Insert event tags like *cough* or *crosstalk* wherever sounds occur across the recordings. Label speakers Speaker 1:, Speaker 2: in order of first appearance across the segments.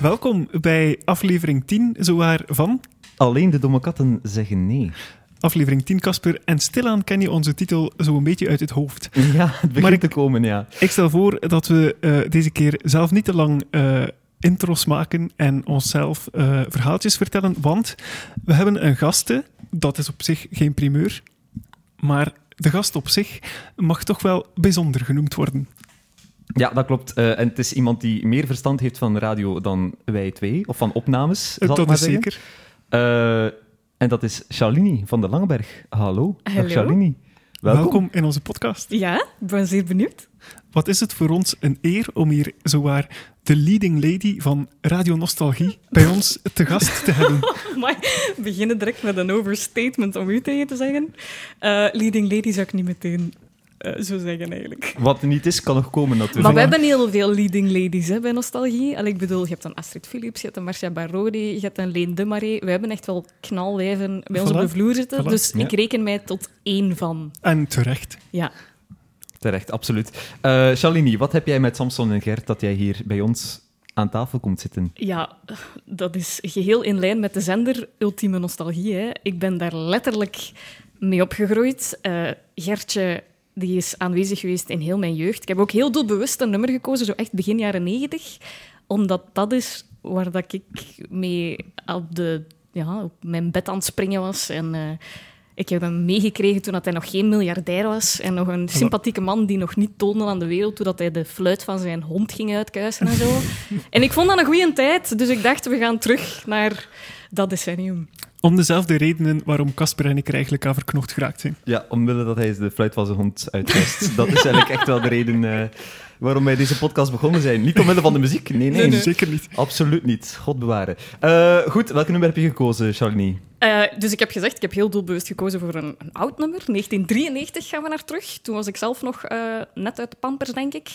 Speaker 1: Welkom bij aflevering 10, zowaar van
Speaker 2: Alleen de domme katten zeggen nee. *laughs*
Speaker 1: aflevering 10, Casper. En stilaan ken je onze titel zo een beetje uit het hoofd.
Speaker 2: Ja, het begint
Speaker 1: Maar ik-
Speaker 2: te komen, ja.
Speaker 1: Ik stel voor dat we eh, deze keer zelf niet te lang eh, intros maken en onszelf eh, verhaaltjes vertellen, want we hebben een gasten. Dat is op zich geen primeur, maar de gast op zich mag toch wel bijzonder genoemd worden.
Speaker 2: Ja, dat klopt. Eh, en het is iemand die meer verstand heeft van radio dan wij twee, of van opnames, zal ik
Speaker 1: dat is
Speaker 2: maar zeggen.
Speaker 1: zeker.
Speaker 2: Eh, en dat is Charlini van de Langeberg. Hallo. Dag,
Speaker 3: Hallo.
Speaker 2: Charlini.
Speaker 1: Welkom.
Speaker 2: Welkom.
Speaker 1: in onze podcast.
Speaker 3: Ja, ik ben zeer benieuwd. *laughs*
Speaker 1: Wat is het voor ons een eer om hier zowaar de leading lady van Radio Nostalgie bij ons te gast te
Speaker 2: *laughs*
Speaker 1: hebben?
Speaker 3: Maar we beginnen direct met een overstatement om u tegen te zeggen. Eh, leading lady zou ik niet meteen eh, zo zeggen, eigenlijk.
Speaker 2: Wat niet is, kan nog komen natuurlijk.
Speaker 3: Maar
Speaker 1: voilà.
Speaker 3: we hebben heel veel leading ladies hè, bij Nostalgie. Al ik bedoel, je hebt een Astrid Philips, je hebt een Marcia Barrodi, je hebt een Leen de Marais. We hebben echt wel knalwijven bij ons
Speaker 1: Voilà.
Speaker 3: op de vloer zitten.
Speaker 1: Voilà.
Speaker 3: Dus
Speaker 2: Ja.
Speaker 3: ik reken mij tot één van.
Speaker 1: En terecht.
Speaker 3: Ja.
Speaker 2: Terecht, absoluut. Eh Charlini, wat heb jij met Samson en Gert dat jij hier bij ons aan tafel komt zitten?
Speaker 3: Ja, dat is geheel in lijn met de zender Ultieme Nostalgie. Hè. Ik ben daar letterlijk mee opgegroeid. Eh, Gertje die is aanwezig geweest in heel mijn jeugd. Ik heb ook heel doelbewust een nummer gekozen, zo echt begin jaren negentig. Omdat dat is waar dat ik mee op, de, ja, op mijn bed aan het springen was. En eh, ik heb hem meegekregen toen dat hij nog geen miljardair was. En nog een sympathieke man die nog niet toonde aan de wereld hoe dat hij de fluit van zijn hond ging uitkuisen en
Speaker 2: *laughs*
Speaker 3: zo. En ik vond dat een goede tijd, dus ik dacht, we gaan terug naar dat decennium.
Speaker 1: Om dezelfde redenen waarom Casper en ik er eigenlijk aan verknocht geraakt zijn.
Speaker 2: Ja, omwille dat hij de fluit van zijn hond uitwist. dat is eigenlijk echt wel de reden eh, waarom wij deze podcast begonnen zijn. Niet omwille van de muziek, nee, nee.
Speaker 1: zeker niet.
Speaker 2: Absoluut niet, god bewaren. Eh, goed, welk nummer heb je gekozen, Charlene?
Speaker 3: Eh, dus ik heb gezegd, ik heb heel doelbewust gekozen voor een, een oud nummer. 1993 gaan we naar terug. Toen was ik zelf nog eh, net uit de pampers, denk ik.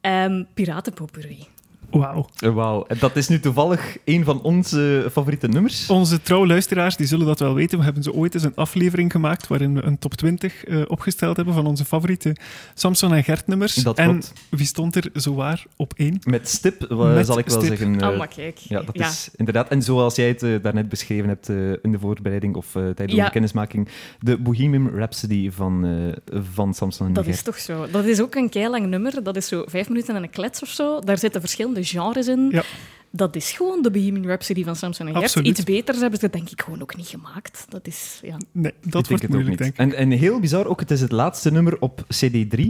Speaker 3: Ehm Piratenpopurie.
Speaker 1: Wauw.
Speaker 2: Eh, Wauw, en dat is nu toevallig een van onze favoriete nummers.
Speaker 1: Onze trouwluisteraars die zullen dat wel weten. We hebben zo ooit eens een aflevering gemaakt waarin we een top 20 eh, opgesteld hebben van onze favoriete Samson en Gert nummers.
Speaker 2: Dat
Speaker 1: en
Speaker 2: klopt.
Speaker 1: wie stond er zowaar op één?
Speaker 2: Met stip, eh,
Speaker 1: Met
Speaker 2: zal ik wel
Speaker 1: stip.
Speaker 2: zeggen. eh,
Speaker 3: Ah, maar kijk.
Speaker 2: ja, dat is inderdaad. En zoals jij het eh, daarnet beschreven hebt eh, in de voorbereiding of eh, tijdens
Speaker 3: Ja.
Speaker 2: de kennismaking, de Bohemian Rhapsody van, eh, van Samson en
Speaker 3: Dat
Speaker 2: Gert.
Speaker 3: is toch zo. Dat is ook een keilang nummer. Dat is zo vijf minuten en een klets of zo. Daar zitten verschillende genres in.
Speaker 1: Ja.
Speaker 3: Dat is gewoon de Bohemian Rhapsody van Samson en Gert.
Speaker 1: Absoluut.
Speaker 3: Iets beters hebben ze denk ik gewoon ook niet gemaakt. Dat is, ja.
Speaker 1: Nee, dat
Speaker 2: Ik denk
Speaker 1: wordt
Speaker 2: het ook
Speaker 1: moeilijk, denk
Speaker 2: niet.
Speaker 1: ik.
Speaker 2: En, en heel bizar ook, het is het laatste nummer op CD3.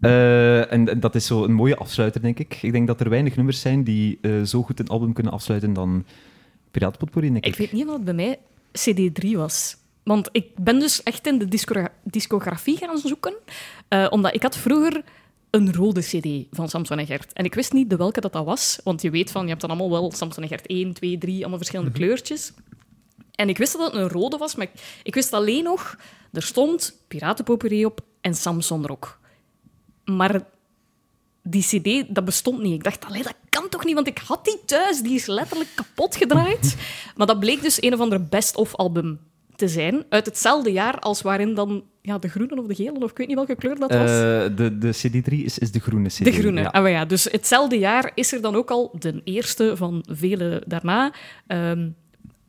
Speaker 2: Eh, en, en dat is zo een mooie afsluiter, denk ik. Ik denk dat er weinig nummers zijn die eh, zo goed een album kunnen afsluiten dan Piratenpotpourri, denk ik.
Speaker 3: Ik weet niet of het bij mij CD3 was. Want ik ben dus echt in de discogra- discografie gaan zoeken. eh, omdat ik had vroeger een rode CD van Samson en Gert. En ik wist niet de welke dat, dat was. Want je weet van, je hebt dan allemaal wel Samson en Gert 1, 2, 3, allemaal verschillende kleurtjes. En ik wist dat het een rode was, maar ik, ik wist alleen nog... Er stond Piratenpopurie op en Samson Rock. Maar die cd, dat bestond niet. Ik dacht, allee, dat kan toch niet, want ik had die thuis. Die is letterlijk
Speaker 2: *laughs*
Speaker 3: kapot gedraaid. Maar dat bleek dus een of ander best-of-album te zijn. Uit hetzelfde jaar als waarin dan ja, de groene of de gele, of ik weet niet welke kleur dat
Speaker 2: Eh,
Speaker 3: was.
Speaker 2: de, de CD3 is, is de groene CD.
Speaker 3: de groene.
Speaker 2: Ja.
Speaker 3: Ah, maar ja, dus hetzelfde jaar is er dan ook al de eerste van vele daarna ehm,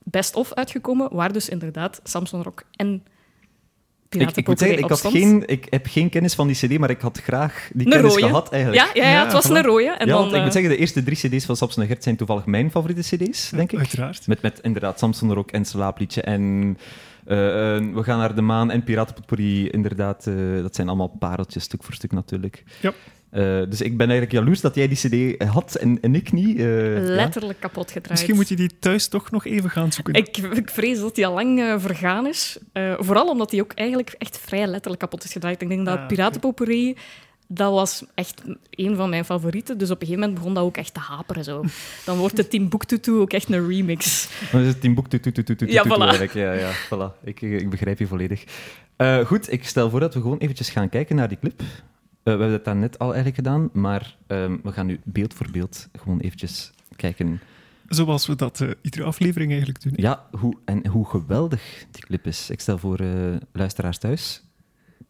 Speaker 3: best-of uitgekomen, waar dus inderdaad Samson Rock en
Speaker 2: Ik, ik moet
Speaker 3: Piratenpokerij
Speaker 2: zeggen,
Speaker 3: op
Speaker 2: ik, had
Speaker 3: stond.
Speaker 2: geen, ik heb geen kennis van die CD, maar ik had graag die
Speaker 3: Een
Speaker 2: kennis
Speaker 3: rode.
Speaker 2: gehad eigenlijk.
Speaker 3: Ja, ja, ja,
Speaker 1: Ja,
Speaker 3: het was
Speaker 1: voilà.
Speaker 3: een rode. En
Speaker 2: Ja,
Speaker 3: dan,
Speaker 2: want ik moet
Speaker 3: eh,
Speaker 2: zeggen, de eerste drie CD's van Samson en Gert zijn toevallig mijn favoriete CD's, denk ik.
Speaker 1: Uiteraard.
Speaker 2: Met, met inderdaad Samson Rock en Slaapliedje en eh, eh, We gaan naar de maan en Piratenpotpourri. Inderdaad, eh, dat zijn allemaal pareltjes, stuk voor stuk natuurlijk.
Speaker 1: Ja.
Speaker 2: Eh, dus ik ben eigenlijk jaloers dat jij die cd had en, en ik niet. eh, ja.
Speaker 3: letterlijk kapot gedraaid.
Speaker 1: Misschien moet je die thuis toch nog even gaan zoeken.
Speaker 3: Ik, ik vrees dat die al lang eh, vergaan is. Eh, vooral omdat die ook eigenlijk echt vrij letterlijk kapot is gedraaid. Ik denk dat
Speaker 1: Ah,
Speaker 3: Piratenpopurie, dat was echt een van mijn favorieten. Dus op een gegeven moment begon dat ook echt te haperen. Zo. Dan wordt de Timbuktu ook echt een remix.
Speaker 2: Dan is het in boek tu- tu- tu- tu- tu- tu-
Speaker 3: Ja,
Speaker 2: tu-
Speaker 3: voilà.
Speaker 2: eigenlijk. Ja, ja, voilà. Ik, ik begrijp je volledig. Eh, goed, ik stel voor dat we gewoon eventjes gaan kijken naar die clip. Eh, we hebben dat net al eigenlijk gedaan, maar ehm, we gaan nu beeld voor beeld gewoon eventjes kijken.
Speaker 1: Zoals we dat eh, iedere aflevering eigenlijk doen.
Speaker 2: Ja, hoe, en hoe geweldig die clip is. Ik stel voor eh, luisteraars thuis,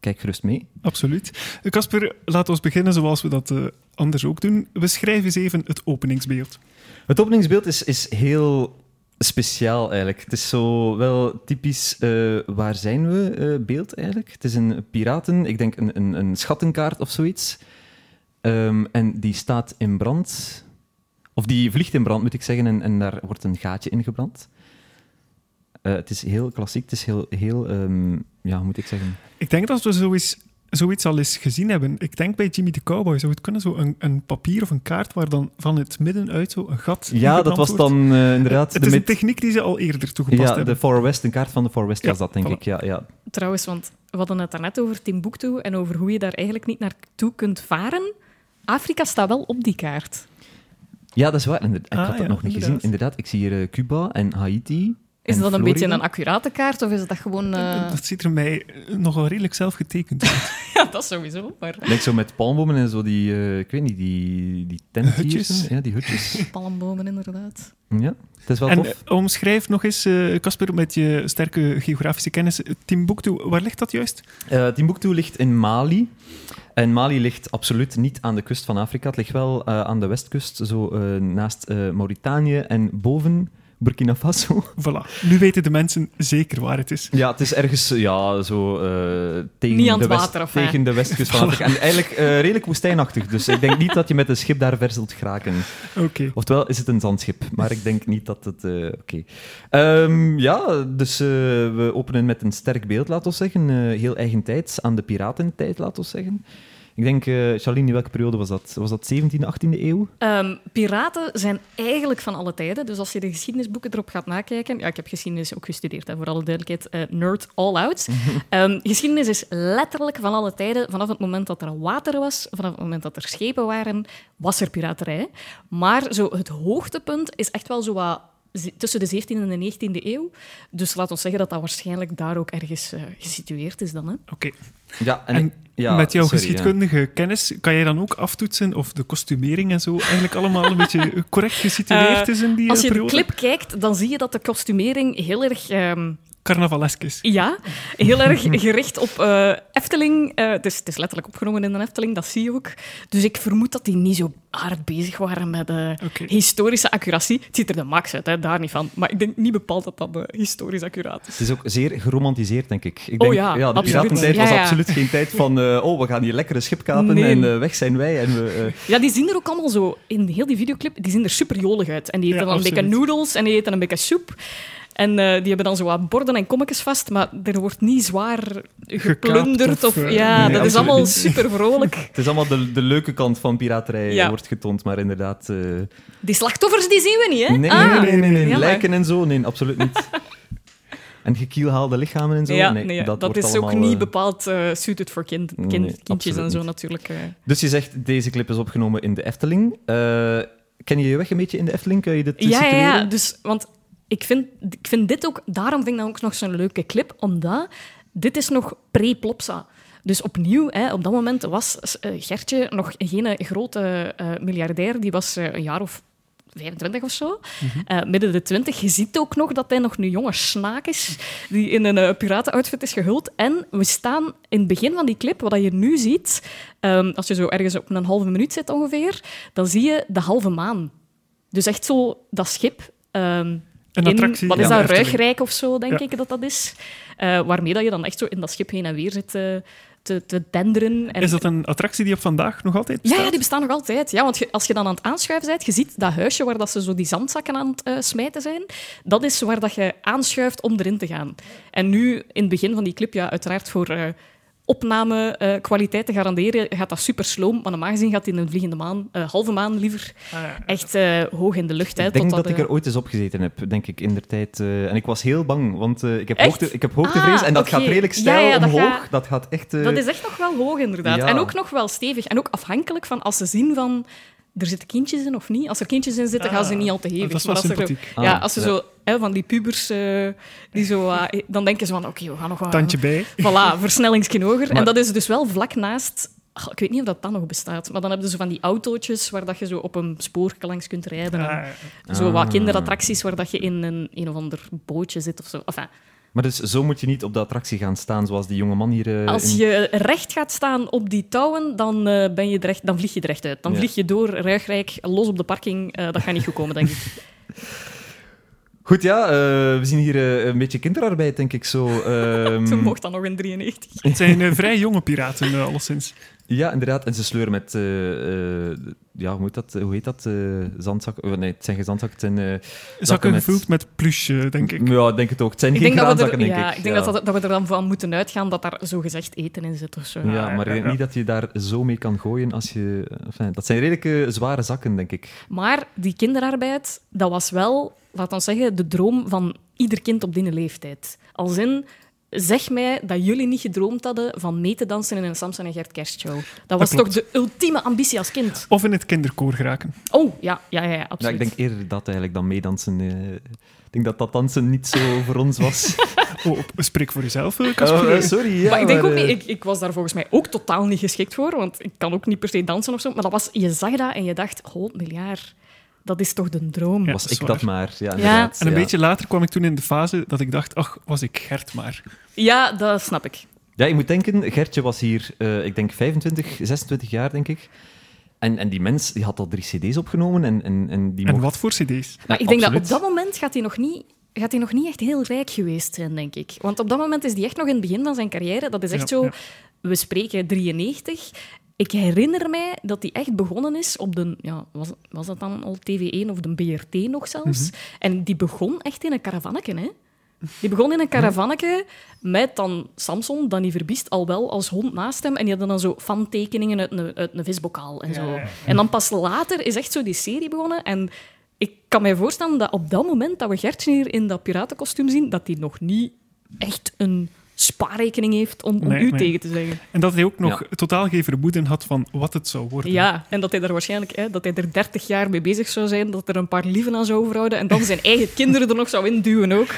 Speaker 2: kijk gerust mee.
Speaker 1: Absoluut. Eh, Casper, laat ons beginnen zoals we dat eh, anders ook doen. We schrijven eens even het openingsbeeld.
Speaker 2: Het openingsbeeld is, is heel speciaal eigenlijk. Het is zo wel typisch eh, waar zijn we eh, beeld eigenlijk. Het is een piraten, ik denk een, een, een schattenkaart of zoiets. Ehm, en die staat in brand. Of die vliegt in brand, moet ik zeggen, en, en daar wordt een gaatje in gebrand. Eh, het is heel klassiek, het is heel, heel ehm, ja, hoe moet ik zeggen?
Speaker 1: Ik denk dat we zoiets, zoiets al eens gezien hebben. Ik denk bij Jimmy de Cowboy zou het kunnen, zo een, een papier of een kaart waar dan van het midden uit zo een gat
Speaker 2: Ja, dat
Speaker 1: ingebrand
Speaker 2: was
Speaker 1: wordt.
Speaker 2: dan eh, inderdaad
Speaker 1: Het
Speaker 2: de,
Speaker 1: is een
Speaker 2: met-
Speaker 1: techniek die ze al eerder toegepast
Speaker 2: ja, de
Speaker 1: hebben.
Speaker 2: Far West, een kaart van de Far West
Speaker 1: Ja,
Speaker 2: was dat, denk
Speaker 1: voilà.
Speaker 2: ik. Ja, ja.
Speaker 3: Trouwens, want we hadden het daarnet over Timbuktu en over hoe je daar eigenlijk niet naartoe kunt varen. Afrika staat wel op die kaart.
Speaker 2: Ja, dat is waar. Inderdaad. Ik
Speaker 1: Ah,
Speaker 2: had dat
Speaker 1: ja,
Speaker 2: nog niet gezien.
Speaker 1: inderdaad.
Speaker 2: Inderdaad, ik zie hier eh, Cuba en Haiti.
Speaker 3: Is
Speaker 2: en
Speaker 3: dat een
Speaker 2: Florida.
Speaker 3: beetje een accurate kaart of is dat gewoon... eh,
Speaker 1: Dat ziet er mij eh, nogal redelijk zelf getekend uit.
Speaker 3: *laughs* ja, dat sowieso, maar...
Speaker 2: Ik Denk zo met palmbomen en zo die, eh, ik weet niet, die, die tentjes.
Speaker 1: Hutjes.
Speaker 2: Ja, die
Speaker 1: *laughs*
Speaker 2: hutjes.
Speaker 3: Palmbomen, inderdaad.
Speaker 2: ja, het is wel
Speaker 1: En
Speaker 2: tof.
Speaker 1: eh, omschrijf nog eens, eh, Casper, met je sterke geografische kennis, Timbuktu, waar ligt dat juist?
Speaker 2: Eh Timbuktu ligt in Mali. En Mali ligt absoluut niet aan de kust van Afrika. Het ligt wel eh, aan de westkust, zo eh, naast eh, Mauritanië en boven Burkina Faso.
Speaker 1: Voilà, nu weten de mensen zeker waar het is.
Speaker 2: Ja, het is ergens eh, ja, zo eh, tegen,
Speaker 3: Niet aan
Speaker 2: de
Speaker 3: het
Speaker 2: west-
Speaker 3: water, of, hè?
Speaker 2: tegen de westkust van Afrika. En eigenlijk eh, redelijk woestijnachtig, dus ik denk niet dat je met een schip daar ver zult geraken.
Speaker 1: Oké.
Speaker 2: Oftewel is het een zandschip, maar ik denk niet dat het... eh, Oké. Ehm, ja, dus eh, we openen met een sterk beeld, laten we zeggen. eh, heel eigen tijd, aan de piratentijd, laten we zeggen. Ik denk, eh Charlene, in welke periode was dat? Was dat 17e, 18e eeuw?
Speaker 3: Ehm, piraten zijn eigenlijk van alle tijden. Dus als je de geschiedenisboeken erop gaat nakijken... Ja, ik heb geschiedenis ook gestudeerd, hè, voor alle duidelijkheid. eh, nerd all
Speaker 1: *laughs*
Speaker 3: out. Ehm, geschiedenis is letterlijk van alle tijden. Vanaf het moment dat er water was, vanaf het moment dat er schepen waren, was er piraterij. Maar zo het hoogtepunt is echt wel zo wat ze- tussen de 17e en de 19e eeuw. Dus laat ons zeggen dat dat waarschijnlijk daar ook ergens eh, gesitueerd is dan. Hè?
Speaker 1: Oké.
Speaker 2: Ja, en,
Speaker 1: En
Speaker 2: ik- ja,
Speaker 1: Met jouw
Speaker 2: sorry, ja.
Speaker 1: geschiedkundige kennis kan jij dan ook aftoetsen of de kostumering en zo eigenlijk allemaal een
Speaker 3: *laughs*
Speaker 1: beetje correct gesitueerd is in die eh,
Speaker 3: Als je de
Speaker 1: periode?
Speaker 3: clip kijkt, dan zie je dat de kostumering heel erg... ehm,
Speaker 1: Carnavalesk is.
Speaker 3: Ja, heel erg gericht op eh, Efteling. Eh, het, is, het is letterlijk opgenomen in de Efteling, dat zie je ook. Dus ik vermoed dat die niet zo hard bezig waren met eh,
Speaker 1: Oké.
Speaker 3: historische accuratie. Het ziet er de max uit, hè, daar niet van. Maar ik denk niet bepaald dat dat eh, historisch accuraat is.
Speaker 2: Het is ook zeer geromantiseerd, denk ik. ik
Speaker 3: Oh
Speaker 2: denk,
Speaker 3: ja,
Speaker 2: de
Speaker 3: absoluut.
Speaker 2: piratentijd
Speaker 3: Ja,
Speaker 2: was
Speaker 3: ja.
Speaker 2: absoluut geen tijd van... eh, oh, we gaan hier lekkere schip kapen
Speaker 3: Nee.
Speaker 2: en eh, weg zijn wij. En we, eh,
Speaker 3: Ja, die zien er ook allemaal zo, in heel die videoclip, die zien er super jolig uit. En die eten
Speaker 1: Ja,
Speaker 3: dan een beetje
Speaker 1: absoluut.
Speaker 3: noedels en die eten een beetje soep. En eh, die hebben dan zo wat borden en kommetjes vast, maar er wordt niet zwaar geplunderd.
Speaker 1: of,
Speaker 3: Of,
Speaker 1: eh,
Speaker 3: ja,
Speaker 2: nee,
Speaker 3: dat
Speaker 2: absoluut
Speaker 3: is allemaal
Speaker 2: niet.
Speaker 3: super vrolijk.
Speaker 2: het is allemaal de, de leuke kant van piraterij eh,
Speaker 3: Ja.
Speaker 2: wordt getoond, maar inderdaad... eh, nee,
Speaker 3: Die slachtoffers die zien we niet, hè?
Speaker 2: nee,
Speaker 3: Ah.
Speaker 2: nee, nee, nee, nee,
Speaker 3: jammer.
Speaker 2: Lijken en zo, nee, absoluut niet. *laughs* en gekielhaalde lichamen en zo,
Speaker 3: ja,
Speaker 2: nee,
Speaker 3: nee,
Speaker 2: dat,
Speaker 3: dat,
Speaker 2: wordt
Speaker 3: is ook
Speaker 2: allemaal,
Speaker 3: niet
Speaker 2: eh,
Speaker 3: bepaald eh suited voor kind, kind-
Speaker 2: nee,
Speaker 3: kindjes en
Speaker 2: absoluut
Speaker 3: zo
Speaker 2: niet.
Speaker 3: natuurlijk. eh.
Speaker 2: Dus je zegt, deze clip is opgenomen in de Efteling. Eh, ken je je weg een beetje in de Efteling? Kun je dit eh,
Speaker 3: Ja, ja,
Speaker 2: situeren?
Speaker 3: ja, dus, want ik vind, ik vind dit ook, daarom vind ik dat ook nog zo'n leuke clip, omdat dit is nog pre-Plopsa. Dus opnieuw, hè, op dat moment was eh, Gertje nog geen grote eh, miljardair, die was eh, een jaar of 25 of zo. Eh, midden de 20. Je ziet ook nog dat hij nog een jonge snaak is, die in een eh, piratenoutfit is gehuld. En we staan in het begin van die clip, wat je nu ziet, ehm, als je zo ergens op een halve minuut zit ongeveer, dan zie je de halve maan. Dus echt zo dat schip. ehm,
Speaker 1: Een
Speaker 3: in-
Speaker 1: attractie
Speaker 3: Wat is
Speaker 1: in
Speaker 3: dat?
Speaker 1: de Efteling.
Speaker 3: Ruigrijk of zo,
Speaker 1: Ja.
Speaker 3: denk ik dat dat is. Eh, waarmee dat je dan echt zo in dat schip heen en weer zit eh, te, te denderen. En
Speaker 1: Is dat een attractie die op vandaag nog altijd
Speaker 3: ja,
Speaker 1: bestaat?
Speaker 3: ja, die bestaan nog altijd. Ja, want je- als je dan aan het aanschuiven bent, je ziet dat huisje waar dat ze zo die zandzakken aan het eh, smijten zijn. Dat is waar dat je aanschuift om erin te gaan. En nu, in het begin van die clip, ja, uiteraard voor eh, opname eh, kwaliteit te garanderen, gaat dat super sloom. Maar normaal gezien gaat die in een vliegende maan, eh, halve maan liever,
Speaker 1: Ah,
Speaker 3: echt eh, hoog in de lucht. Hè,
Speaker 2: Ik denk
Speaker 3: totdat,
Speaker 2: dat ik
Speaker 3: eh,
Speaker 2: er ooit eens op gezeten heb, denk ik, in der tijd. eh, en ik was heel bang, want eh, ik, heb
Speaker 3: Echt?
Speaker 2: hoogte, ik heb hoogtevrees
Speaker 3: Ah,
Speaker 2: en dat
Speaker 3: oké.
Speaker 2: gaat redelijk
Speaker 3: Ja,
Speaker 2: stijl
Speaker 3: ja, dat
Speaker 2: omhoog.
Speaker 3: gaat-
Speaker 2: Dat gaat echt... eh,
Speaker 3: Dat is echt nog wel hoog, inderdaad.
Speaker 2: Ja.
Speaker 3: En ook nog wel stevig. En ook afhankelijk van als ze zien van... Er zitten kindjes in of niet? Als er kindjes in zitten, gaan ze
Speaker 1: Ah,
Speaker 3: niet al te hevig.
Speaker 1: dat is
Speaker 3: Maar
Speaker 1: wel
Speaker 3: als er zo-
Speaker 1: sympathiek.
Speaker 3: ja,
Speaker 2: Ah,
Speaker 3: als ze
Speaker 2: ja.
Speaker 3: zo... hè, van die pubers, eh, die zo, ah, eh, dan denken ze van... Oké, we gaan nog wat...
Speaker 1: Tandje bij.
Speaker 3: Voilà, versnellingskin hoger.
Speaker 2: Maar-
Speaker 3: En dat is dus wel vlak naast... Ah, ik weet niet of dat dan nog bestaat. Maar dan hebben ze zo van die autootjes waar dat je zo op een spoor langs kunt rijden.
Speaker 1: Ah,
Speaker 3: en zo wat
Speaker 2: Ah.
Speaker 3: kinderattracties waar dat je in een, een of ander bootje zit of zo. Enfin,
Speaker 2: Maar dus zo moet je niet op de attractie gaan staan zoals die jonge man hier. eh,
Speaker 3: Als
Speaker 2: in-
Speaker 3: je recht gaat staan op die touwen, dan, eh, ben je er echt- dan vlieg je er echt uit. Dan
Speaker 2: Ja.
Speaker 3: vlieg je door, ruigrijk, los op de parking. Eh, dat gaat niet goed komen, denk
Speaker 2: *laughs*
Speaker 3: ik.
Speaker 2: Goed, ja, eh, we zien hier eh, een beetje kinderarbeid, denk ik
Speaker 3: *laughs*
Speaker 2: zo. ehm.
Speaker 3: Ze mocht dan nog in 93.
Speaker 1: Het zijn eh, vrij jonge piraten, eh, alleszins.
Speaker 2: Ja, inderdaad. En ze sleuren met, eh, eh, ja, hoe, moet dat, hoe heet dat? eh zandzakken? Oh, nee, het zijn geen zandzakken, het zijn... eh,
Speaker 1: Zakken
Speaker 2: met-
Speaker 1: gevuld met pluche, denk ik.
Speaker 2: ja, ik denk het ook. Het zijn
Speaker 3: Ik
Speaker 2: geen
Speaker 3: denk, dat we,
Speaker 2: graanzakken,
Speaker 3: er,
Speaker 2: denk
Speaker 3: ja,
Speaker 2: ik.
Speaker 3: ik denk Dat, dat- dat we er dan van moeten uitgaan dat daar zogezegd eten in zit of zo.
Speaker 2: Ja, maar ik denk
Speaker 1: Ja.
Speaker 2: niet dat je daar zo mee kan gooien als je... enfin, dat zijn redelijk eh, zware zakken, denk ik.
Speaker 3: Maar die kinderarbeid, dat was wel, laat ons zeggen, de droom van ieder kind op die leeftijd. Als in, zeg mij dat jullie niet gedroomd hadden van mee te dansen in een Samson en Gert kerstshow. Dat was
Speaker 1: klopt.
Speaker 3: toch de ultieme ambitie als kind?
Speaker 1: Of in het kinderkoor geraken.
Speaker 3: Oh, ja, ja, ja, ja
Speaker 2: Ja, ik
Speaker 3: absoluut.
Speaker 2: denk eerder dat eigenlijk dan meedansen. eh. ik denk dat dat dansen niet zo voor ons
Speaker 3: *laughs*
Speaker 2: was. *laughs*
Speaker 1: Oh, op- spreek voor jezelf, eh,
Speaker 2: Oh,
Speaker 1: Casper.
Speaker 2: eh, sorry. Ja,
Speaker 3: maar ik denk ook
Speaker 2: eh,
Speaker 3: niet, ik, ik was daar volgens mij ook totaal niet geschikt voor, want ik kan ook niet per se dansen of zo. Maar dat was, je zag dat en je dacht, oh, miljard, dat is toch de droom?
Speaker 1: Ja.
Speaker 2: Was
Speaker 1: dat
Speaker 2: ik
Speaker 1: is
Speaker 2: dat
Speaker 1: waar.
Speaker 2: maar. Ja, inderdaad,
Speaker 1: en een
Speaker 2: ja.
Speaker 1: beetje later kwam ik toen in de fase dat ik dacht, ach, was ik Gert maar.
Speaker 3: ja dat snap ik.
Speaker 2: Ja, je moet denken, Gertje was hier, eh, ik denk 25, 26 jaar, denk ik. En, en die mens die had al drie cd's opgenomen en, en, en die
Speaker 1: En
Speaker 2: mocht...
Speaker 1: wat voor cd's?
Speaker 3: Maar ik denk
Speaker 2: Absoluut.
Speaker 3: dat op dat moment gaat hij nog niet... Gaat hij nog niet echt heel rijk geweest zijn, denk ik. Want op dat moment is hij echt nog in het begin van zijn carrière. Dat is echt
Speaker 1: Ja,
Speaker 3: zo...
Speaker 1: ja.
Speaker 3: We spreken 93. Ik herinner mij dat hij echt begonnen is op de... Ja, was, was dat dan al TV1 of de BRT nog zelfs? En die begon echt in een caravanneke, hè? Die begon in een caravanneke met dan Samson, Danny Verbiest, al wel als hond naast hem. En die hadden dan zo fantekeningen uit een, uit een visbokaal en zo. En dan pas later is echt zo die serie begonnen. En ik kan mij voorstellen dat op dat moment dat we Gertje hier in dat piratenkostuum zien, dat hij nog niet echt een spaarrekening heeft om, om
Speaker 1: Nee,
Speaker 3: u
Speaker 1: nee.
Speaker 3: tegen te zeggen.
Speaker 1: En dat hij ook nog totaal geen vermoeden had van wat het zou worden.
Speaker 3: Ja, en dat hij daar waarschijnlijk hè, dat hij er 30 jaar mee bezig zou zijn, dat er een paar lieven aan zou overhouden en dan zijn eigen kinderen er nog zou induwen ook.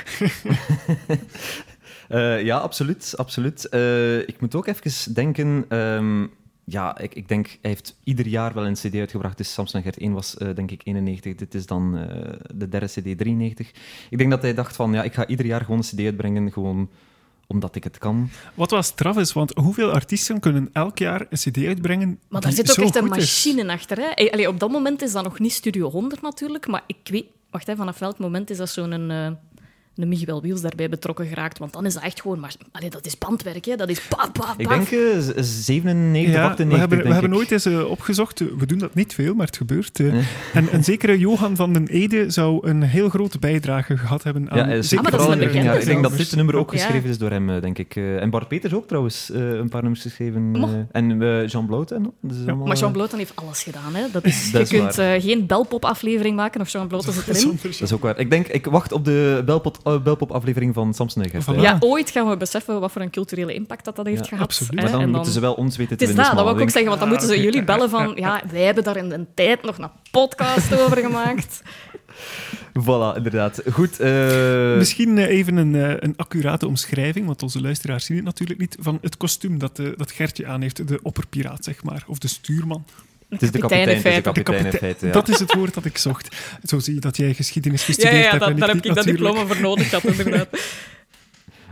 Speaker 2: Eh, ja, absoluut. absoluut. Eh, ik moet ook even denken... ehm, ja, ik, ik denk, hij heeft ieder jaar wel een cd uitgebracht. Dus Samson en Gert 1 was, eh, denk ik, 91. Dit is dan eh, de derde cd, 93. Ik denk dat hij dacht van, ja, ik ga ieder jaar gewoon een cd uitbrengen, gewoon omdat ik het kan.
Speaker 1: Wat wel straf is, want hoeveel artiesten kunnen elk jaar een cd uitbrengen
Speaker 3: Maar daar
Speaker 1: die
Speaker 3: zit
Speaker 1: zo
Speaker 3: ook echt een
Speaker 1: goed
Speaker 2: dus.
Speaker 1: is?
Speaker 3: machine achter. Hè? Ey, Allee, op dat moment is dat nog niet Studio 100 natuurlijk, maar ik weet... Wacht, hè, vanaf welk moment is dat zo'n... eh een Miguel Wiels daarbij betrokken geraakt, want dan is dat echt gewoon... Maar, allee, dat is bandwerk, hè. Dat is pa, pa,
Speaker 2: Ik
Speaker 3: pa.
Speaker 2: denk eh, z- 97,
Speaker 1: Ja,
Speaker 2: 98,
Speaker 1: we hebben, we
Speaker 2: denk
Speaker 1: hebben
Speaker 2: ik.
Speaker 1: ooit eens eh, opgezocht, eh, we doen dat niet veel, maar het gebeurt. eh. En
Speaker 2: *laughs*
Speaker 1: een zekere Johan van den Ede zou een heel grote bijdrage gehad hebben aan...
Speaker 2: Ja, hij is
Speaker 1: zeker
Speaker 3: Ah, maar dat is
Speaker 2: vooral
Speaker 3: een
Speaker 2: in de-
Speaker 3: bekende
Speaker 2: ja, Ik denk dat
Speaker 1: zelfs.
Speaker 2: dit nummer ook
Speaker 3: Ja.
Speaker 2: geschreven is door hem, eh, denk ik. Eh, En Bart Peters ook trouwens eh, een paar nummers geschreven.
Speaker 3: Mo.
Speaker 2: eh, En eh, Jean Blout. En, dus allemaal,
Speaker 3: Maar Jean
Speaker 2: eh,
Speaker 3: Bloten heeft alles gedaan, hè. Dat is,
Speaker 2: *laughs* Dat is
Speaker 3: je kunt
Speaker 2: waar.
Speaker 3: eh, geen belpop-aflevering maken of Jean Bloten zit erin.
Speaker 1: Zonder-
Speaker 2: Dat is ook waar. Ik denk, ik wacht op de Belpot, eh, Belpop-aflevering van Samson en Gert.
Speaker 1: Voilà.
Speaker 2: eh.
Speaker 3: Ja, ooit gaan we beseffen wat voor een culturele impact dat, dat heeft
Speaker 2: Ja,
Speaker 3: gehad.
Speaker 1: absoluut.
Speaker 3: hè.
Speaker 2: Maar dan,
Speaker 3: En
Speaker 2: moeten ze wel ons weten dus
Speaker 3: Het
Speaker 2: te
Speaker 3: is
Speaker 2: vinden.
Speaker 3: dat, dat
Speaker 2: smal,
Speaker 3: wil ik
Speaker 2: denk
Speaker 3: ook zeggen, want dan
Speaker 1: Ah,
Speaker 3: moeten ze
Speaker 1: oké.
Speaker 3: jullie bellen van... Ja, wij hebben daar in de tijd nog een podcast over gemaakt.
Speaker 2: Voilà, inderdaad. Goed. eh,
Speaker 1: Misschien eh, even een, eh, een accurate omschrijving, want onze luisteraars zien het natuurlijk niet, van het kostuum dat, eh, dat Gertje aan heeft, de opperpiraat, zeg maar, of de stuurman.
Speaker 2: het is de kapitein,
Speaker 3: kapitein in
Speaker 2: het is de
Speaker 3: feite.
Speaker 1: De
Speaker 2: kapitein in
Speaker 1: kapitein.
Speaker 2: feite. ja.
Speaker 1: Dat is het woord dat ik zocht. Zo zie je dat jij geschiedenis
Speaker 3: Ja,
Speaker 1: gestudeerd
Speaker 3: ja, ja
Speaker 1: hebt.
Speaker 3: dat,
Speaker 1: en
Speaker 3: daar heb
Speaker 1: niet
Speaker 3: ik dat
Speaker 1: natuurlijk.
Speaker 3: diploma voor nodig gehad, inderdaad.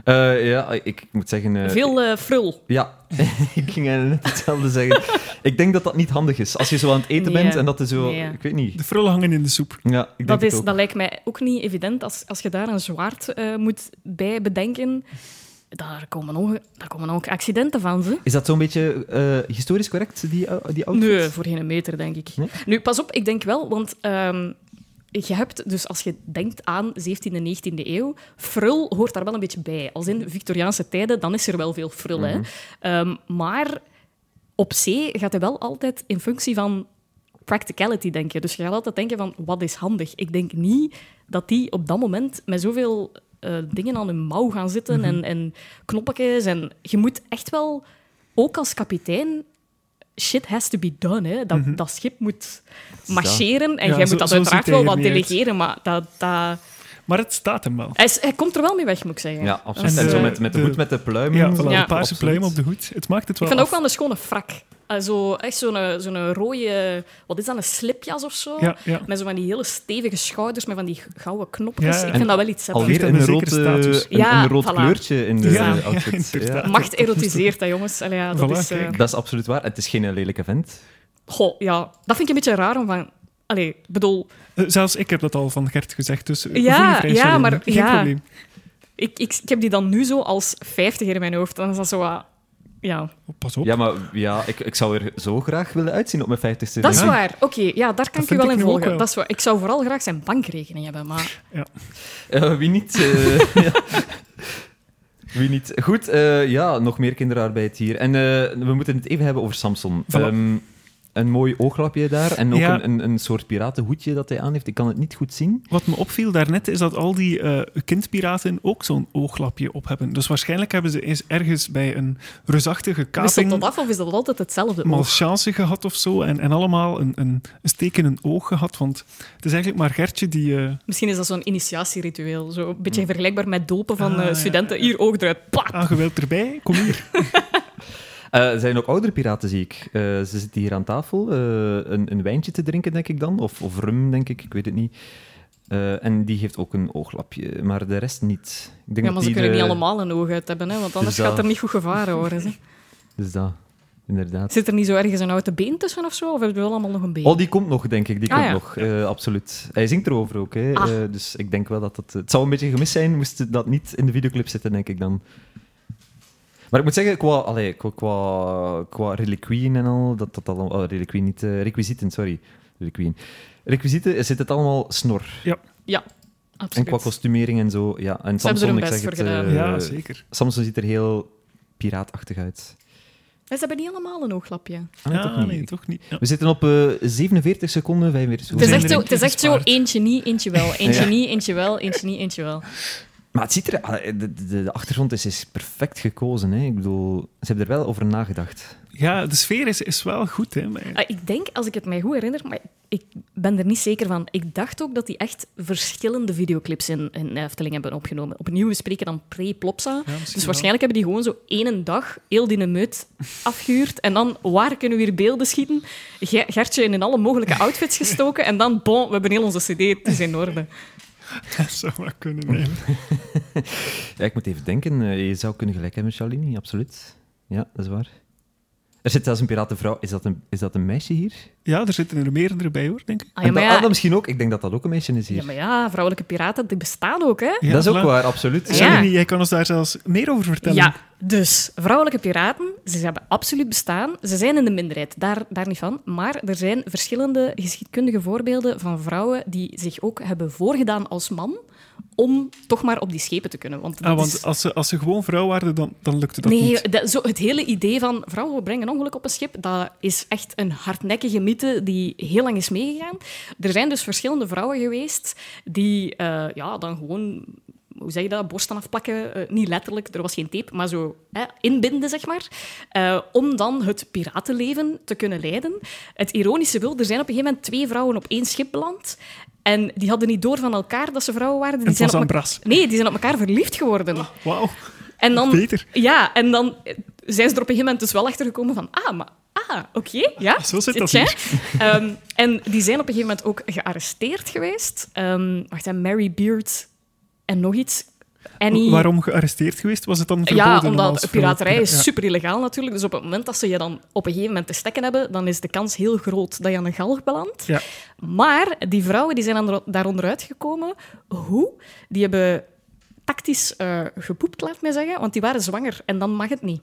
Speaker 2: Eh, ja, ik, ik moet zeggen... eh,
Speaker 3: Veel eh, frul.
Speaker 2: Ja, *laughs* ik ging eigenlijk net hetzelfde zeggen. Ik denk dat dat niet handig is. Als je zo aan het eten
Speaker 3: Nee,
Speaker 2: bent
Speaker 3: ja.
Speaker 2: en dat is zo...
Speaker 3: Nee, ja.
Speaker 2: Ik weet niet.
Speaker 1: De frullen hangen in de soep.
Speaker 2: Ja, ik denk
Speaker 3: Dat,
Speaker 2: het
Speaker 3: is,
Speaker 2: ook.
Speaker 3: dat lijkt mij ook niet evident als, als je daar een zwaard eh, moet bij bedenken. Daar komen, ook, daar komen ook accidenten van, ze.
Speaker 2: Is dat zo'n beetje eh, historisch correct, die, ou- die outfit?
Speaker 3: Nee, voor geen meter, denk ik.
Speaker 2: Nee?
Speaker 3: Nu, pas op, ik denk wel, want ehm, je hebt, dus als je denkt aan 17e, 19e eeuw, frul hoort daar wel een beetje bij. Als in Victoriaanse tijden, dan is er wel veel frul, hè. Ehm, maar op zee gaat hij wel altijd in functie van practicality denken. Dus je gaat altijd denken van, wat is handig? Ik denk niet dat die op dat moment met zoveel eh, dingen aan hun mouw gaan zitten
Speaker 1: Mhm.
Speaker 3: en, en knoppetjes. En je moet echt wel, ook als kapitein, shit has to be done. Hè? Dat, dat schip moet marcheren en
Speaker 1: Ja,
Speaker 3: jij
Speaker 1: Mhm. zo-
Speaker 3: moet dat
Speaker 1: zo
Speaker 3: uiteraard
Speaker 1: ziet hij
Speaker 3: wel wat
Speaker 1: er niet uit.
Speaker 3: delegeren, maar dat... dat
Speaker 1: Maar het staat hem wel.
Speaker 3: hij, is- hij komt er wel mee weg, moet ik zeggen.
Speaker 2: Ja, absoluut.
Speaker 1: En,
Speaker 2: En, zo
Speaker 1: eh,
Speaker 2: met, met de
Speaker 1: de-
Speaker 2: hoed met de pluimen.
Speaker 1: Ja, voilà,
Speaker 3: Ja.
Speaker 1: de paarse
Speaker 2: Mm, Absoluut.
Speaker 1: pluim op de hoed. Het maakt het
Speaker 3: Ik
Speaker 1: wel
Speaker 3: vind ook
Speaker 1: af.
Speaker 3: wel een schone frak. Eh, Eh, zo, echt zo'n eh, zo'n rode, wat is dat, een slipjas of zo?
Speaker 1: Ja, ja.
Speaker 3: Met zo van die hele stevige schouders, met van die gouden knopjes.
Speaker 1: Ja, ja.
Speaker 3: Ik vind dat wel iets hebben.
Speaker 1: Alweer
Speaker 2: Alweer
Speaker 1: een
Speaker 2: een,
Speaker 1: zekere
Speaker 2: rood, eh,
Speaker 1: status.
Speaker 2: een,
Speaker 3: Ja,
Speaker 2: een rood
Speaker 3: voilà.
Speaker 2: kleurtje in de
Speaker 1: Ja,
Speaker 2: eh, outfit.
Speaker 1: ja, *laughs* inderdaad.
Speaker 3: Macht erotiseert, hè, jongens. Allee, ja, dat
Speaker 1: Voilà,
Speaker 3: is... eh,
Speaker 1: kijk.
Speaker 2: Dat is absoluut waar. Het is geen eh, lelijke vent.
Speaker 3: goh, ja. Dat vind ik een beetje raar om van... Allee, bedoel,
Speaker 1: Eh, Zelfs ik heb dat al van Gert gezegd, dus eh,
Speaker 3: Ja,
Speaker 1: voel je vrij,
Speaker 3: ja,
Speaker 1: Charlene.
Speaker 3: maar-
Speaker 1: Geen
Speaker 3: ja.
Speaker 1: probleem.
Speaker 3: ik, ik, ik heb die dan nu zo als vijftiger in mijn hoofd. Dan is dat zo wat... Ja,
Speaker 1: Oh, pas op.
Speaker 2: Ja, maar ja, ik, ik zou er zo graag willen uitzien op mijn 50ste.
Speaker 3: dat is
Speaker 2: verjaardag.
Speaker 3: waar. Oké, ja, daar kan
Speaker 1: Dat
Speaker 3: ik u
Speaker 1: vind
Speaker 3: wel
Speaker 1: ik
Speaker 3: in
Speaker 1: nu ook
Speaker 3: volgen.
Speaker 1: wel.
Speaker 3: Dat is waar. Ik zou vooral graag zijn bankrekening hebben, maar...
Speaker 2: Eh, wie niet? eh, *laughs* ja. Wie niet? Goed, eh, ja, nog meer kinderarbeid hier. En eh, we moeten het even hebben over Samson.
Speaker 1: Voilà.
Speaker 2: Ehm, een mooi ooglapje daar en ook
Speaker 1: Ja.
Speaker 2: een, een, een soort piratenhoedje dat hij aan heeft. Ik kan het niet goed zien.
Speaker 1: Wat me opviel daarnet is dat al die eh, kindpiraten ook zo'n ooglapje op hebben. Dus waarschijnlijk hebben ze eens ergens bij een reusachtige
Speaker 3: Wisselt
Speaker 1: kaping
Speaker 3: dat af of is dat altijd hetzelfde?
Speaker 1: malchance gehad of zo. En, en allemaal een, een, een steek in hun oog gehad. Want het is eigenlijk maar Gertje die... eh,
Speaker 3: Misschien is dat zo'n initiatieritueel. Zo een beetje vergelijkbaar met dopen van
Speaker 1: Ah,
Speaker 3: eh,
Speaker 1: ja,
Speaker 3: studenten. Hier, oog eruit. Plak!
Speaker 1: aangeweld Ah, erbij, kom hier.
Speaker 2: Eh, Er zijn ook oudere piraten, zie ik. Eh, ze zitten hier aan tafel eh, een, een wijntje te drinken, denk ik dan. Of, of rum, denk ik. Ik weet het niet. Eh, en die heeft ook een ooglapje, maar de rest niet. Ik denk
Speaker 3: Ja,
Speaker 2: dat
Speaker 3: maar ze
Speaker 2: die
Speaker 3: kunnen
Speaker 2: de-
Speaker 3: niet allemaal een oog uit hebben, hè, want anders
Speaker 2: dat-
Speaker 3: gaat er niet goed gevaren worden. Hè.
Speaker 2: Dus dat, inderdaad.
Speaker 3: Zit er niet zo ergens een oude been tussen of zo? Of hebben we wel allemaal nog een been?
Speaker 2: Oh, die komt nog, denk ik. Die
Speaker 3: Ah,
Speaker 2: komt
Speaker 3: ja.
Speaker 2: nog, eh, absoluut. Hij zingt erover ook, hè.
Speaker 3: Ah.
Speaker 2: Eh, dus ik denk wel dat dat... Het zou een beetje gemist zijn, moest dat niet in de videoclip zitten, denk ik dan. Maar ik moet zeggen, qua, allee, qua, qua, qua reliquieën en al, dat dat allemaal... Oh, reliquieën niet... eh, requisieten, sorry. Reliquieën. Requisieten eh, zit het allemaal snor.
Speaker 3: Ja,
Speaker 2: En
Speaker 3: absoluut.
Speaker 2: qua kostumering en zo, ja. En
Speaker 3: Ze hebben er
Speaker 2: Samson,
Speaker 3: hun
Speaker 2: ik
Speaker 3: best
Speaker 2: zeg het...
Speaker 3: voor gedaan.
Speaker 2: *laughs* eh,
Speaker 1: ja, zeker.
Speaker 2: Samson ziet er heel piraatachtig uit.
Speaker 3: En ze hebben niet allemaal een ooglapje.
Speaker 2: Ah,
Speaker 1: ja,
Speaker 2: toch niet.
Speaker 1: nee, toch niet. Ja.
Speaker 2: We zitten op eh, 47 seconden, 45
Speaker 3: Het is
Speaker 1: zijn
Speaker 2: seconden.
Speaker 3: echt,
Speaker 1: er een
Speaker 3: zo, het is echt zo
Speaker 1: gespaard.
Speaker 3: eentje niet, eentje wel. Eentje
Speaker 2: Ja.
Speaker 3: niet, eentje wel, eentje niet, eentje wel.
Speaker 2: Maar het ziet er, allee, de, de, de achtergrond is, is perfect gekozen. Hè. Ik bedoel, ze hebben er wel over nagedacht.
Speaker 1: Ja, de sfeer is, is wel goed, hè. maar-
Speaker 3: Ah, ik denk, als ik het mij goed herinner, maar ik ben er niet zeker van. Ik dacht ook dat die echt verschillende videoclips in, in Efteling hebben opgenomen. Opnieuw, we spreken dan pre-Plopsa.
Speaker 1: misschien
Speaker 3: dus
Speaker 1: wel.
Speaker 3: waarschijnlijk hebben die gewoon zo één dag heel die meut afgehuurd. En dan, waar kunnen we hier beelden schieten? Ge- Gertje in alle mogelijke outfits gestoken. En dan, bon, we hebben heel onze cd, het is in orde.
Speaker 1: *laughs* Dat zou maar kunnen, eigenlijk.
Speaker 2: Ja, ik moet even denken, eh, je zou kunnen gelijk hebben, Charlini, absoluut. Ja, dat is waar. Er zit zelfs een piratenvrouw. Is dat een, is dat een meisje hier?
Speaker 1: Ja, er zitten er meerdere bij, hoor, denk ik.
Speaker 3: Ah,
Speaker 2: En
Speaker 3: ja,
Speaker 2: dat,
Speaker 3: maar
Speaker 2: ah, dat
Speaker 3: ja,
Speaker 2: misschien ook. Ik denk dat dat ook een meisje is hier.
Speaker 3: ja, maar ja, vrouwelijke piraten, die bestaan ook, hè?
Speaker 1: Ja,
Speaker 2: dat is ook
Speaker 1: voilà.
Speaker 2: waar, absoluut.
Speaker 3: Ja.
Speaker 1: Janine, jij kan ons daar zelfs meer over vertellen.
Speaker 3: Ja, dus vrouwelijke piraten, ze hebben absoluut bestaan. Ze zijn in de minderheid, daar, daar niet van. Maar er zijn verschillende geschiedkundige voorbeelden van vrouwen die zich ook hebben voorgedaan als man om toch maar op die schepen te kunnen. Want, dat
Speaker 1: Ah,
Speaker 3: is-
Speaker 1: want als ze, als ze gewoon vrouw waren, dan, dan lukte dat
Speaker 3: nee,
Speaker 1: niet.
Speaker 3: dat- zo, het hele idee van vrouwen we brengen een ongeluk op een schip, dat is echt een hardnekkige mythe die heel lang is meegegaan. Er zijn dus verschillende vrouwen geweest die eh, ja, dan gewoon, hoe zeg je dat, borsten afplakken. eh, niet letterlijk, er was geen tape, maar zo hè, inbinden, zeg maar. eh, om dan het piratenleven te kunnen leiden. Het ironische wil, er zijn op een gegeven moment twee vrouwen op één schip beland. En die hadden niet door van elkaar dat ze vrouwen waren. Die
Speaker 1: het
Speaker 3: zijn
Speaker 1: was
Speaker 3: op
Speaker 1: aan
Speaker 3: elkaar-
Speaker 1: Bras.
Speaker 3: Nee, die zijn op elkaar verliefd geworden.
Speaker 1: Wauw.
Speaker 3: En dan,
Speaker 1: Beter.
Speaker 3: Ja, en dan eh, zijn ze er op een gegeven moment dus wel achter gekomen van, ah, maar, ah, oké, ja.
Speaker 1: Zo zit dat
Speaker 3: jij? *laughs* Ehm, en die zijn op een gegeven moment ook gearresteerd geweest. Ehm, wacht, hè, Mary Beard en nog iets. Annie...
Speaker 1: Waarom gearresteerd geweest? Was het dan verboden?
Speaker 3: Ja,
Speaker 1: om
Speaker 3: omdat
Speaker 1: als vrouw-
Speaker 3: piraterij
Speaker 1: Ja.
Speaker 3: is super illegaal natuurlijk. Dus op het moment dat ze je dan op een gegeven moment te stekken hebben, dan is de kans heel groot dat je aan een galg belandt.
Speaker 1: Ja.
Speaker 3: Maar die vrouwen die zijn aan- daaronder uitgekomen. Hoe? Die hebben tactisch eh gepoept, laat ik mij zeggen, want die waren zwanger en dan mag het niet.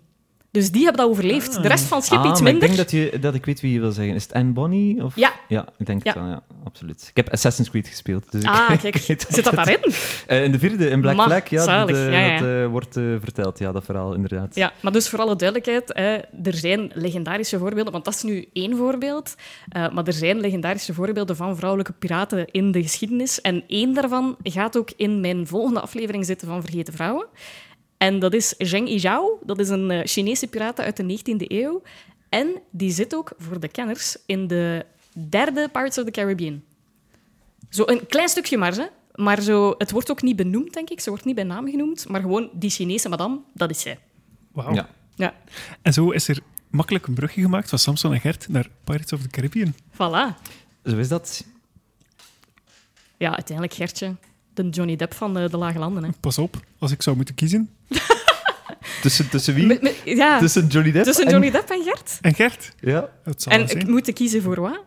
Speaker 3: Dus die hebben dat overleefd. De rest van het schip
Speaker 2: Ah,
Speaker 3: iets
Speaker 2: maar
Speaker 3: minder.
Speaker 2: Ik denk dat, je, dat ik weet wie je wil zeggen. Is het Anne Bonnie? Of...
Speaker 3: Ja.
Speaker 2: ik denk het
Speaker 3: Ja.
Speaker 2: wel, ja, absoluut. Ik heb Assassin's Creed gespeeld. Dus ik-
Speaker 3: Ah,
Speaker 2: ik
Speaker 3: kijk.
Speaker 2: weet
Speaker 3: Zit dat
Speaker 2: het-
Speaker 3: daarin?
Speaker 2: Eh, in de vierde, in Black
Speaker 3: Ma,
Speaker 2: Flag, ja,
Speaker 3: zalig,
Speaker 2: dat, eh,
Speaker 3: ja, ja.
Speaker 2: dat eh, wordt eh, verteld. Ja, dat verhaal, inderdaad.
Speaker 3: Ja, maar dus voor alle duidelijkheid, hè, er zijn legendarische voorbeelden, want dat is nu één voorbeeld, eh, maar er zijn legendarische voorbeelden van vrouwelijke piraten in de geschiedenis. En één daarvan gaat ook in mijn volgende aflevering zitten van Vergeten Vrouwen. En dat is Zheng Yizhao, dat is een eh, Chinese piraat uit de 19e eeuw. En die zit ook, voor de kenners, in de derde Pirates of the Caribbean. Zo een klein stukje maar, hè. Maar zo, het wordt ook niet benoemd, denk ik. Ze wordt niet bij
Speaker 1: Oh.
Speaker 3: naam genoemd, maar gewoon die Chinese madame, dat is zij.
Speaker 1: Wauw.
Speaker 2: Ja.
Speaker 3: Ja,
Speaker 1: En zo is er makkelijk een brugje gemaakt van Samson en Gert naar Pirates of the Caribbean.
Speaker 3: Voilà.
Speaker 2: Zo is dat.
Speaker 3: Ja, uiteindelijk Gertje. De Johnny Depp van eh, de Lage
Speaker 1: *laughs*
Speaker 3: Landen. Hè.
Speaker 1: Pas op, als ik zou moeten kiezen.
Speaker 2: Tussen, tussen wie?
Speaker 3: Met- met- ja,
Speaker 1: Dus,
Speaker 2: Tussen Johnny Depp
Speaker 3: tussen
Speaker 2: en-
Speaker 3: Johnny Depp en Gert.
Speaker 1: En Gert,
Speaker 2: Ja.
Speaker 1: het zal wel
Speaker 3: En
Speaker 1: zijn.
Speaker 3: ik moet kiezen voor wat?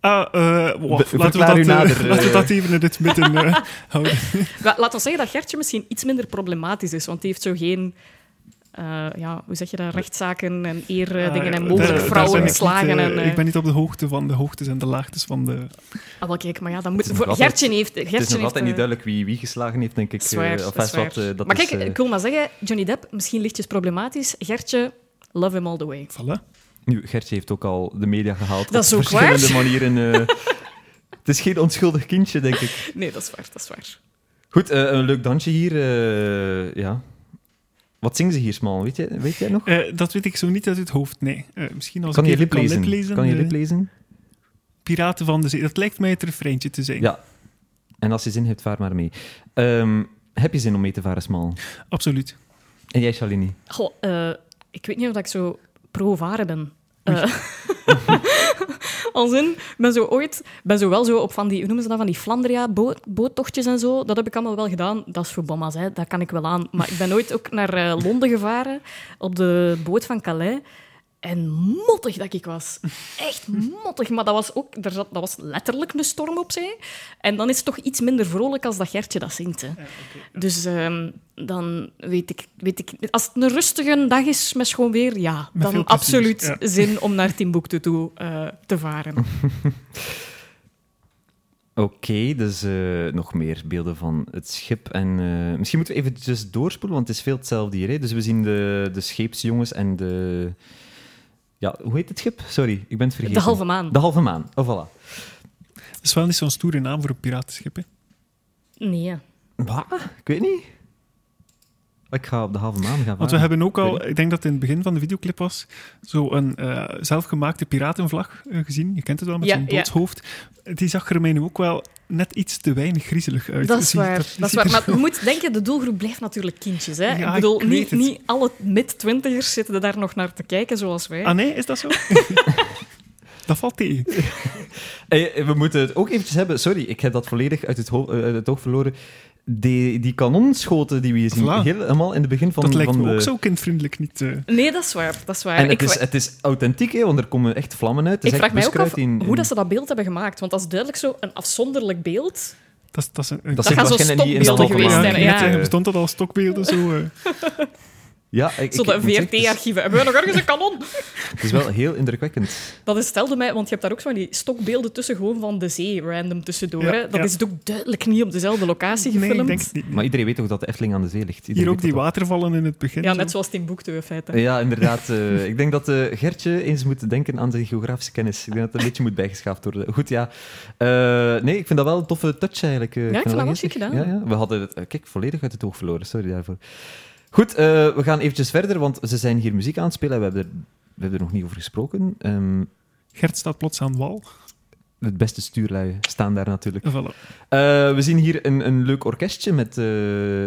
Speaker 1: Ah, eh, wow,
Speaker 2: Be-
Speaker 1: laten, we
Speaker 2: verklaar
Speaker 1: dat,
Speaker 2: u
Speaker 1: eh,
Speaker 2: nader,
Speaker 1: *laughs*
Speaker 2: eh.
Speaker 1: laten we dat even in dit midden
Speaker 2: *laughs*
Speaker 1: eh, houden.
Speaker 3: Wel, Laat ons zeggen dat Gertje misschien iets minder problematisch is, want die heeft zo geen... eh, ja, hoe zeg je dat? Rechtszaken en eerdingen en
Speaker 1: Eh,
Speaker 3: mogelijk
Speaker 1: daar- daar ben
Speaker 3: vrouwen
Speaker 1: ik niet,
Speaker 3: slagen.
Speaker 1: eh,
Speaker 3: en, eh,
Speaker 1: Ik ben niet op de hoogte van de hoogtes en de laagtes van de...
Speaker 3: Ah, wel, kijk, maar ja, dan
Speaker 2: Het
Speaker 3: moet...
Speaker 2: is
Speaker 3: Voor,
Speaker 2: nog altijd-
Speaker 3: Gertje heeft... Gertje
Speaker 2: Het is nog
Speaker 3: heeft,
Speaker 2: altijd
Speaker 3: eh,
Speaker 2: niet duidelijk wie, wie geslagen heeft, denk ik.
Speaker 3: dat is waar,
Speaker 2: eh, of
Speaker 3: dat is
Speaker 2: alvast
Speaker 3: waar.
Speaker 2: wat, eh, dat
Speaker 3: maar
Speaker 2: is,
Speaker 3: kijk,
Speaker 2: eh,
Speaker 3: ik wil maar zeggen, Johnny Depp, misschien lichtjes problematisch. Gertje, love him all the way.
Speaker 1: Voilà.
Speaker 2: Nu, Gertje heeft ook al de media gehaald.
Speaker 3: Dat is
Speaker 2: op
Speaker 3: ook
Speaker 2: verschillende manieren.
Speaker 3: *laughs*
Speaker 2: eh. het is geen onschuldig kindje, denk ik.
Speaker 3: Nee, dat is waar, dat is waar.
Speaker 2: Goed, eh, een leuk dansje hier. eh, ja. Wat zingen ze hier, Smal? Weet, jij- weet jij nog?
Speaker 1: Eh, dat weet ik zo niet uit het hoofd, nee. Eh, misschien als
Speaker 2: Kan
Speaker 1: ik
Speaker 2: je
Speaker 1: even
Speaker 2: lip
Speaker 1: kan
Speaker 2: lezen?
Speaker 1: liplezen,
Speaker 2: Kan je
Speaker 1: eh,
Speaker 2: lip lezen?
Speaker 1: Piraten van de Zee. Dat lijkt mij het refreintje te zijn.
Speaker 2: Ja. En als je zin hebt, vaar maar mee. Ehm, heb je zin om mee te varen, Smal?
Speaker 1: Absoluut.
Speaker 2: En jij, Shalini?
Speaker 3: Goh, eh, ik weet niet of ik zo pro-varen ben. Eh, *laughs* als in, ben zo ooit, ben zo wel zo op van die, hoe noemen ze dat, van die Flandria-boottochtjes en zo. Dat heb ik allemaal wel gedaan. Dat is voor bomma's, hè. dat kan ik wel aan. Maar ik ben ooit ook naar eh, Londen gevaren, op de boot van Calais. En mottig dat ik was. Echt mottig. Maar dat was ook, er zat, dat was letterlijk een storm op zee. En dan is het toch iets minder vrolijk als dat Gertje dat zingt. Hè. Dus ehm, dan weet ik, weet ik... Als het een rustige dag is met schoon weer, ja.
Speaker 1: Met veel
Speaker 3: dan
Speaker 1: plezier,
Speaker 3: absoluut
Speaker 1: ja.
Speaker 3: zin om naar Timbuktu toe eh, te varen.
Speaker 2: Oké, dus eh, nog meer beelden van het schip. En eh, misschien moeten we even doorspoelen, want het is veel hetzelfde hier. Hè? Dus we zien de, de scheepsjongens en de. Ja, hoe heet het schip? Sorry, ik ben het vergeten.
Speaker 3: De halve maan.
Speaker 2: De halve maan. Oh, voilà.
Speaker 1: Dat is wel niet zo'n stoere naam voor een piratenschip, hè.
Speaker 3: Nee. hè.
Speaker 2: Wat? Ik weet niet. Ik ga op de halve maan gaan varen.
Speaker 1: Want we hebben ook
Speaker 2: Weet
Speaker 1: al, ik denk dat het in het begin van de videoclip was, zo'n eh, zelfgemaakte piratenvlag eh, gezien. Je kent het wel, met
Speaker 3: Ja,
Speaker 1: zo'n
Speaker 3: ja.
Speaker 1: doodshoofd. Die zag er mij nu ook wel net iets te weinig griezelig uit.
Speaker 3: Dat is
Speaker 1: Zie je
Speaker 3: waar.
Speaker 1: die
Speaker 3: Dat is
Speaker 1: ziet
Speaker 3: waar.
Speaker 1: er *laughs*
Speaker 3: Maar
Speaker 1: zo-
Speaker 3: je moet denken, de doelgroep blijft natuurlijk kindjes. Hè?
Speaker 1: Ja,
Speaker 3: ik bedoel,
Speaker 1: ik weet
Speaker 3: niet,
Speaker 1: het.
Speaker 3: niet alle mid-twintigers zitten daar nog naar te kijken zoals wij.
Speaker 1: Ah nee, is
Speaker 3: *laughs*
Speaker 1: dat zo? dat valt tegen.
Speaker 2: Eh, eh, we moeten het ook eventjes hebben. Sorry, ik heb dat volledig uit het, ho- eh, uit het oog verloren. Die, die kanonschoten die we hier zien,
Speaker 1: Voilà.
Speaker 2: helemaal in het begin van,
Speaker 1: dat lijkt
Speaker 2: van
Speaker 1: me
Speaker 2: de...
Speaker 1: ook zo kindvriendelijk niet. eh.
Speaker 3: Nee, dat is waar. Dat is waar.
Speaker 2: En het
Speaker 3: Eh, Ik-
Speaker 2: is, het is authentiek, hè, want er komen echt vlammen uit. Het is
Speaker 3: Ik
Speaker 2: echt
Speaker 3: vraag mij ook af
Speaker 2: buskruid in-
Speaker 3: hoe
Speaker 2: in-
Speaker 3: dat ze dat beeld hebben gemaakt. Want dat is duidelijk zo een afzonderlijk beeld.
Speaker 1: Dat, is- dat is een, een
Speaker 2: Dat
Speaker 3: Dat
Speaker 2: zit
Speaker 3: gaan zo
Speaker 2: waarschijnlijk niet in
Speaker 3: stokbeelden
Speaker 2: dat
Speaker 3: geweest
Speaker 2: allemaal.
Speaker 3: zijn.
Speaker 1: ik net
Speaker 3: Ja.
Speaker 1: zeggen, bestond dat al stokbeelden zo? eh?
Speaker 2: Ja, ik, ik,
Speaker 3: Zo de
Speaker 2: ik moet zeggen, het is-
Speaker 3: VRT-archieven. Hebben we nog ergens een kanon?
Speaker 2: Het is wel heel indrukwekkend.
Speaker 3: Dat is, stelde mij, want je hebt daar ook zo van die stokbeelden tussen, gewoon van de zee, random tussendoor.
Speaker 1: Ja,
Speaker 3: hè. Dat
Speaker 1: ja.
Speaker 3: is ook duidelijk niet op dezelfde locatie
Speaker 1: nee,
Speaker 3: gefilmd.
Speaker 1: ik denk het niet.
Speaker 2: Maar iedereen weet toch dat de Efteling aan de zee ligt. Iedereen
Speaker 1: Hier ook
Speaker 2: weet
Speaker 1: die
Speaker 2: dat
Speaker 1: watervallen in het begin.
Speaker 3: ja,
Speaker 1: zo.
Speaker 3: net zoals Timbuktu, in feite.
Speaker 2: toch? Ja, inderdaad. eh, ik denk dat eh, Gertje eens moet denken aan zijn geografische kennis. Ik denk dat het een beetje moet bijgeschaafd worden. Goed, ja. Eh, nee, ik vind dat wel een toffe touch eigenlijk. eh.
Speaker 3: ik vind
Speaker 2: dat
Speaker 3: dat wel
Speaker 2: geestig.
Speaker 3: chic gedaan.
Speaker 2: Ja, ja. We hadden het, eh, kijk, volledig uit het oog verloren. Sorry daarvoor. Goed, eh, we gaan eventjes verder, want ze zijn hier muziek aan het spelen. We hebben er, we hebben er nog niet over gesproken. Ehm,
Speaker 1: Gert staat plots aan wal.
Speaker 2: het beste stuurlui staan daar natuurlijk.
Speaker 1: En voilà.
Speaker 2: Eh, we zien hier een, een leuk orkestje met... eh,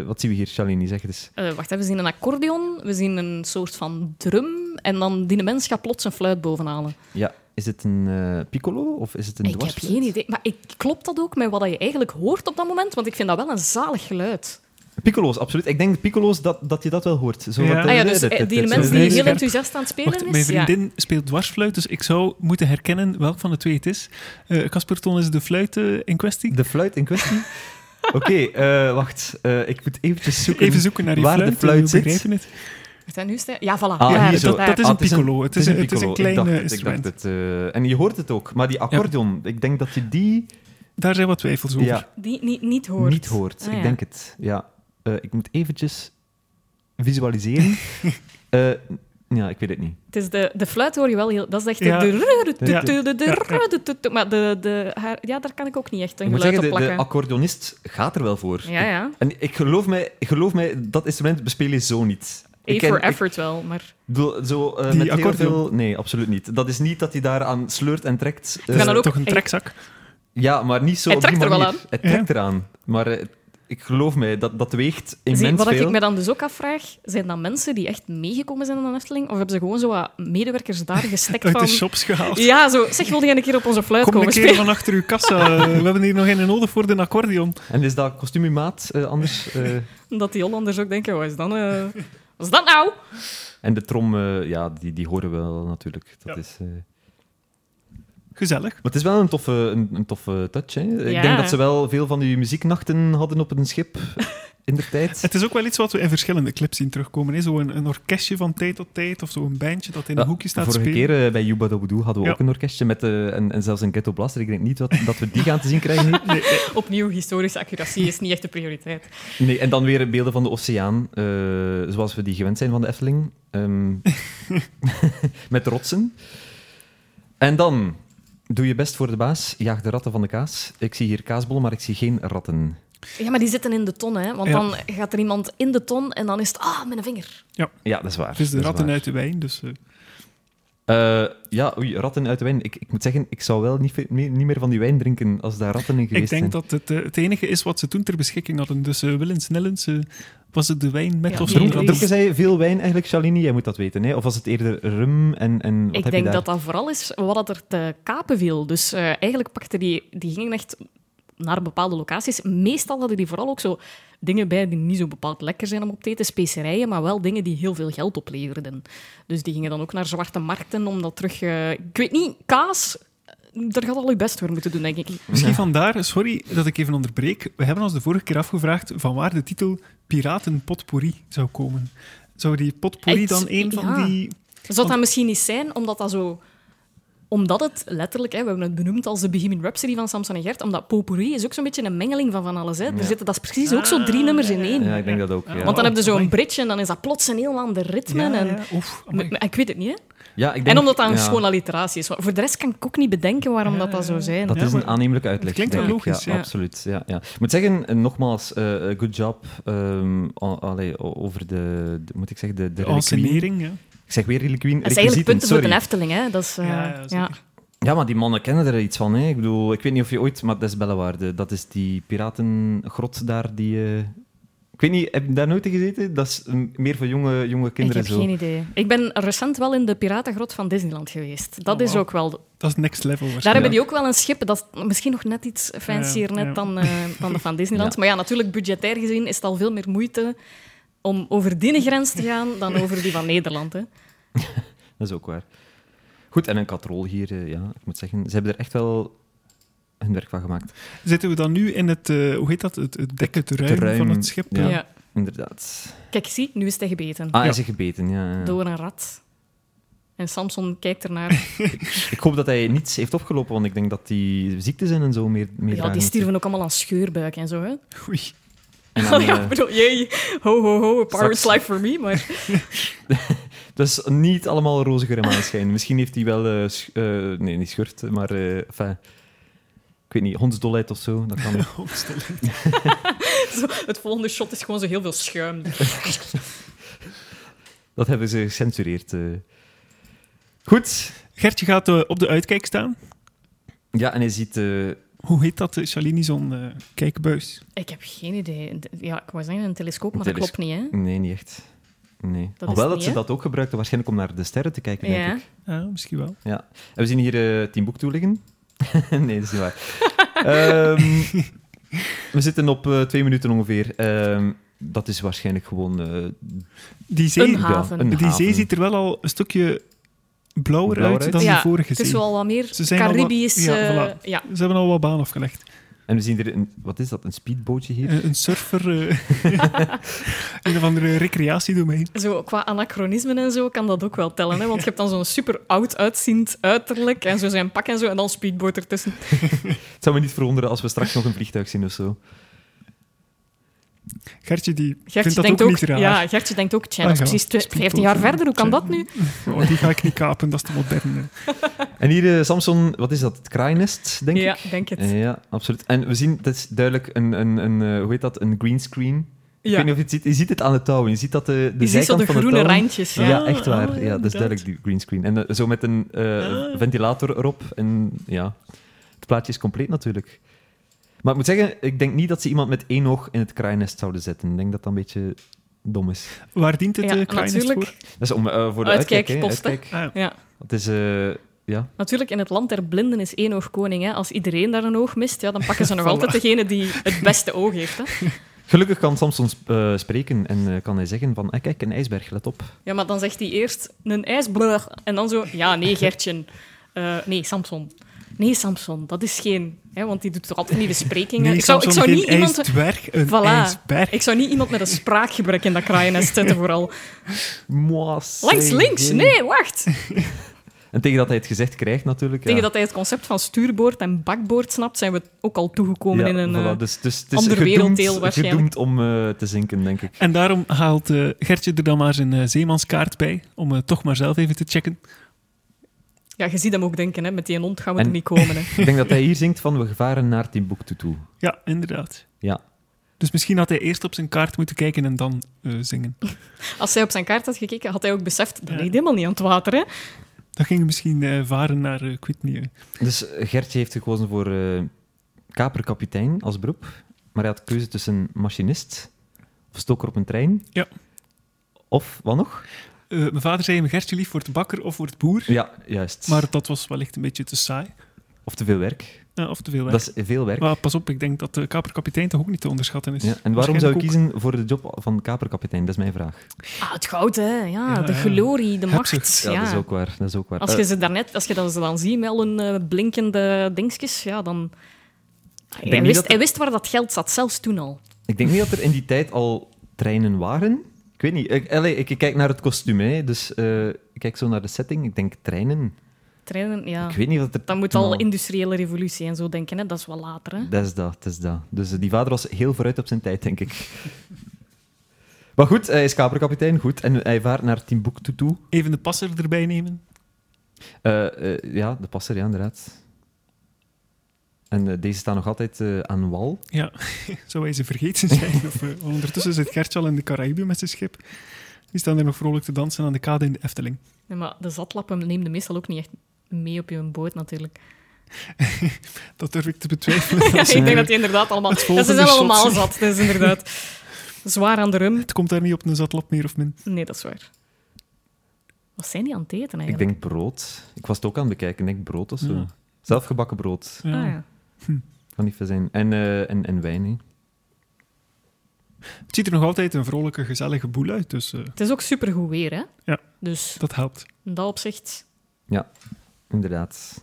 Speaker 2: wat zien we hier, Shalini? Zeg het eens.
Speaker 3: Eh, wacht, hè, we zien een accordeon, we zien een soort van drum, en dan die mens gaat plots een fluit bovenhalen.
Speaker 2: Ja, is het een eh, piccolo of is het een
Speaker 3: Ik heb
Speaker 2: dwarsfluit?
Speaker 3: geen idee. Maar ik, klopt dat ook met wat je eigenlijk hoort op dat moment? Want ik vind dat wel een zalig geluid.
Speaker 2: Piccolo's, absoluut. Ik denk piccolo's dat, dat je dat wel hoort. Zo
Speaker 1: Ja.
Speaker 2: wat-
Speaker 3: Ah ja, dus eh, die mens die
Speaker 1: heel
Speaker 3: heel
Speaker 1: scherp.
Speaker 3: enthousiast aan het spelen
Speaker 1: Wacht,
Speaker 3: is...
Speaker 1: mijn
Speaker 3: ja.
Speaker 1: vriendin speelt dwarsfluit, dus ik zou moeten herkennen welk van de twee het is. Eh Casperton is de fluit eh, in kwestie.
Speaker 2: De fluit in kwestie. Oké, eh, wacht. Eh, ik moet eventjes zoeken.
Speaker 1: Even zoeken naar die
Speaker 2: waar de
Speaker 1: fluit. eh,
Speaker 2: fluit
Speaker 1: we
Speaker 2: zit.
Speaker 1: begrijpen het.
Speaker 3: Wacht, hè, nu is het- Ja, voilà.
Speaker 2: Ah,
Speaker 1: Ja,
Speaker 3: daar,
Speaker 2: hier zo.
Speaker 1: dat,
Speaker 3: daar.
Speaker 1: dat is
Speaker 2: Ah,
Speaker 1: een piccolo. Het is, een- het is een
Speaker 2: piccolo.
Speaker 1: klein
Speaker 2: ik
Speaker 1: eh,
Speaker 2: dacht, het, ik
Speaker 1: instrument.
Speaker 2: dacht het, eh, en je hoort het ook. Maar die accordeon, ik denk dat je die
Speaker 1: Daar zijn wat twijfels over.
Speaker 2: ja,
Speaker 3: Die niet, niet hoort.
Speaker 2: niet hoort.
Speaker 3: Ah,
Speaker 2: ik
Speaker 3: ja.
Speaker 2: denk het. Ja. Eh, ik moet eventjes
Speaker 3: *laughs*
Speaker 2: visualiseren. Eh, ja, ik weet het niet.
Speaker 3: Het is de, de fluit hoor je wel heel... Dat is echt de...
Speaker 1: Ja.
Speaker 3: de ru- de-
Speaker 1: Ja.
Speaker 3: de- de- de-
Speaker 1: Ja.
Speaker 3: ru- de- de- de- Maar de... de haar- Ja, daar kan ik ook niet echt een
Speaker 2: Ik moet
Speaker 3: geluid
Speaker 2: zeggen, de,
Speaker 3: op
Speaker 2: de
Speaker 3: plakken.
Speaker 2: accordeonist gaat er wel voor.
Speaker 3: Ja, ja.
Speaker 2: En ik geloof mij, ik geloof mij dat instrument bespeel je zo niet.
Speaker 3: A
Speaker 2: ik ken-
Speaker 3: for
Speaker 2: ik
Speaker 3: effort wel, maar...
Speaker 2: bedoel, zo, eh,
Speaker 1: Die
Speaker 2: met heel
Speaker 1: accordeon.
Speaker 2: veel... Nee, absoluut niet. Dat is niet dat hij daar aan sleurt en trekt. Eh,
Speaker 1: Het is
Speaker 3: kan er ook-
Speaker 1: toch een trekzak.
Speaker 2: Ja, maar niet zo
Speaker 3: Hij
Speaker 2: op die
Speaker 3: trekt er wel
Speaker 2: manier.
Speaker 3: aan.
Speaker 2: Hij trekt
Speaker 1: Ja.
Speaker 2: eraan. Maar eh, ik geloof mij, dat, dat weegt immens
Speaker 3: Zie, wat
Speaker 2: veel.
Speaker 3: ik me dan dus ook afvraag, zijn dat mensen die echt meegekomen zijn aan de Efteling? Of hebben ze gewoon zo wat
Speaker 2: *laughs*
Speaker 3: medewerkers daar gestekt
Speaker 1: Uit de
Speaker 3: van...
Speaker 1: shops gehaald.
Speaker 3: Ja, zo. Zeg, wilde jij een keer op onze fluit
Speaker 1: Kom een
Speaker 3: komen
Speaker 1: keer
Speaker 3: spelen?
Speaker 1: van achter uw
Speaker 3: *laughs*
Speaker 1: kassa. Eh, We hebben hier nog een nodig voor de accordeon.
Speaker 2: En is dat kostuummaat eh, anders? eh,
Speaker 3: Dat die Hollanders ook denken, wat is dat, eh, wat is dat nou?
Speaker 2: en de trom, eh, ja, die, die horen we wel natuurlijk. Dat
Speaker 1: Ja.
Speaker 2: is, eh,
Speaker 1: Gezellig.
Speaker 2: Maar het is wel een toffe, een, een toffe touch. Hè?
Speaker 3: Ja.
Speaker 2: Ik denk dat ze wel veel van die muzieknachten hadden op een schip in de tijd.
Speaker 1: Het is ook wel iets wat we in verschillende clips zien terugkomen. hè. Zo een, een orkestje van tijd tot tijd of zo'n bandje dat *laughs* in een
Speaker 2: Ja,
Speaker 1: hoekje staat te
Speaker 2: Vorige
Speaker 1: spelen.
Speaker 2: keer eh, bij Yuba Doboedoe hadden we
Speaker 1: Ja.
Speaker 2: ook een orkestje met, eh, en, en zelfs een ghetto blaster. Ik denk niet dat, dat we die gaan te zien krijgen
Speaker 1: *laughs*
Speaker 2: nu.
Speaker 1: Nee, nee.
Speaker 3: Opnieuw, historische accuratie is niet echt de prioriteit.
Speaker 2: Nee, en dan weer beelden van de oceaan, eh, zoals we die gewend zijn van de
Speaker 1: *laughs*
Speaker 2: Efteling. Ehm, met rotsen. En dan, doe je best voor de baas, jaag de ratten van de kaas. Ik zie hier kaasbollen, maar ik zie geen ratten.
Speaker 3: Ja, maar die zitten in de ton, hè. Want
Speaker 1: Ja.
Speaker 3: dan gaat er iemand in de ton en dan is het... Ah, mijn vinger.
Speaker 2: Ja, dat is waar.
Speaker 1: Het is de
Speaker 2: dat
Speaker 1: ratten
Speaker 2: waar.
Speaker 1: uit de wijn, dus... eh,
Speaker 2: Eh, ja, oei, ratten uit de wijn. Ik, ik moet zeggen, ik zou wel niet, ve- meer- niet meer van die wijn drinken als daar ratten in
Speaker 1: ik
Speaker 2: geweest
Speaker 1: denk
Speaker 2: zijn.
Speaker 1: dat het eh, het enige is wat ze toen ter beschikking hadden. Dus eh, willens, nillens, eh, was het de wijn met
Speaker 3: Ja,
Speaker 1: of
Speaker 3: die-
Speaker 1: zonder
Speaker 3: die-
Speaker 1: ratten?
Speaker 2: Dronken zij veel wijn eigenlijk, Shalini? Jij moet dat weten, hè? Of was het eerder rum en, en wat heb
Speaker 3: ik
Speaker 2: je
Speaker 3: denk
Speaker 2: daar?
Speaker 3: dat dat vooral is wat dat er te kapen viel. Dus eh, eigenlijk pakten die... Die gingen echt naar bepaalde locaties. Meestal hadden die vooral ook zo dingen bij die niet zo bepaald lekker zijn om op te eten. Specerijen, maar wel dingen die heel veel geld opleverden. Dus die gingen dan ook naar zwarte markten om dat terug... eh, ik weet niet, kaas... eh, Daar gaat al je best voor moeten doen, denk ik.
Speaker 1: Misschien
Speaker 2: Ja.
Speaker 1: vandaar, sorry dat ik even onderbreek. We hebben ons de vorige keer afgevraagd van waar de titel Piraten Potpourri zou komen. Zou die potpourri
Speaker 3: Echt?
Speaker 1: dan een van
Speaker 3: Ja.
Speaker 1: die...
Speaker 3: Zou dat misschien niet zijn, omdat dat zo omdat het letterlijk, hè, we hebben het benoemd als de Bohemian Rhapsody van Samson en Gert, omdat potpourri is ook zo'n beetje een mengeling van van alles. Hè. Er
Speaker 2: Ja.
Speaker 3: zitten, dat is precies ook zo drie nummers in één.
Speaker 2: Ah, Ja, ik denk dat ook. Ja,
Speaker 3: Want dan
Speaker 1: Oh,
Speaker 3: heb je zo'n
Speaker 1: amai.
Speaker 3: bridge en dan is dat plots een heel ander ritme.
Speaker 1: Ja,
Speaker 3: en,
Speaker 1: ja, oef, amai.
Speaker 3: M- Ik weet het niet, hè.
Speaker 2: Ja, ik denk,
Speaker 3: En omdat dat een
Speaker 2: ja,
Speaker 3: schone alliteratie is. Want Voor de rest kan ik ook niet bedenken waarom
Speaker 1: Ja,
Speaker 3: dat, dat zou zijn.
Speaker 2: Dat
Speaker 1: Ja,
Speaker 2: is een
Speaker 1: maar-
Speaker 2: aannemelijke uitleg.
Speaker 1: Het klinkt wel
Speaker 2: denk ik.
Speaker 1: logisch,
Speaker 2: Ja,
Speaker 3: ja.
Speaker 2: absoluut. Ja, ja. Ik moet zeggen, eh, nogmaals, eh, eh, good job ehm, o- allee, o- over de, de- moet ik zeggen, de, de
Speaker 1: De
Speaker 2: reliquieën.
Speaker 1: ensenering, ja.
Speaker 2: Ik zeg weer reliquieën.
Speaker 3: Dat is eigenlijk punten
Speaker 2: sorry.
Speaker 3: voor de Efteling, hè. Dat is, eh,
Speaker 1: Ja, ja,
Speaker 3: ja,
Speaker 1: zeker.
Speaker 2: Ja, maar die mannen kennen er iets van. Hè. Ik bedoel, ik weet niet of je ooit... Maar dat is Bellewaarde. Dat is die piratengrot daar die... eh, Ik weet niet, heb je daar nooit in gezeten? Dat is mm, meer voor jonge, jonge
Speaker 3: Ik
Speaker 2: kinderen
Speaker 3: heb
Speaker 2: zo.
Speaker 3: geen idee. Ik ben recent wel in de Piratengrot van Disneyland geweest. Dat
Speaker 1: Oh,
Speaker 3: is
Speaker 1: wauw.
Speaker 3: ook wel
Speaker 1: Dat is next level
Speaker 3: Daar
Speaker 1: waarschijnlijk.
Speaker 3: hebben die ook wel een schip. Dat is misschien nog net iets fancier
Speaker 1: Ja,
Speaker 3: net
Speaker 1: ja.
Speaker 3: Dan, eh, dan dat
Speaker 2: *laughs*
Speaker 3: van Disneyland.
Speaker 2: Ja.
Speaker 3: Maar ja, natuurlijk, budgetair gezien is het al veel meer moeite om over die grens te gaan
Speaker 2: *laughs*
Speaker 3: dan over die van Nederland. Hè.
Speaker 2: Dat is ook waar. Goed, en een katrol hier, eh, ja, ik moet zeggen. Ze hebben er echt wel hun werk van gemaakt.
Speaker 1: Zitten we dan nu in het, eh, hoe heet dat, het, het dek, het ruim,
Speaker 2: ruim,
Speaker 1: van het schip?
Speaker 2: Ja.
Speaker 3: Ja.
Speaker 2: Inderdaad.
Speaker 3: Kijk, zie, nu is hij gebeten.
Speaker 2: Ah, hij
Speaker 1: Ja.
Speaker 2: is gebeten, ja. ja.
Speaker 3: Door een rat. En Samson kijkt
Speaker 2: *laughs*
Speaker 3: ernaar.
Speaker 2: Ik hoop dat hij niets heeft opgelopen, want ik denk dat die ziektes en zo meer... meer
Speaker 3: Ja,
Speaker 2: waren.
Speaker 3: die stierven ook allemaal aan scheurbuik en zo. Hè.
Speaker 1: Oei.
Speaker 3: *laughs*
Speaker 2: En dan,
Speaker 3: ja, ik
Speaker 2: eh,
Speaker 3: bedoel, jee, ho, ho, ho, a pirate's
Speaker 2: Straks-
Speaker 3: life for me. Maar *laughs*
Speaker 2: Dat is niet allemaal roze geur en maneschijn. Misschien heeft hij wel... eh, sch- eh, nee, niet schurt, maar... eh, enfin, ik weet niet, hondsdolheid of zo. Dat
Speaker 1: *laughs*
Speaker 2: kan ook.
Speaker 3: zo, het volgende shot is gewoon zo heel veel
Speaker 2: *laughs*
Speaker 3: schuim.
Speaker 2: Dat hebben ze gecensureerd. eh. Goed.
Speaker 1: Gertje gaat eh, op de uitkijk staan.
Speaker 2: Ja, en hij ziet... eh,
Speaker 1: Hoe heet dat, eh, Shalini, zo'n eh, kijkbuis?
Speaker 3: Ik heb geen idee. Ja, ik wou zeggen een telescoop, maar
Speaker 2: Een
Speaker 3: dat klopt niet. Hè.
Speaker 2: nee, niet echt. Nee.
Speaker 3: is
Speaker 2: Hoewel dat
Speaker 3: niet,
Speaker 2: ze
Speaker 3: hè?
Speaker 2: dat ook gebruikten, waarschijnlijk om naar de sterren te kijken, denk
Speaker 3: Ja.
Speaker 2: ik.
Speaker 1: Ja, misschien wel.
Speaker 2: En we zien hier eh Team Boek liggen. *laughs* nee, dat is niet waar. Ehm, we zitten op eh, twee minuten ongeveer. Ehm, dat is waarschijnlijk gewoon eh,
Speaker 1: Die zee,
Speaker 2: ja,
Speaker 3: Een haven.
Speaker 2: een
Speaker 1: die zee
Speaker 2: haven.
Speaker 1: ziet er wel al een stukje blauwer,
Speaker 2: Blauwer
Speaker 1: uit
Speaker 2: uit.
Speaker 1: dan
Speaker 3: Ja,
Speaker 1: de vorige
Speaker 3: Het
Speaker 1: zee.
Speaker 3: is wel wat meer
Speaker 1: Ze zijn al wat-
Speaker 3: Caribisch.
Speaker 1: ja,
Speaker 3: eh, Ja,
Speaker 1: voilà. Ze hebben al wat baan afgelegd.
Speaker 2: En we zien er een, wat is dat, een speedbootje hier?
Speaker 1: Een, een surfer, eh, *laughs* een of andere recreatiedomein.
Speaker 3: Zo, qua anachronismen en zo kan dat ook wel tellen.
Speaker 1: *laughs*
Speaker 3: Hè? Want je hebt dan zo'n super oud uitziend uiterlijk en zo zijn pak en zo en dan speedboot ertussen.
Speaker 2: Het zou me niet verwonderen als we straks nog een vliegtuig zien of zo.
Speaker 1: Gertje die
Speaker 3: Gertje
Speaker 1: vindt dat ook,
Speaker 3: denkt ook,
Speaker 1: niet raar.
Speaker 3: ja, Gertje denkt ook, tja, dat is
Speaker 1: Ah, ja,
Speaker 3: precies twe-
Speaker 1: speedboot,
Speaker 3: 15 jaar
Speaker 1: ja.
Speaker 3: verder, hoe kan dat nu?
Speaker 1: Oh, die ga ik niet kapen, dat is de moderne.
Speaker 2: En hier, eh, Samson, wat is dat? Het kraaiennest, denk
Speaker 3: ja,
Speaker 2: ik?
Speaker 3: denk het.
Speaker 2: Eh, ja, absoluut. En we zien, dat is duidelijk een, een, een eh, hoe heet dat, een green screen. Ik
Speaker 3: ja.
Speaker 2: weet niet of je het ziet. Je ziet het aan de touwen. Je ziet dat de, de
Speaker 3: Je ziet zo
Speaker 2: zijkant
Speaker 3: de
Speaker 2: van de
Speaker 3: groene
Speaker 2: touwen-
Speaker 3: randjes. Ah,
Speaker 2: Ja,
Speaker 3: Ja.
Speaker 1: Ja,
Speaker 2: echt waar.
Speaker 1: oh,
Speaker 2: ja, dat is
Speaker 1: inderdaad.
Speaker 2: duidelijk die green screen. En eh, zo met een eh,
Speaker 1: Ah.
Speaker 2: ventilator erop. En ja, het plaatje is compleet natuurlijk. Maar ik moet zeggen, ik denk niet dat ze iemand met één oog in het kraaiennest zouden zetten. Ik denk dat dat een beetje dom is.
Speaker 1: Waar dient het
Speaker 3: Ja,
Speaker 1: eh, Kraaiennest
Speaker 3: natuurlijk.
Speaker 1: voor?
Speaker 2: Dat is om, eh, voor de uitkijk, hè,
Speaker 3: Uitkijkposten.
Speaker 2: uitkijk.
Speaker 1: Ah,
Speaker 3: Ja.
Speaker 2: Het is, eh, ja.
Speaker 3: Natuurlijk, in het land der blinden is één oog koning. Hè. Als iedereen daar een oog mist, ja, dan
Speaker 1: *laughs*
Speaker 3: pakken ze nog
Speaker 1: Voilà.
Speaker 3: altijd degene die het beste oog heeft. Hè.
Speaker 2: Gelukkig kan Samson sp- eh, spreken en eh, kan hij zeggen van, eh, kijk, een ijsberg, let op.
Speaker 3: Ja, maar dan zegt hij eerst een ijsbrug. En dan zo, ja, nee, Gertjen. Eh, nee, Samson. Nee, Samson, dat is geen... Hè, want die doet toch altijd nieuwe sprekingen.
Speaker 1: Nee,
Speaker 3: ik zou, ik
Speaker 1: Samson,
Speaker 3: zou niet
Speaker 1: geen
Speaker 3: iemand...
Speaker 1: ijsdwerg, een
Speaker 3: Voilà.
Speaker 1: ijsberg.
Speaker 3: Ik zou niet iemand met een spraakgebrek in dat kraaiennest zetten,
Speaker 2: *laughs*
Speaker 3: vooral.
Speaker 2: Moi,
Speaker 3: Links,
Speaker 2: zeg,
Speaker 3: links,
Speaker 2: jee.
Speaker 3: nee, wacht.
Speaker 2: En tegen dat hij het gezegd krijgt natuurlijk.
Speaker 3: Tegen
Speaker 2: ja.
Speaker 3: dat hij het concept van stuurboord en bakboord snapt, zijn we ook al toegekomen
Speaker 2: Ja,
Speaker 3: in een...
Speaker 2: voilà,
Speaker 3: eh,
Speaker 2: dus, dus, het is
Speaker 3: ander
Speaker 2: gedoemd-
Speaker 3: werelddeel waarschijnlijk.
Speaker 2: gedoemd om eh, te zinken, denk ik.
Speaker 1: En daarom haalt eh, Gertje er dan maar zijn eh, zeemanskaart bij, om eh, toch maar zelf even te checken.
Speaker 3: Ja, je ziet hem ook denken, hè, met die hond gaan we
Speaker 2: En-
Speaker 3: er niet
Speaker 2: *laughs*
Speaker 3: komen. Hè.
Speaker 2: Ik denk dat hij hier zingt van we gevaren naar Timbuktu toe.
Speaker 1: Ja, inderdaad.
Speaker 2: Ja.
Speaker 1: Dus misschien had hij eerst op zijn kaart moeten kijken en dan eh, zingen.
Speaker 3: Als hij op zijn kaart had gekeken, had hij ook beseft,
Speaker 1: Ja.
Speaker 3: dat ligt helemaal niet aan het water. Hè.
Speaker 1: Dan ging hij misschien eh, varen naar eh, ik weet niet, eh,
Speaker 2: Dus Gertje heeft gekozen voor eh, kaperkapitein als beroep. Maar hij had keuze tussen machinist of stoker op een trein.
Speaker 1: Ja.
Speaker 2: Of, wat nog?
Speaker 1: Eh, mijn vader zei hem Gertje lief voor de bakker of voor het boer.
Speaker 2: Ja, juist.
Speaker 1: Maar dat was wellicht een beetje te saai.
Speaker 2: Of te veel werk.
Speaker 1: eh, of te veel werk.
Speaker 2: Dat is veel werk.
Speaker 1: Maar pas op, ik denk dat de kaperkapitein toch ook niet te onderschatten is.
Speaker 2: Ja. En waarom zou ik
Speaker 1: Waarschijnlijk ook
Speaker 2: kiezen voor de job van kaperkapitein? Dat is mijn vraag.
Speaker 3: Ah, het goud, hè. Ja,
Speaker 1: Ja,
Speaker 3: de
Speaker 1: ja.
Speaker 3: glorie, de macht.
Speaker 1: Hebzucht,
Speaker 2: Ja,
Speaker 3: Ja,
Speaker 2: dat is ook waar. Dat is ook waar.
Speaker 3: Als
Speaker 2: Eh,
Speaker 3: je ze daarnet, als je dat ze dan ziet met al hun eh, blinkende dingetjes, ja, dan...
Speaker 2: denk
Speaker 3: Hij
Speaker 2: niet
Speaker 3: wist,
Speaker 2: dat er-
Speaker 3: hij wist waar dat geld zat, zelfs toen al.
Speaker 2: Ik denk niet dat er in die tijd al treinen waren. Ik weet niet. Ik, allee, ik, ik kijk naar het kostuum, hè. dus eh, ik kijk zo naar de setting. Ik denk treinen.
Speaker 3: Trainen, ja.
Speaker 2: Ik weet niet of dat er.
Speaker 3: Dat moet
Speaker 2: toen
Speaker 3: al industriële revolutie en zo denken, hè. Dat is wel later, hè.
Speaker 2: Dat is dat, dat is dat. Dus eh, die vader was heel vooruit op zijn tijd, denk ik. *laughs* maar goed, hij is kaperkapitein, goed. En hij vaart naar Timbuktu toe.
Speaker 1: Even de passer erbij nemen.
Speaker 2: Eh, eh, ja, de passer, ja, inderdaad. En eh, deze staan nog altijd eh, aan wal.
Speaker 1: Ja, zou hij ze
Speaker 2: *laughs*
Speaker 1: vergeten zijn? Of, eh, ondertussen zit Gertje al in de Caraïben met zijn schip. Die staan er nog vrolijk te dansen aan de kade in de Efteling.
Speaker 3: Ja, maar de zatlappen neemden meestal ook niet echt mee op je boot,
Speaker 2: *laughs*
Speaker 3: natuurlijk.
Speaker 1: Dat durf ik te betwijfelen.
Speaker 3: Ja,
Speaker 1: Als,
Speaker 3: ik
Speaker 1: eh,
Speaker 3: denk dat die inderdaad allemaal...
Speaker 1: Het
Speaker 3: Ja, ze
Speaker 1: volgende
Speaker 3: zijn
Speaker 1: shot.
Speaker 3: allemaal zat, dus inderdaad. Zwaar aan de rum.
Speaker 1: Het komt daar niet op een zatlap meer of min.
Speaker 3: Nee, dat is waar. Wat zijn die aan het eten
Speaker 2: Ik
Speaker 3: eigenlijk?
Speaker 2: denk brood. Ik was het ook aan het bekijken. Ik denk brood of zo.
Speaker 1: Ja.
Speaker 2: Zelfgebakken brood.
Speaker 1: Ja.
Speaker 3: Ah, ja.
Speaker 2: Kan niet veel zijn. En, eh, en, en wijn, hè.
Speaker 1: Het ziet er nog altijd een vrolijke, gezellige boel uit, dus eh,
Speaker 3: Het is ook supergoed weer, hè?
Speaker 1: Ja.
Speaker 3: Dus
Speaker 1: dat helpt.
Speaker 3: in dat opzicht...
Speaker 2: Inderdaad.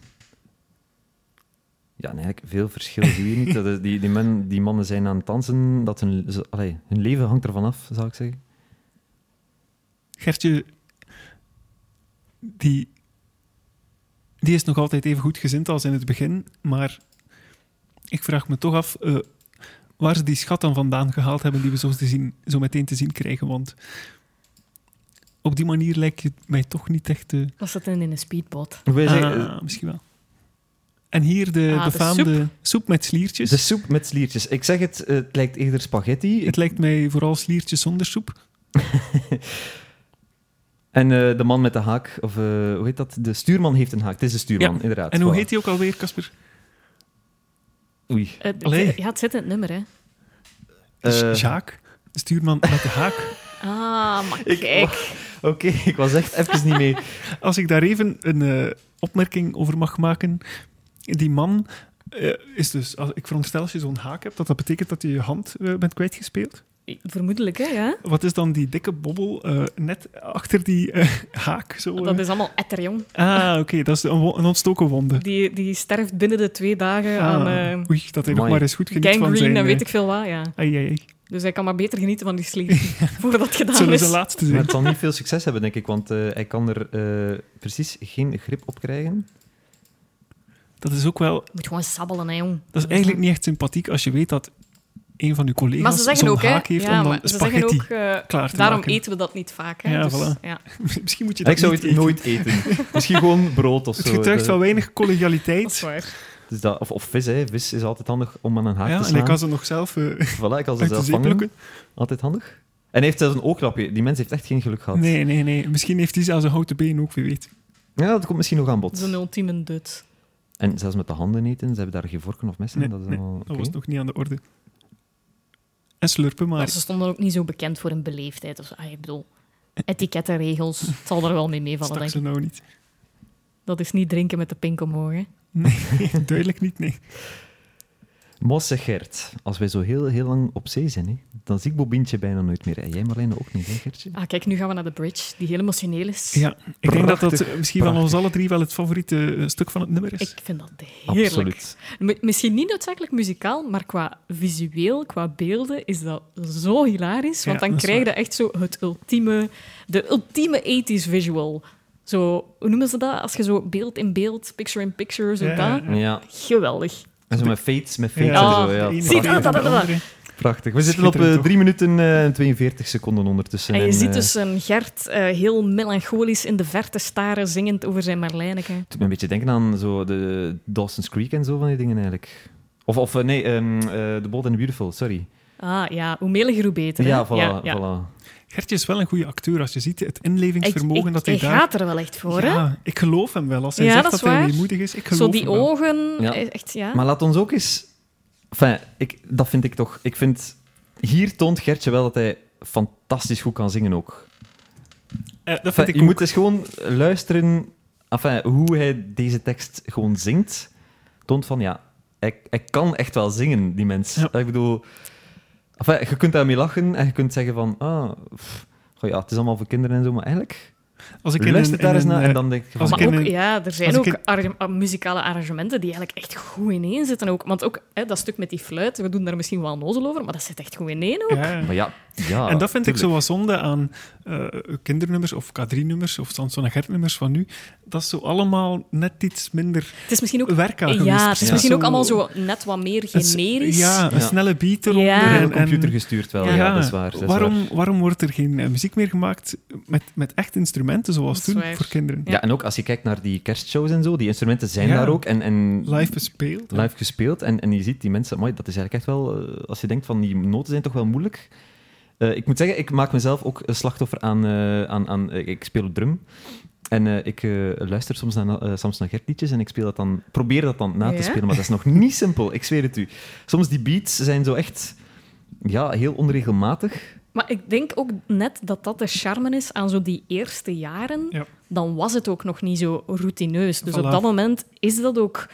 Speaker 2: Ja, en eigenlijk veel verschil zie je niet. Dat is, die, die, men, die mannen zijn aan het dansen. Dat hun, ze- allee, hun leven hangt ervan af, zou ik zeggen.
Speaker 1: Gertje, die, die is nog altijd even goed gezind als in het begin, maar ik vraag me toch af eh, waar ze die schat dan vandaan gehaald hebben die we zo, te zien, zo meteen te zien krijgen, want op die manier lijkt het mij toch niet echt... te.
Speaker 3: Dat zit in een speedboot.
Speaker 2: Hoe wil je zeggen,
Speaker 1: ah, misschien wel. En hier de
Speaker 3: Ah, de
Speaker 1: befaamde soep. met sliertjes.
Speaker 2: De soep met sliertjes. Ik zeg het, eh, het lijkt eerder spaghetti.
Speaker 1: Het
Speaker 2: Ik-
Speaker 1: lijkt mij vooral sliertjes zonder soep.
Speaker 2: En eh, de man met de haak, of eh, hoe heet dat? De stuurman heeft een haak. Het is de stuurman,
Speaker 1: Ja.
Speaker 2: inderdaad.
Speaker 1: En hoe
Speaker 2: Voilà.
Speaker 1: heet die ook alweer, Casper? *laughs*
Speaker 2: Oei.
Speaker 3: Het-
Speaker 1: Allee.
Speaker 3: Eh, Ja, het zit in het nummer, hè?
Speaker 2: Eh,
Speaker 1: Jaak, Jacques, de stuurman met de haak.
Speaker 3: Ah, maar
Speaker 2: Ik-
Speaker 3: kijk.
Speaker 2: Oké, ik was echt even niet
Speaker 1: *laughs*
Speaker 2: mee.
Speaker 1: Als ik daar even een eh, opmerking over mag maken. Die man eh, is dus, als, ik veronderstel als je zo'n haak hebt, dat dat betekent dat je je hand eh, bent kwijtgespeeld.
Speaker 3: Vermoedelijk, hè? Ja?
Speaker 1: Wat is dan die dikke bobbel eh, net achter die eh, haak? Zo, eh?
Speaker 3: Dat is allemaal etter, jong.
Speaker 1: Ah, oké, dat is een, wo- een ontstoken wonde.
Speaker 3: Die, die sterft binnen de twee dagen aan
Speaker 1: Ah,
Speaker 3: eh,
Speaker 1: oei, dat hij nog
Speaker 2: Amai.
Speaker 1: maar eens goed geniet van zijn...
Speaker 3: gangrene en
Speaker 1: eh,
Speaker 3: weet ik veel wat, ja.
Speaker 1: ai, ai, ai.
Speaker 3: Dus hij kan maar beter genieten van die
Speaker 1: *laughs*
Speaker 3: *laughs* slier voordat het
Speaker 1: Het
Speaker 3: gedaan
Speaker 1: zullen zijn
Speaker 3: is.
Speaker 1: laatste
Speaker 2: Maar
Speaker 1: zijn.
Speaker 2: het zal niet veel succes hebben, denk ik, want eh, hij kan er eh, precies geen grip op krijgen.
Speaker 1: Dat is ook wel...
Speaker 3: Je moet gewoon sabbelen, hè, jong.
Speaker 1: Dat is eigenlijk niet echt sympathiek als je weet dat een van je
Speaker 3: Maar ze
Speaker 1: collega's
Speaker 3: zeggen
Speaker 1: zo'n
Speaker 3: ook, hè?
Speaker 1: haak heeft
Speaker 3: ja,
Speaker 1: om
Speaker 3: maar
Speaker 1: dan
Speaker 3: ze zeggen
Speaker 1: spaghetti
Speaker 3: ook, eh,
Speaker 1: klaar te
Speaker 3: daarom
Speaker 1: maken.
Speaker 3: eten we dat niet vaak. Hè?
Speaker 1: Ja,
Speaker 3: dus,
Speaker 1: voilà.
Speaker 3: ja.
Speaker 1: *laughs* Misschien moet je dat
Speaker 2: Ah, Ik zou
Speaker 1: niet
Speaker 2: het
Speaker 1: eten.
Speaker 2: nooit eten. Misschien gewoon brood of zo. eh,
Speaker 1: Het getuigt van weinig
Speaker 3: Dat is
Speaker 1: collegialiteit.
Speaker 3: waar.
Speaker 2: Dus dat, of, of vis, hè. Vis is altijd handig om aan een haak te
Speaker 1: Ja, en
Speaker 2: slaan.
Speaker 1: ik kan ze nog zelf eh,
Speaker 2: Voilà, ik kan
Speaker 1: uit
Speaker 2: ze
Speaker 1: de
Speaker 2: zelf
Speaker 1: zee
Speaker 2: vangen.
Speaker 1: plukken.
Speaker 2: Altijd handig. En hij heeft zelfs een oogklapje. Die mens heeft echt geen geluk gehad.
Speaker 1: *laughs* Nee, nee, nee. Misschien heeft hij zelfs een houten been ook, wie weet.
Speaker 2: Ja, dat komt misschien nog aan bod.
Speaker 3: Zo'n ultieme dut.
Speaker 2: En zelfs met de handen eten, ze hebben daar geen vorken of messen.
Speaker 1: Nee,
Speaker 2: dat is
Speaker 1: nee,
Speaker 2: allemaal...
Speaker 1: Dat
Speaker 2: oké.
Speaker 1: was nog niet aan de orde. En slurpen maar.
Speaker 3: Maar ze stonden ook niet zo bekend voor een beleefdheid. Of zo. Ah, ik bedoel, etikettenregels, het zal er wel mee meevallen,
Speaker 1: Stak
Speaker 3: denk
Speaker 1: ze
Speaker 3: ik.
Speaker 1: nou niet. *laughs*
Speaker 3: Dat is niet drinken met de pink omhoog, hè.
Speaker 1: Nee, duidelijk niet, nee.
Speaker 2: Mosse Gert, als wij zo heel, heel lang op zee zijn, hè, dan zie ik Bobientje bijna nooit meer. En jij Marlene ook niet, hè Gertje?
Speaker 3: Ah, kijk, nu gaan we naar de bridge, die heel emotioneel is.
Speaker 1: Ja, ik denk dat dat
Speaker 2: Prachtig,
Speaker 1: eh, misschien van ons
Speaker 2: prachtig.
Speaker 1: alle drie wel het favoriete eh, stuk van het nummer is.
Speaker 3: Ik vind dat heerlijk.
Speaker 2: Absoluut.
Speaker 3: Mi- Misschien niet noodzakelijk muzikaal, maar qua visueel, qua beelden, is dat zo hilarisch. Want
Speaker 1: Ja,
Speaker 3: dan
Speaker 1: dat is
Speaker 3: krijg je
Speaker 1: waar.
Speaker 3: echt zo het ultieme, de ultieme 80s visual. Zo, hoe noemen ze dat? Als je zo beeld in beeld, picture in picture, zo
Speaker 1: Ja,
Speaker 3: dat.
Speaker 1: ja,
Speaker 2: Ja.
Speaker 3: Geweldig.
Speaker 2: En zo met fates, met fates
Speaker 3: Ja.
Speaker 2: en zo.
Speaker 1: de
Speaker 2: Ja.
Speaker 1: ene
Speaker 3: Zie je
Speaker 1: van de
Speaker 3: dat, dat, dat,
Speaker 1: andere.
Speaker 2: Prachtig. We zitten op eh,
Speaker 1: Schitterend, toch?
Speaker 2: 3 minuten eh, en 42 seconden ondertussen.
Speaker 3: En je
Speaker 2: En,
Speaker 3: ziet
Speaker 2: eh,
Speaker 3: dus een Gert eh, heel melancholisch in de verte staren, zingend over zijn Marlijneke.
Speaker 2: doet me een beetje denken aan zo de Dawson's Creek en zo van die dingen eigenlijk. Of, of eh, nee, ehm eh, The Bold and the Beautiful, sorry.
Speaker 3: Ah ja, hoe meliger, hoe beter. hè?
Speaker 2: Ja, voilà.
Speaker 3: ja, ja.
Speaker 2: voilà.
Speaker 1: Gertje is wel een goede acteur. Als je ziet het
Speaker 3: Ik-
Speaker 1: inlevingsvermogen
Speaker 3: ik-
Speaker 1: dat hij
Speaker 3: hij
Speaker 1: daar...
Speaker 3: gaat er wel echt voor, hè?
Speaker 1: Ja, ik geloof hem wel. Als hij
Speaker 3: Ja,
Speaker 1: zegt
Speaker 3: dat
Speaker 1: dat,
Speaker 3: is
Speaker 1: hij
Speaker 3: waar.
Speaker 1: weemoedig is, ik geloof
Speaker 3: Zo die
Speaker 1: hem wel.
Speaker 3: ogen,
Speaker 2: Ja.
Speaker 3: eh, echt, ja.
Speaker 2: Maar laat ons ook eens... Enfin, ik, dat vind ik toch... Ik vind... Hier toont Gertje wel dat hij fantastisch goed kan zingen ook.
Speaker 1: Eh, dat vind
Speaker 2: Enfin,
Speaker 1: ik
Speaker 2: je
Speaker 1: ook.
Speaker 2: moet eens gewoon luisteren enfin, hoe hij deze tekst gewoon zingt. Toont van, ja, hij, hij kan echt wel zingen, die mens.
Speaker 1: Ja.
Speaker 2: Ik bedoel, enfin, je kunt daarmee lachen en je kunt zeggen van, ah, pff, goh, ja, het is allemaal voor kinderen en zo, maar eigenlijk,
Speaker 1: Als ik in
Speaker 2: luister
Speaker 1: een- in
Speaker 2: daar eens
Speaker 1: een,
Speaker 2: naar
Speaker 1: eh,
Speaker 2: en dan denk je van,
Speaker 1: als
Speaker 3: Maar
Speaker 1: ik in
Speaker 3: ook,
Speaker 1: een-
Speaker 3: ja, er zijn
Speaker 1: als
Speaker 3: ook
Speaker 1: ik
Speaker 3: arra- ah, muzikale arrangementen die eigenlijk echt goed ineen zitten. Ook. Want ook hè, dat stuk met die fluit, we doen daar misschien wel nozel over, maar dat zit echt goed ineen ook.
Speaker 1: Ja, ja.
Speaker 2: maar ja, ja.
Speaker 1: En dat vind ik zo
Speaker 2: Ah, tuurlijk.
Speaker 1: wat zonde aan eh, kindernummers of K3-nummers of Samson en Gert-nummers van nu. Dat is zo allemaal net iets minder
Speaker 3: Het is misschien ook,
Speaker 1: werk aan geweest.
Speaker 3: ja, het is
Speaker 2: ja.
Speaker 3: misschien ook allemaal zo net wat meer
Speaker 1: een s-
Speaker 3: generisch.
Speaker 1: Ja, een
Speaker 2: Ja.
Speaker 1: snelle beat eronder.
Speaker 3: Ja.
Speaker 1: en-
Speaker 2: Door de
Speaker 1: en-
Speaker 2: computer gestuurd wel, ja, dat is waar. dat is
Speaker 1: waarom,
Speaker 2: waar.
Speaker 1: waarom wordt er geen eh, muziek meer gemaakt met, met echt instrumenten zoals
Speaker 3: Dat is
Speaker 1: toen
Speaker 3: waar.
Speaker 1: voor kinderen?
Speaker 2: Ja, en ook als je kijkt naar die kerstshows en zo, die instrumenten zijn
Speaker 1: Ja.
Speaker 2: daar ook. En, en
Speaker 1: Live bespeeld.
Speaker 2: live gespeeld. En, en je ziet die mensen, amai, dat is eigenlijk echt wel, eh, als je denkt van die noten zijn toch wel moeilijk. Eh, ik moet zeggen, ik maak mezelf ook een slachtoffer aan, eh, aan, aan eh, ik speel op drum. En eh, ik eh, luister soms naar, eh, soms naar Gert liedjes en ik speel dat dan, probeer dat dan na
Speaker 3: Ja?
Speaker 2: te spelen, maar dat is nog niet simpel, ik zweer het u. Soms die beats zijn zo echt, ja, heel onregelmatig.
Speaker 3: Maar ik denk ook net dat dat de charme is aan zo die eerste jaren.
Speaker 1: Ja.
Speaker 3: Dan was het ook nog niet zo routineus. Dus
Speaker 1: Voilà.
Speaker 3: op dat moment is dat ook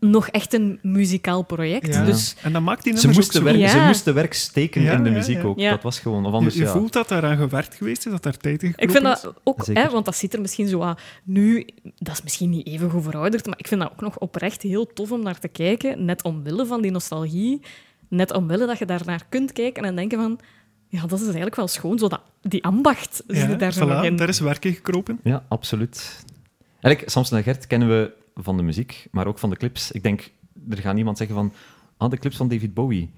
Speaker 3: nog echt een muzikaal project.
Speaker 1: Ja.
Speaker 3: Dus
Speaker 1: En dat maakt die
Speaker 2: Ze
Speaker 1: nummers ook
Speaker 2: moesten,
Speaker 1: zo...
Speaker 2: werk,
Speaker 3: Ja.
Speaker 2: ze moesten werk steken
Speaker 1: Ja,
Speaker 2: in de
Speaker 1: ja,
Speaker 2: muziek
Speaker 1: ja.
Speaker 2: ook,
Speaker 3: Ja.
Speaker 2: dat was gewoon, of
Speaker 1: Je,
Speaker 2: anders
Speaker 1: je
Speaker 2: ja.
Speaker 1: voelt dat daaraan gewerkt geweest is, dat daar tijd in
Speaker 3: Ik
Speaker 1: gekropen
Speaker 3: vind
Speaker 1: is.
Speaker 3: dat ook,
Speaker 2: Zeker.
Speaker 3: hè, want dat ziet er misschien zo aan. Nu, dat is misschien niet even goed verouderd, maar ik vind dat ook nog oprecht heel tof om naar te kijken. Net omwille van die nostalgie. Net omwille dat je daarnaar kunt kijken en denken van... Ja, dat is dus eigenlijk wel schoon. Zo dat, die ambacht zie je
Speaker 1: Ja,
Speaker 3: daar zo
Speaker 1: voilà,
Speaker 3: nog in.
Speaker 1: daar is werk in gekropen.
Speaker 2: Ja, absoluut. Eigenlijk, Samson en Gert kennen we van de muziek, maar ook van de clips. Ik denk, er gaat niemand zeggen van... Ah, de clips van David Bowie.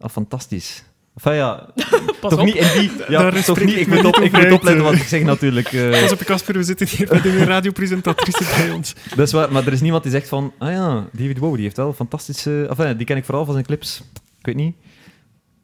Speaker 2: Ah, fantastisch. Enfin ja,
Speaker 3: *laughs* Pas
Speaker 2: toch
Speaker 3: op.
Speaker 2: niet
Speaker 1: *laughs*
Speaker 2: in die... Ja,
Speaker 1: Daar
Speaker 2: toch
Speaker 1: spreek
Speaker 2: niet.
Speaker 1: ik
Speaker 2: Ik
Speaker 1: me
Speaker 2: moet,
Speaker 1: niet
Speaker 2: op, ik
Speaker 1: over
Speaker 2: moet
Speaker 1: uit,
Speaker 2: opletten
Speaker 1: eh.
Speaker 2: wat ik zeg natuurlijk. eh. *laughs*
Speaker 1: Pas op, Casper, we zitten hier met een radiopresentatrice bij ons.
Speaker 2: dat is waar, maar er is niemand die zegt van... Ah ja, David Bowie die heeft wel fantastische... Enfin, die ken ik vooral van zijn clips. Ik weet niet.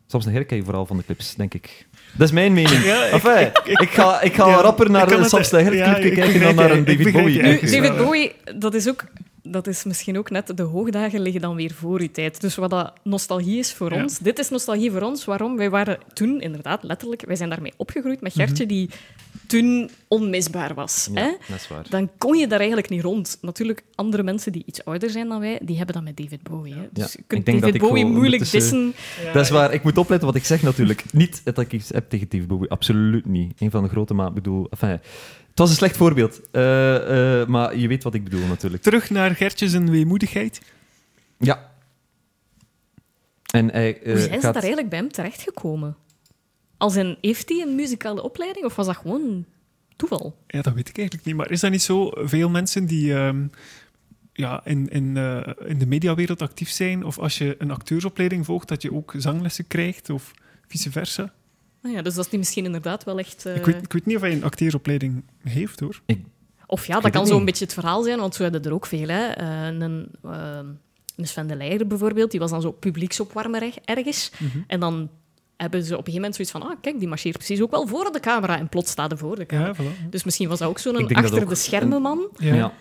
Speaker 2: Soms een Gert ken je vooral van de clips, denk ik. Dat is mijn
Speaker 1: *laughs*
Speaker 2: mening.
Speaker 1: Ja, ik-
Speaker 2: enfin, ik, ga, ik ga
Speaker 1: ja,
Speaker 2: rapper
Speaker 1: ik
Speaker 2: naar
Speaker 1: kan
Speaker 2: een
Speaker 1: het-
Speaker 2: Samson en Gert
Speaker 1: ja,
Speaker 2: clipje
Speaker 1: ik
Speaker 2: kijken dan
Speaker 1: begrijp
Speaker 2: naar
Speaker 1: je,
Speaker 2: een
Speaker 1: ik
Speaker 2: David
Speaker 1: begrijp je
Speaker 2: Bowie.
Speaker 1: eigenlijk.
Speaker 3: Nu,
Speaker 1: ergens
Speaker 3: David
Speaker 1: wel, hè.
Speaker 3: Bowie, dat is ook... Dat is misschien ook net de hoogdagen liggen dan weer voor uw tijd. Dus wat dat nostalgie is voor
Speaker 1: Ja.
Speaker 3: ons, dit is nostalgie voor ons. Waarom? Wij waren toen inderdaad letterlijk, wij zijn daarmee opgegroeid met Gertje, die toen onmisbaar was. Hè?
Speaker 2: Mhm. Ja, dat is waar.
Speaker 3: dan kon je daar eigenlijk niet rond. Natuurlijk, andere mensen die iets ouder zijn dan wij, die hebben dat met David Bowie. Hè. Dus je
Speaker 2: ik
Speaker 3: kunt
Speaker 2: denk dat
Speaker 3: David
Speaker 2: ik
Speaker 3: Bowie
Speaker 2: gewoon
Speaker 3: moeilijk
Speaker 2: ondertussen-
Speaker 3: dissen.
Speaker 2: Dat is waar. Ik moet opletten wat ik zeg natuurlijk. Niet dat ik iets heb tegen David Bowie. Absoluut niet. Een van de grote, maar ik bedoel... Enfin, het was een slecht voorbeeld. Eh, eh, maar je weet wat ik bedoel natuurlijk.
Speaker 1: Terug naar Gertjes en weemoedigheid.
Speaker 2: Ja. En hij eh,
Speaker 3: Hoe zijn ze
Speaker 2: gaat...
Speaker 3: daar eigenlijk bij hem terechtgekomen? Als een, heeft hij een muzikale opleiding of was dat gewoon toeval?
Speaker 1: Ja, dat weet ik eigenlijk niet. Maar is dat niet zo? Veel mensen die ehm, ja, in, in, eh, in de mediawereld actief zijn, of als je een acteursopleiding volgt, dat je ook zanglessen krijgt, of vice versa.
Speaker 3: Nou ja, dus dat is die misschien inderdaad wel echt. eh,
Speaker 1: Ik, weet, ik weet niet of hij een acteursopleiding heeft, hoor.
Speaker 3: Of ja,
Speaker 2: weet
Speaker 3: dat
Speaker 2: het
Speaker 3: kan zo'n
Speaker 2: niet.
Speaker 3: beetje het verhaal zijn, want zo hebben er ook veel. Hè. Eh, een, ehm, een Sven de Leijer bijvoorbeeld, die was dan zo publieksopwarmer er- ergens.
Speaker 2: Mhm.
Speaker 3: En dan hebben ze op een gegeven moment zoiets van: ah, kijk, die marcheert precies ook wel voor de camera. En plots staat hij voor de camera.
Speaker 1: Ja, voilà.
Speaker 3: Dus misschien was dat ook
Speaker 2: Ik
Speaker 3: zo'n
Speaker 2: denk dat
Speaker 3: achter
Speaker 2: ook
Speaker 3: de schermen man.
Speaker 2: Ja.
Speaker 1: Ja.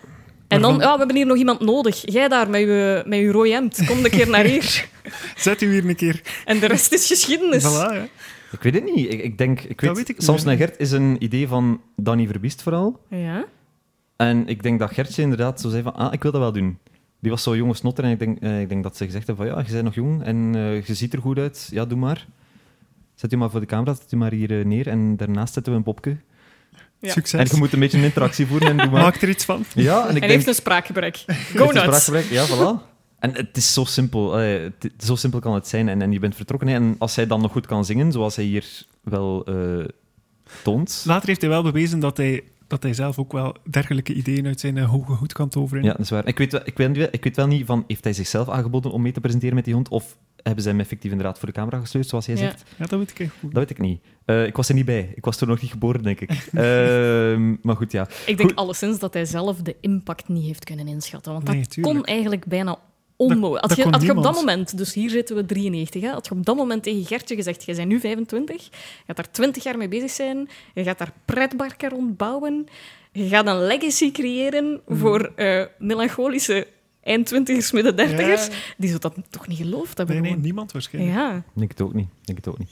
Speaker 3: En dan,
Speaker 1: Waarvan-
Speaker 3: ja, we hebben hier nog iemand nodig. Jij daar met je, met je rode hemd, kom een keer naar hier.
Speaker 2: *laughs*
Speaker 1: Zet u hier een keer.
Speaker 3: En de rest is geschiedenis.
Speaker 1: Voilà, ja.
Speaker 2: Ik weet het niet. Ik, ik denk, ik weet,
Speaker 1: weet ik niet
Speaker 2: soms
Speaker 1: meer.
Speaker 2: naar Gert is een idee van Danny Verbiest vooral.
Speaker 3: Ja.
Speaker 2: En ik denk dat Gertje inderdaad zo zei van, ah, ik wil dat wel doen. Die was zo jonge snotter en ik denk, eh, ik denk dat ze gezegd hebben van, ja, je bent nog jong en eh, je ziet er goed uit. Ja, doe maar. Zet je maar voor de camera, zet je maar hier eh, neer en daarnaast zetten we een popke.
Speaker 3: Ja.
Speaker 1: Succes.
Speaker 2: En je moet een beetje een interactie voeren en doe maar.
Speaker 1: Maak er iets van.
Speaker 2: Ja, en ik
Speaker 3: Hij
Speaker 2: denk...
Speaker 3: heeft dus een
Speaker 2: *laughs*
Speaker 3: spraakgebrek.
Speaker 2: Heeft
Speaker 3: Go
Speaker 2: een
Speaker 3: nuts.
Speaker 2: spraakgebrek, Ja, voilà. En het is zo simpel. eh, het- zo simpel kan het zijn. En, en je bent vertrokken. hè. En als hij dan nog goed kan zingen, zoals hij hier wel eh, toont...
Speaker 1: Later heeft hij wel bewezen dat hij, dat hij zelf ook wel dergelijke ideeën uit zijn eh, hoge hoed kan toveren.
Speaker 2: Ja, dat is waar. Ik weet, wel- ik, weet, wel- ik weet wel niet van, heeft hij zichzelf aangeboden om mee te presenteren met die hond? Of hebben ze hem effectief inderdaad voor de camera gesleurd, zoals jij
Speaker 3: Ja.
Speaker 2: zegt?
Speaker 1: Ja, dat weet ik echt goed.
Speaker 2: Dat weet ik niet. Eh, ik was er niet bij. Ik was toen nog niet geboren, denk
Speaker 3: *laughs*
Speaker 2: ik. Ehm, maar goed, ja.
Speaker 3: Ik denk
Speaker 2: Goed.
Speaker 3: alleszins dat hij zelf de impact niet heeft kunnen inschatten. Want dat
Speaker 1: Nee, tuurlijk.
Speaker 3: kon eigenlijk bijna onmogelijk. Had,
Speaker 1: dat
Speaker 3: je,
Speaker 1: kon
Speaker 3: had je op dat
Speaker 1: niemand.
Speaker 3: moment, dus hier zitten we 93, hè, had je op dat moment tegen Gertje gezegd: Jij bent nu 25, je gaat daar 20 jaar mee bezig zijn, je gaat daar pretbarken rondbouwen, je gaat een legacy creëren
Speaker 1: Hmm.
Speaker 3: voor eh, melancholische eindtwintigers, midden dertigers.
Speaker 1: Ja.
Speaker 3: Die zou dat toch niet geloofd hebben?
Speaker 1: Nee, nee,
Speaker 3: gewoon.
Speaker 1: niemand waarschijnlijk.
Speaker 3: Ja.
Speaker 2: Ik denk het ook niet. Ik Denk het ook niet.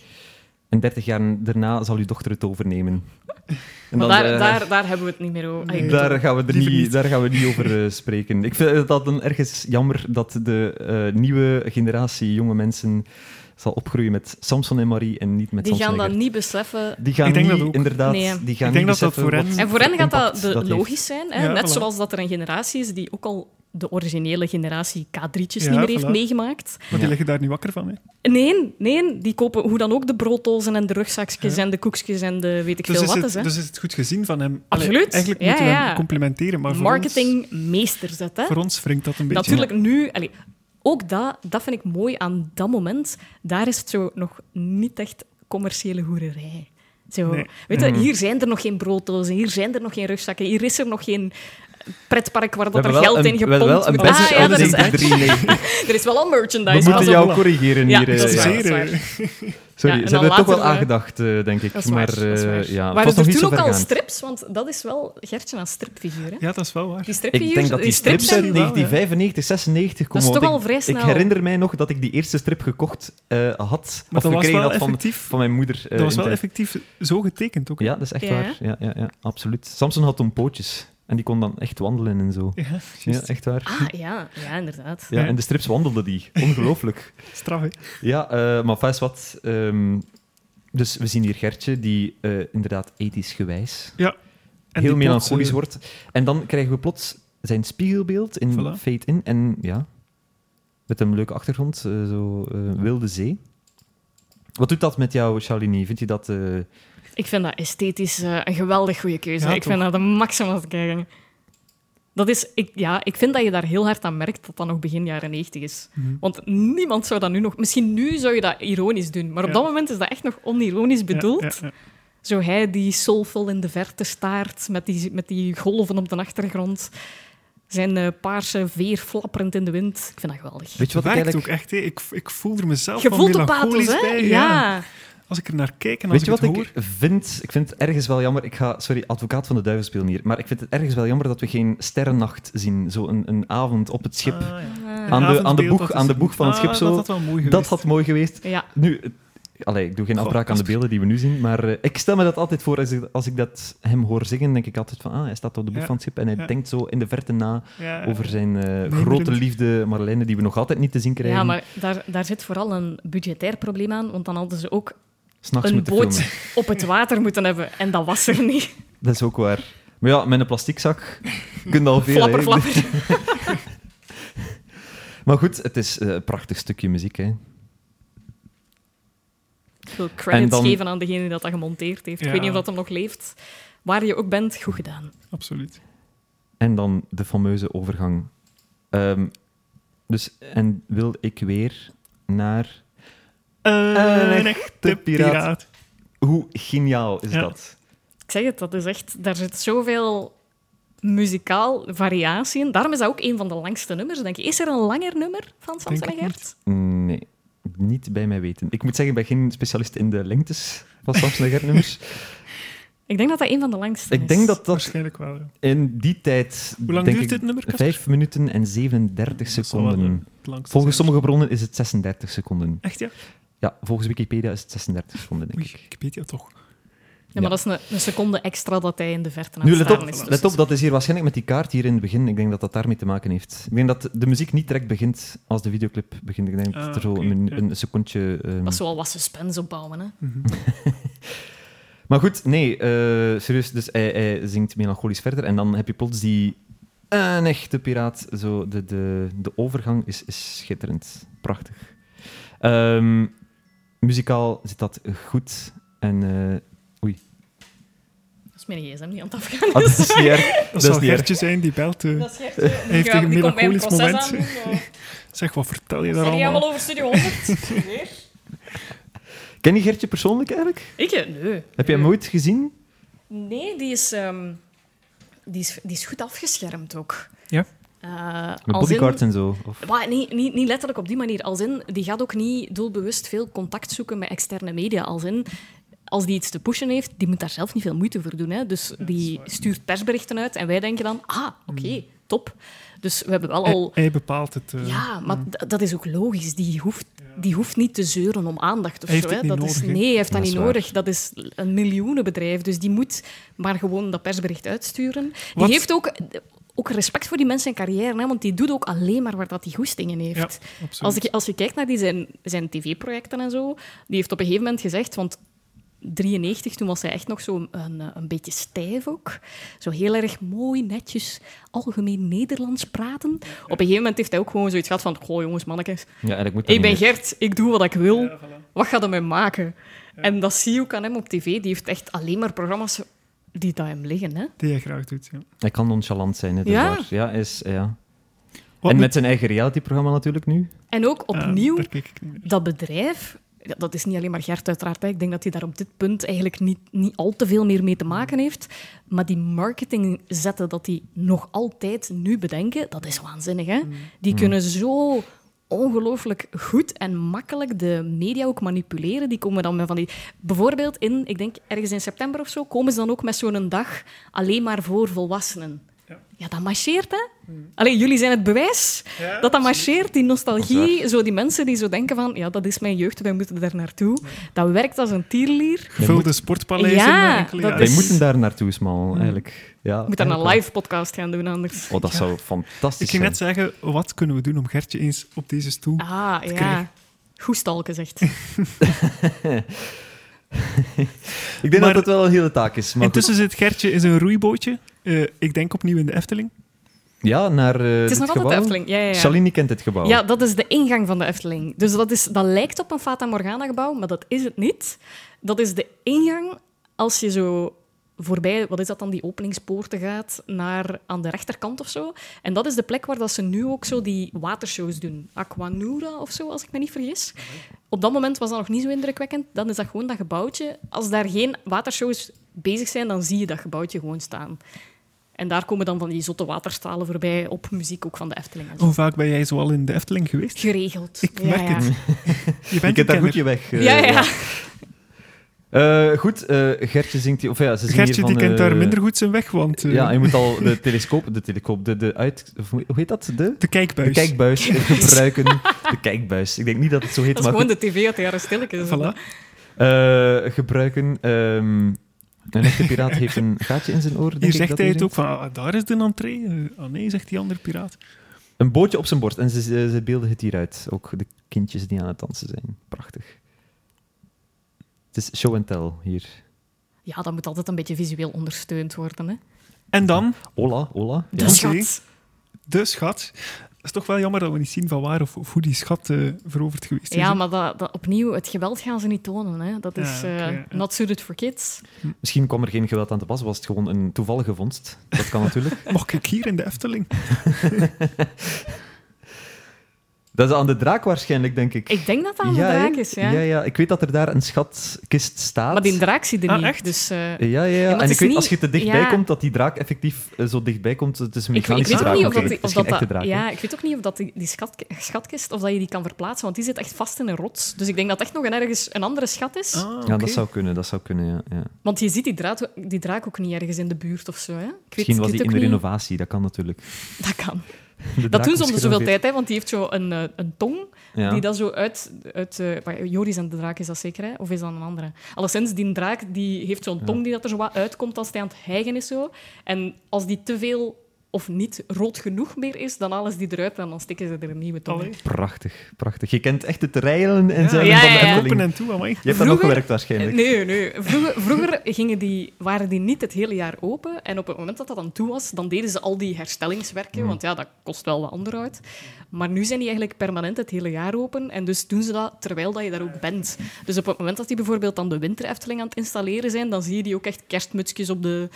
Speaker 2: En 30 jaar daarna zal uw dochter het overnemen. En
Speaker 3: Maar
Speaker 2: dan,
Speaker 3: daar,
Speaker 2: eh,
Speaker 3: daar, daar hebben we het niet meer over. Ah, ik bedoel-
Speaker 2: Daar gaan, we er
Speaker 1: Liever
Speaker 2: niet,
Speaker 1: niet.
Speaker 2: daar gaan we niet over eh, spreken. Ik vind het dan ergens jammer dat de eh, nieuwe generatie jonge mensen zal opgroeien met Samson en Marie en niet met
Speaker 3: die
Speaker 2: Samson
Speaker 3: gaan
Speaker 2: en
Speaker 3: dat
Speaker 2: Gert.
Speaker 3: niet beseffen.
Speaker 2: Die gaan
Speaker 1: Ik denk
Speaker 2: niet,
Speaker 1: dat ook.
Speaker 2: inderdaad...
Speaker 3: Nee.
Speaker 2: Die gaan
Speaker 1: Ik denk
Speaker 2: niet
Speaker 1: dat dat
Speaker 2: beseffen
Speaker 1: voor hen-
Speaker 2: wat
Speaker 1: En
Speaker 3: En voor hen
Speaker 2: voor
Speaker 3: gaat dat,
Speaker 2: impact
Speaker 3: de
Speaker 2: heeft.
Speaker 3: logisch zijn. Hè?
Speaker 1: Ja,
Speaker 3: Net
Speaker 1: voilà.
Speaker 3: zoals dat er een generatie is die ook al de originele generatie K3'tjes
Speaker 1: Ja,
Speaker 3: niet meer
Speaker 1: voilà.
Speaker 3: heeft meegemaakt.
Speaker 1: Maar
Speaker 2: Ja.
Speaker 1: die liggen daar niet wakker van. Hè.
Speaker 3: Nee, nee, die kopen hoe dan ook de brooddozen en de rugzakjes en de koekjes en de weet ik
Speaker 1: Dus,
Speaker 3: veel
Speaker 1: is
Speaker 3: wat
Speaker 1: het,
Speaker 3: is. Hè?
Speaker 1: dus is het goed gezien van hem. Allee,
Speaker 3: Absoluut.
Speaker 1: eigenlijk
Speaker 3: Ja,
Speaker 1: moeten we
Speaker 3: ja.
Speaker 1: hem complimenteren. Maar voor ons,
Speaker 3: Marketingmeester zet, hè?
Speaker 1: voor ons wringt dat een beetje.
Speaker 3: Natuurlijk nu... allee, ook dat, dat vind ik mooi aan dat moment. Daar is het zo nog niet echt commerciële hoererij. Zo,
Speaker 1: Nee.
Speaker 3: weet
Speaker 2: Mhm.
Speaker 3: je, hier zijn er nog geen brooddozen, hier zijn er nog geen rugzakken, hier is er nog geen pretpark waar dat er geld in
Speaker 2: we
Speaker 3: gepompt
Speaker 2: hebben wel een
Speaker 3: wordt.
Speaker 2: badge
Speaker 3: Ah, ja,
Speaker 2: uit
Speaker 3: dat is echt.
Speaker 2: 1993.
Speaker 3: Er is wel al
Speaker 2: We
Speaker 3: merchandise.
Speaker 2: moeten
Speaker 3: pas op.
Speaker 2: jou corrigeren
Speaker 3: Ja,
Speaker 2: hier. eh,
Speaker 3: dat is
Speaker 2: ja.
Speaker 3: waar.
Speaker 1: Zeer,
Speaker 3: waar.
Speaker 1: eh,
Speaker 2: Sorry,
Speaker 3: Ja, en
Speaker 2: ze
Speaker 3: dan
Speaker 2: hebben toch wel
Speaker 3: later, eh,
Speaker 2: aangedacht, eh, denk ik.
Speaker 3: Dat is waar,
Speaker 2: maar
Speaker 3: dat is
Speaker 2: eh,
Speaker 3: waar.
Speaker 2: ja, het was
Speaker 3: Waren
Speaker 2: nog
Speaker 3: er
Speaker 2: niet
Speaker 3: toen
Speaker 2: zo
Speaker 3: ook al
Speaker 2: vergaand.
Speaker 3: strips? Want dat is wel Gertje een stripfiguur. Hè?
Speaker 1: Ja, dat is wel waar.
Speaker 3: Die stripfiguur,
Speaker 2: Ik denk dat die strips uit
Speaker 1: zijn die wel, hè?
Speaker 2: 1995, 96
Speaker 3: Dat is
Speaker 2: komen,
Speaker 3: toch
Speaker 2: want
Speaker 3: al vrij
Speaker 2: Ik
Speaker 3: snel.
Speaker 2: herinner mij nog dat ik die eerste strip gekocht eh, had.
Speaker 1: Maar dat
Speaker 2: of
Speaker 1: was
Speaker 2: gekregen
Speaker 1: wel
Speaker 2: had van,
Speaker 1: effectief.
Speaker 2: van mijn moeder. eh,
Speaker 1: dat was
Speaker 2: in
Speaker 1: wel
Speaker 2: tijd.
Speaker 1: effectief zo getekend ook.
Speaker 2: Ja, dat is echt
Speaker 3: Ja.
Speaker 2: waar. Ja, ja, ja, absoluut. Samson had toen pootjes. En die kon dan echt wandelen en zo.
Speaker 1: Ja, juist.
Speaker 2: Ja, echt waar.
Speaker 3: Ah, ja, ja inderdaad.
Speaker 2: Ja,
Speaker 1: Ja.
Speaker 2: en de strips wandelden die. Ongelooflijk.
Speaker 1: Straf, hè.
Speaker 2: ja, eh, maar vast wat. ehm, dus we zien hier Gertje, die eh, inderdaad ethisch gewijs
Speaker 1: En
Speaker 2: heel
Speaker 1: die eh,
Speaker 2: melancholisch
Speaker 1: plotse-
Speaker 2: wordt. En dan krijgen we plots zijn spiegelbeeld in
Speaker 1: Voilà.
Speaker 2: Fade In. En ja, met een leuke achtergrond, eh, zo eh, wilde zee. Wat doet dat met jou, Shalini? Vind je dat... eh,
Speaker 3: Ik vind dat esthetisch eh, een geweldig goede keuze.
Speaker 1: Ja,
Speaker 3: ik
Speaker 1: toch?
Speaker 3: vind dat de maximum wat kijken. Dat is, ik, ja, ik vind dat je daar heel hard aan merkt dat dat nog begin jaren 90 is.
Speaker 1: Mhm.
Speaker 3: Want niemand zou dat nu nog... Misschien nu zou je dat ironisch doen, maar op
Speaker 1: Ja.
Speaker 3: dat moment is dat echt nog onironisch bedoeld.
Speaker 1: Ja, ja,
Speaker 3: Zo hij die soulful in de verte staart, met die, met die golven op de achtergrond. Zijn eh, paarse veer flapperend in de wind. Ik vind dat geweldig.
Speaker 2: weet je
Speaker 1: Het
Speaker 2: wat ik
Speaker 1: werkt ook
Speaker 2: eigenlijk...
Speaker 1: echt, hè. Ik, ik voel er mezelf
Speaker 3: Je
Speaker 1: wel
Speaker 3: voelt de
Speaker 1: melancholisch
Speaker 3: pathos, hè?
Speaker 1: bij.
Speaker 3: ja.
Speaker 1: Als ik er naar kijk en als
Speaker 2: Weet je
Speaker 1: ik
Speaker 2: wat
Speaker 1: het
Speaker 2: ik
Speaker 1: hoor...
Speaker 2: vind? Ik vind het ergens wel jammer. Ik ga, sorry, advocaat van de duivel spelen hier. Maar ik vind het ergens wel jammer dat we geen sterrennacht zien. Zo een, een avond op het schip.
Speaker 1: Ah, ja.
Speaker 3: Ah.
Speaker 1: Een
Speaker 2: Aan de- aan de
Speaker 1: avondbeeld,
Speaker 2: boeg-
Speaker 1: dat is
Speaker 2: aan de
Speaker 1: een-
Speaker 2: boeg van het
Speaker 1: Ah,
Speaker 2: schip zo.
Speaker 1: Dat had wel mooi
Speaker 2: dat
Speaker 1: geweest.
Speaker 2: had mooi geweest.
Speaker 3: Ja.
Speaker 2: Nu, het- allee, ik doe geen
Speaker 1: Goh,
Speaker 2: afbraak aan de
Speaker 1: Casper.
Speaker 2: beelden die we nu zien, maar eh, ik stel me dat altijd voor. Als ik, als ik dat hem hoor zingen, denk ik altijd van, ah, hij staat op de boeg
Speaker 1: Ja.
Speaker 2: van het schip en hij
Speaker 1: Ja.
Speaker 2: denkt zo in de verte na
Speaker 1: Ja,
Speaker 2: over zijn eh,
Speaker 1: Mijmerend.
Speaker 2: grote liefde Marlijne, die we nog altijd niet te zien krijgen.
Speaker 3: Ja, maar daar, daar zit vooral een budgetair probleem aan, want dan hadden ze ook
Speaker 2: S'nachts
Speaker 3: een
Speaker 2: moeten
Speaker 3: boot
Speaker 2: filmen.
Speaker 3: *laughs* op het water moeten hebben. En dat was er niet.
Speaker 2: Dat is ook waar. Maar ja, met een
Speaker 3: *laughs*
Speaker 2: plasticzak kun je al veel.
Speaker 3: flapper,
Speaker 2: hè. *laughs*
Speaker 3: flapper.
Speaker 2: Maar goed, het is eh, een prachtig stukje muziek. Hè.
Speaker 3: Ik wil
Speaker 2: En
Speaker 3: credits
Speaker 2: dan-
Speaker 3: geven aan degene die dat gemonteerd heeft. Ik
Speaker 1: Ja.
Speaker 3: weet niet of dat hem nog leeft. Waar je ook bent, goed gedaan.
Speaker 1: Absoluut.
Speaker 2: En dan de fameuze overgang. Ehm, dus, en wil ik weer naar...
Speaker 1: Eh,
Speaker 2: een
Speaker 1: een echte
Speaker 2: piraat.
Speaker 1: piraat.
Speaker 2: Hoe geniaal is
Speaker 1: Ja.
Speaker 2: dat?
Speaker 3: Ik zeg het, dat is echt... Daar zit zoveel muzikaal variatie in. Daarom is dat ook een van de langste nummers, denk ik. Is er een langer nummer van Samson en
Speaker 1: Denk het
Speaker 3: Gert?
Speaker 2: Nee,
Speaker 1: *laughs*
Speaker 2: niet bij mij weten. Ik moet zeggen, ik ben geen specialist in de lengtes van Samson en Gert nummers.
Speaker 3: Ik denk dat dat een van de langste is.
Speaker 2: Ik denk dat dat
Speaker 1: Waarschijnlijk wel. ja.
Speaker 2: in die tijd...
Speaker 1: Hoe lang
Speaker 2: denk
Speaker 1: duurt
Speaker 2: ik,
Speaker 1: dit nummer, Casper?
Speaker 2: 5 minuten en 37
Speaker 1: Dat zal wel
Speaker 2: seconden.
Speaker 1: het langste
Speaker 2: Volgens
Speaker 1: zijn.
Speaker 2: sommige bronnen is het 36 seconden.
Speaker 1: Echt, ja?
Speaker 2: Ja, volgens Wikipedia is het 36 seconden, denk
Speaker 1: Oei,
Speaker 2: ik.
Speaker 1: Wikipedia toch.
Speaker 3: Ja, maar dat is een, een seconde extra dat hij in de verte aan
Speaker 2: Nu,
Speaker 3: het
Speaker 2: let
Speaker 3: staan
Speaker 2: op,
Speaker 3: is. dus
Speaker 2: let op, dat is hier waarschijnlijk met die kaart hier in het begin. Ik denk dat dat daarmee te maken heeft. Ik denk dat de muziek niet direct begint als de videoclip begint. Ik denk
Speaker 1: Ah,
Speaker 2: dat er zo
Speaker 1: oké,
Speaker 2: een,
Speaker 1: ja.
Speaker 2: een secondje... ehm,
Speaker 3: Dat is wel wat suspense opbouwen. Hè.
Speaker 2: Maar goed, nee, eh, serieus. Dus hij, hij zingt melancholisch verder en dan heb je plots die een echte piraat. Zo, de, de, de overgang is, is schitterend. Prachtig. Ehm, muzikaal zit dat goed. En
Speaker 3: *laughs*
Speaker 2: eh,
Speaker 3: Dat is mijn gsm die aan het afgaan
Speaker 2: ah, dat
Speaker 3: is.
Speaker 2: is niet erg.
Speaker 1: Dat
Speaker 2: is
Speaker 1: zal
Speaker 2: niet erg.
Speaker 1: Gertje zijn die belt. eh.
Speaker 3: Dat is echt, eh,
Speaker 1: heeft
Speaker 3: die gaat-
Speaker 1: een
Speaker 3: die komt mij een
Speaker 1: melancholisch
Speaker 3: proces
Speaker 1: moment.
Speaker 3: aandoen, maar-
Speaker 1: Zeg, wat vertel je
Speaker 3: Zeg
Speaker 1: daar
Speaker 3: jij allemaal
Speaker 1: allemaal?
Speaker 3: over Studio 100? Weer?
Speaker 2: Ken je Gertje persoonlijk eigenlijk?
Speaker 3: Ik? eh, Nee.
Speaker 2: Heb jij hem ooit gezien?
Speaker 3: Nee, die is, ehm, die is, die is goed afgeschermd ook.
Speaker 1: Ja.
Speaker 3: Eh,
Speaker 2: Met
Speaker 3: als in-
Speaker 2: bodyguards en zo? Of?
Speaker 3: Maar niet, niet, niet letterlijk op die manier. Als in, die gaat ook niet doelbewust veel contact zoeken met externe media. Als in, als die iets te pushen heeft, die moet daar zelf niet veel moeite voor doen. Hè? Dus
Speaker 1: dat is
Speaker 3: die
Speaker 1: waar.
Speaker 3: stuurt persberichten uit en wij denken dan, ah, oké,
Speaker 2: Hmm.
Speaker 3: top. Dus we hebben wel
Speaker 1: Hij,
Speaker 3: al...
Speaker 1: hij bepaalt het. eh.
Speaker 3: Ja, maar d- dat is ook logisch. Die hoeft, die hoeft niet te zeuren om aandacht of
Speaker 1: Hij
Speaker 3: zo.
Speaker 1: heeft
Speaker 3: Hè.
Speaker 1: het
Speaker 3: Dat
Speaker 1: niet
Speaker 3: is,
Speaker 1: nodig, hè?
Speaker 3: nee, hij heeft dat,
Speaker 2: Dat is
Speaker 3: niet
Speaker 2: waar.
Speaker 3: nodig. Dat is een miljoenenbedrijf. Dus die moet maar gewoon dat persbericht uitsturen.
Speaker 1: Wat-
Speaker 3: Die heeft ook, ook respect voor die mensen in carrière, hè, want die doet ook alleen maar waar dat die goestingen heeft.
Speaker 1: Ja, absoluut.
Speaker 3: Als, ik, als je kijkt naar die zijn, zijn tv-projecten en zo, die heeft op een gegeven moment gezegd, want 93, toen was hij echt nog zo'n een, eh, een beetje stijf ook. Zo heel erg mooi, netjes, algemeen Nederlands praten. Op een gegeven moment heeft hij ook gewoon zoiets gehad van, goh jongens, mannetjes,
Speaker 2: Ja, eigenlijk moet dat
Speaker 3: ik ben
Speaker 2: niet meer.
Speaker 3: Gert, ik doe wat ik wil,
Speaker 1: Ja, voilà.
Speaker 3: wat gaat er mij maken? En dat zie je ook aan hem op tv, die heeft echt alleen maar programma's die daar hem liggen. Hè?
Speaker 1: Die hij graag doet, ja.
Speaker 2: Hij kan nonchalant zijn, hè, dat
Speaker 3: Ja.
Speaker 2: is waar. Ja, is, ja.
Speaker 1: Wat
Speaker 2: en
Speaker 1: moet-
Speaker 2: met zijn eigen realityprogramma natuurlijk nu.
Speaker 3: En ook
Speaker 1: Ah,
Speaker 3: opnieuw...
Speaker 1: daar kijk ik niet meer.
Speaker 3: dat bedrijf, ja, dat is niet alleen maar Gert uiteraard, hè. ik denk dat hij daar op dit punt eigenlijk niet, niet al te veel meer mee te maken heeft, maar die marketing zetten dat die nog altijd nu bedenken, dat is waanzinnig. Hè? Die kunnen zo ongelooflijk goed en makkelijk de media ook manipuleren. Die komen dan met van die... Bijvoorbeeld in, ik denk ergens in september of zo, komen ze dan ook met zo'n dag alleen maar voor volwassenen.
Speaker 1: Ja.
Speaker 3: Ja, dat marcheert, hè? Allee, jullie zijn het bewijs
Speaker 1: Ja,
Speaker 3: dat dat marcheert, die
Speaker 2: Dat is
Speaker 3: nostalgie, zo die mensen die zo denken van, ja, dat is mijn jeugd, wij moeten daar naartoe. Dat werkt als een tierlier.
Speaker 1: Gevulde sportpaleizen.
Speaker 3: Ja,
Speaker 1: eh, enkele
Speaker 3: dat
Speaker 1: jaren.
Speaker 2: Wij
Speaker 3: is-
Speaker 2: moeten daar naartoe, Smal, eigenlijk. Ja,
Speaker 3: Je moet dan een
Speaker 2: eigenlijk
Speaker 3: live podcast gaan doen anders.
Speaker 2: wel. Oh, dat zou fantastisch
Speaker 1: Ik ging net
Speaker 2: zijn.
Speaker 1: zeggen, wat kunnen we doen om Gertje eens op deze stoel...
Speaker 3: Ah,
Speaker 1: krijg ik.
Speaker 3: ja. Goed stalken, zegt.
Speaker 2: Ik denk
Speaker 1: Maar-
Speaker 2: dat dat wel een hele taak is. Maar
Speaker 1: Intussen zit Gertje in zijn roeibootje. Eh, ik denk opnieuw in de Efteling.
Speaker 2: goed. Ja, naar eh,
Speaker 3: Het
Speaker 2: dit
Speaker 3: is nog altijd
Speaker 2: gebouw.
Speaker 3: de Efteling. Ja, ja, ja.
Speaker 2: Shalini kent het gebouw.
Speaker 3: Ja, dat is de ingang van de Efteling. Dus dat, is, dat lijkt op een Fata Morgana-gebouw, maar dat is het niet. Dat is de ingang als je zo voorbij, wat is dat dan, die openingspoorten gaat, naar aan de rechterkant of zo. En dat is de plek waar dat ze nu ook zo die watershows doen. Aquanura of zo, als ik me niet vergis. Op dat moment was dat nog niet zo indrukwekkend. Dan is dat gewoon dat gebouwtje. Als daar geen watershows bezig zijn, dan zie je dat gebouwtje gewoon staan. En daar komen dan van die zotte waterstalen voorbij op muziek ook van de Efteling. en zo.
Speaker 1: Hoe vaak ben jij zo al in de Efteling geweest?
Speaker 3: Geregeld.
Speaker 1: Ik merk
Speaker 3: ja.
Speaker 1: het. Je
Speaker 2: Je
Speaker 1: bent een
Speaker 2: kent daar
Speaker 1: kenner.
Speaker 2: goed je weg. eh,
Speaker 3: Ja, ja. ja.
Speaker 2: ja. Eh, goed, eh, Gertje zingt... die- Of ja, ze zingen
Speaker 1: Gertje
Speaker 2: hier
Speaker 1: die
Speaker 2: van,
Speaker 1: kent daar
Speaker 2: eh,
Speaker 1: minder goed zijn weg, want eh,
Speaker 2: Ja, je moet al de telescoop... De telescoop... De, de uit... of Hoe hoe heet dat? De...
Speaker 1: de kijkbuis.
Speaker 2: De kijkbuis
Speaker 3: *laughs*
Speaker 2: gebruiken. De kijkbuis. Ik denk niet dat het zo heet,
Speaker 3: Dat is
Speaker 2: maar
Speaker 3: gewoon
Speaker 2: goed.
Speaker 3: de tv uit de jaren stilletjes.
Speaker 1: Voilà.
Speaker 2: Eh, gebruiken. ehm, een echte piraat heeft een gaatje in zijn oor. denk
Speaker 1: Hier
Speaker 2: ik
Speaker 1: zegt
Speaker 2: dat
Speaker 1: hij het
Speaker 2: zingt.
Speaker 1: ook van, ah, daar is de entree. Eh, ah nee, zegt die andere piraat.
Speaker 2: Een bootje op zijn borst. En ze, ze, ze beelden het hier uit. Ook de kindjes die aan het dansen zijn. Prachtig. Het is show and tell hier.
Speaker 3: Ja, dat moet altijd een beetje visueel ondersteund worden. Hè. Dus
Speaker 1: En dan,
Speaker 2: Hola, hola. Ja.
Speaker 3: De
Speaker 1: Oké.
Speaker 3: schat.
Speaker 1: de schat. Het is toch wel jammer dat we niet zien van waar of, of hoe die schat eh, veroverd geweest is.
Speaker 3: Ja,
Speaker 1: hè?
Speaker 3: maar dat, dat, opnieuw, het geweld gaan ze niet tonen. Hè. Dat
Speaker 1: Ja,
Speaker 3: is eh,
Speaker 1: oké, ja.
Speaker 3: not suited for kids.
Speaker 2: Misschien kwam er geen geweld aan te pas. Was het gewoon een toevallige vondst. Dat kan natuurlijk.
Speaker 1: Mocht ik hier in de Efteling?
Speaker 2: *laughs* Dat is aan de draak waarschijnlijk, denk ik.
Speaker 3: Ik denk dat dat aan de
Speaker 2: Ja, hè?
Speaker 3: draak is, ja.
Speaker 2: Ja, ja. Ik weet dat er daar een schatkist staat.
Speaker 3: Maar die draak zie je
Speaker 1: Ah,
Speaker 3: niet.
Speaker 1: echt?
Speaker 3: Dus, eh,
Speaker 2: Ja, ja, ja.
Speaker 3: maar het
Speaker 2: en
Speaker 3: is
Speaker 2: ik weet,
Speaker 3: niet-
Speaker 2: als je te dichtbij
Speaker 3: ja.
Speaker 2: komt, dat die draak effectief eh, zo dichtbij komt. Het is een
Speaker 3: ik, ik
Speaker 2: mechanische
Speaker 3: weet ook
Speaker 2: draak.
Speaker 3: niet of dat,
Speaker 2: natuurlijk.
Speaker 3: die-
Speaker 2: Het
Speaker 3: of
Speaker 2: is geen
Speaker 3: dat,
Speaker 2: echte
Speaker 3: dat
Speaker 2: draak. hè.
Speaker 3: ja, ik weet ook niet of dat die, die schat, schatkist of dat je die kan verplaatsen, want die zit echt vast in een rots. Dus ik denk dat het echt nog een ergens een andere schat is.
Speaker 1: Ah,
Speaker 2: Ja,
Speaker 1: oké.
Speaker 2: dat zou kunnen, dat zou kunnen, ja. ja.
Speaker 3: Want je ziet die, draad, die draak ook niet ergens in de buurt of zo. Hè? Ik weet,
Speaker 2: Misschien
Speaker 3: ik
Speaker 2: was
Speaker 3: weet
Speaker 2: die in
Speaker 3: ook
Speaker 2: de
Speaker 3: niet-
Speaker 2: renovatie, dat kan natuurlijk.
Speaker 3: Dat kan.
Speaker 2: De draak
Speaker 3: Dat doen ze om
Speaker 2: was
Speaker 3: de zoveel
Speaker 2: gerenoveerd.
Speaker 3: tijd, hè, want die heeft zo een, eh, een tong
Speaker 2: Ja.
Speaker 3: die dat zo uit... uit eh, maar Joris en de draak is dat zeker, hè? Of is dat een andere? Alleszins, die draak die heeft zo'n tong die dat er zo wat uitkomt als hij aan het hijgen is. Zo. En als die te veel of niet rood genoeg meer is, dan alles die eruit en dan stikken ze er een nieuwe tong
Speaker 1: Allee.
Speaker 3: in.
Speaker 2: Prachtig, prachtig. Je kent echt het rijlen en
Speaker 1: Ja.
Speaker 2: zeilen
Speaker 3: Ja,
Speaker 2: van
Speaker 3: ja,
Speaker 2: de
Speaker 3: ja.
Speaker 1: Open
Speaker 2: Efteling.
Speaker 1: en toe, amai.
Speaker 2: Je hebt daar ook
Speaker 3: Vroeger-
Speaker 2: gewerkt waarschijnlijk.
Speaker 3: Nee, nee. Vroeger, vroeger gingen die, waren die niet het hele jaar open. En op het moment dat dat dan toe was, dan deden ze al die
Speaker 2: Hmm.
Speaker 3: herstellingswerken. Want ja, dat kost wel wat onderhoud. Maar nu zijn die eigenlijk permanent het hele jaar open. En dus doen ze dat terwijl dat je daar ook bent. Dus op het moment dat die bijvoorbeeld dan de winter Efteling aan het installeren zijn, dan zie je die ook echt kerstmutsjes op de,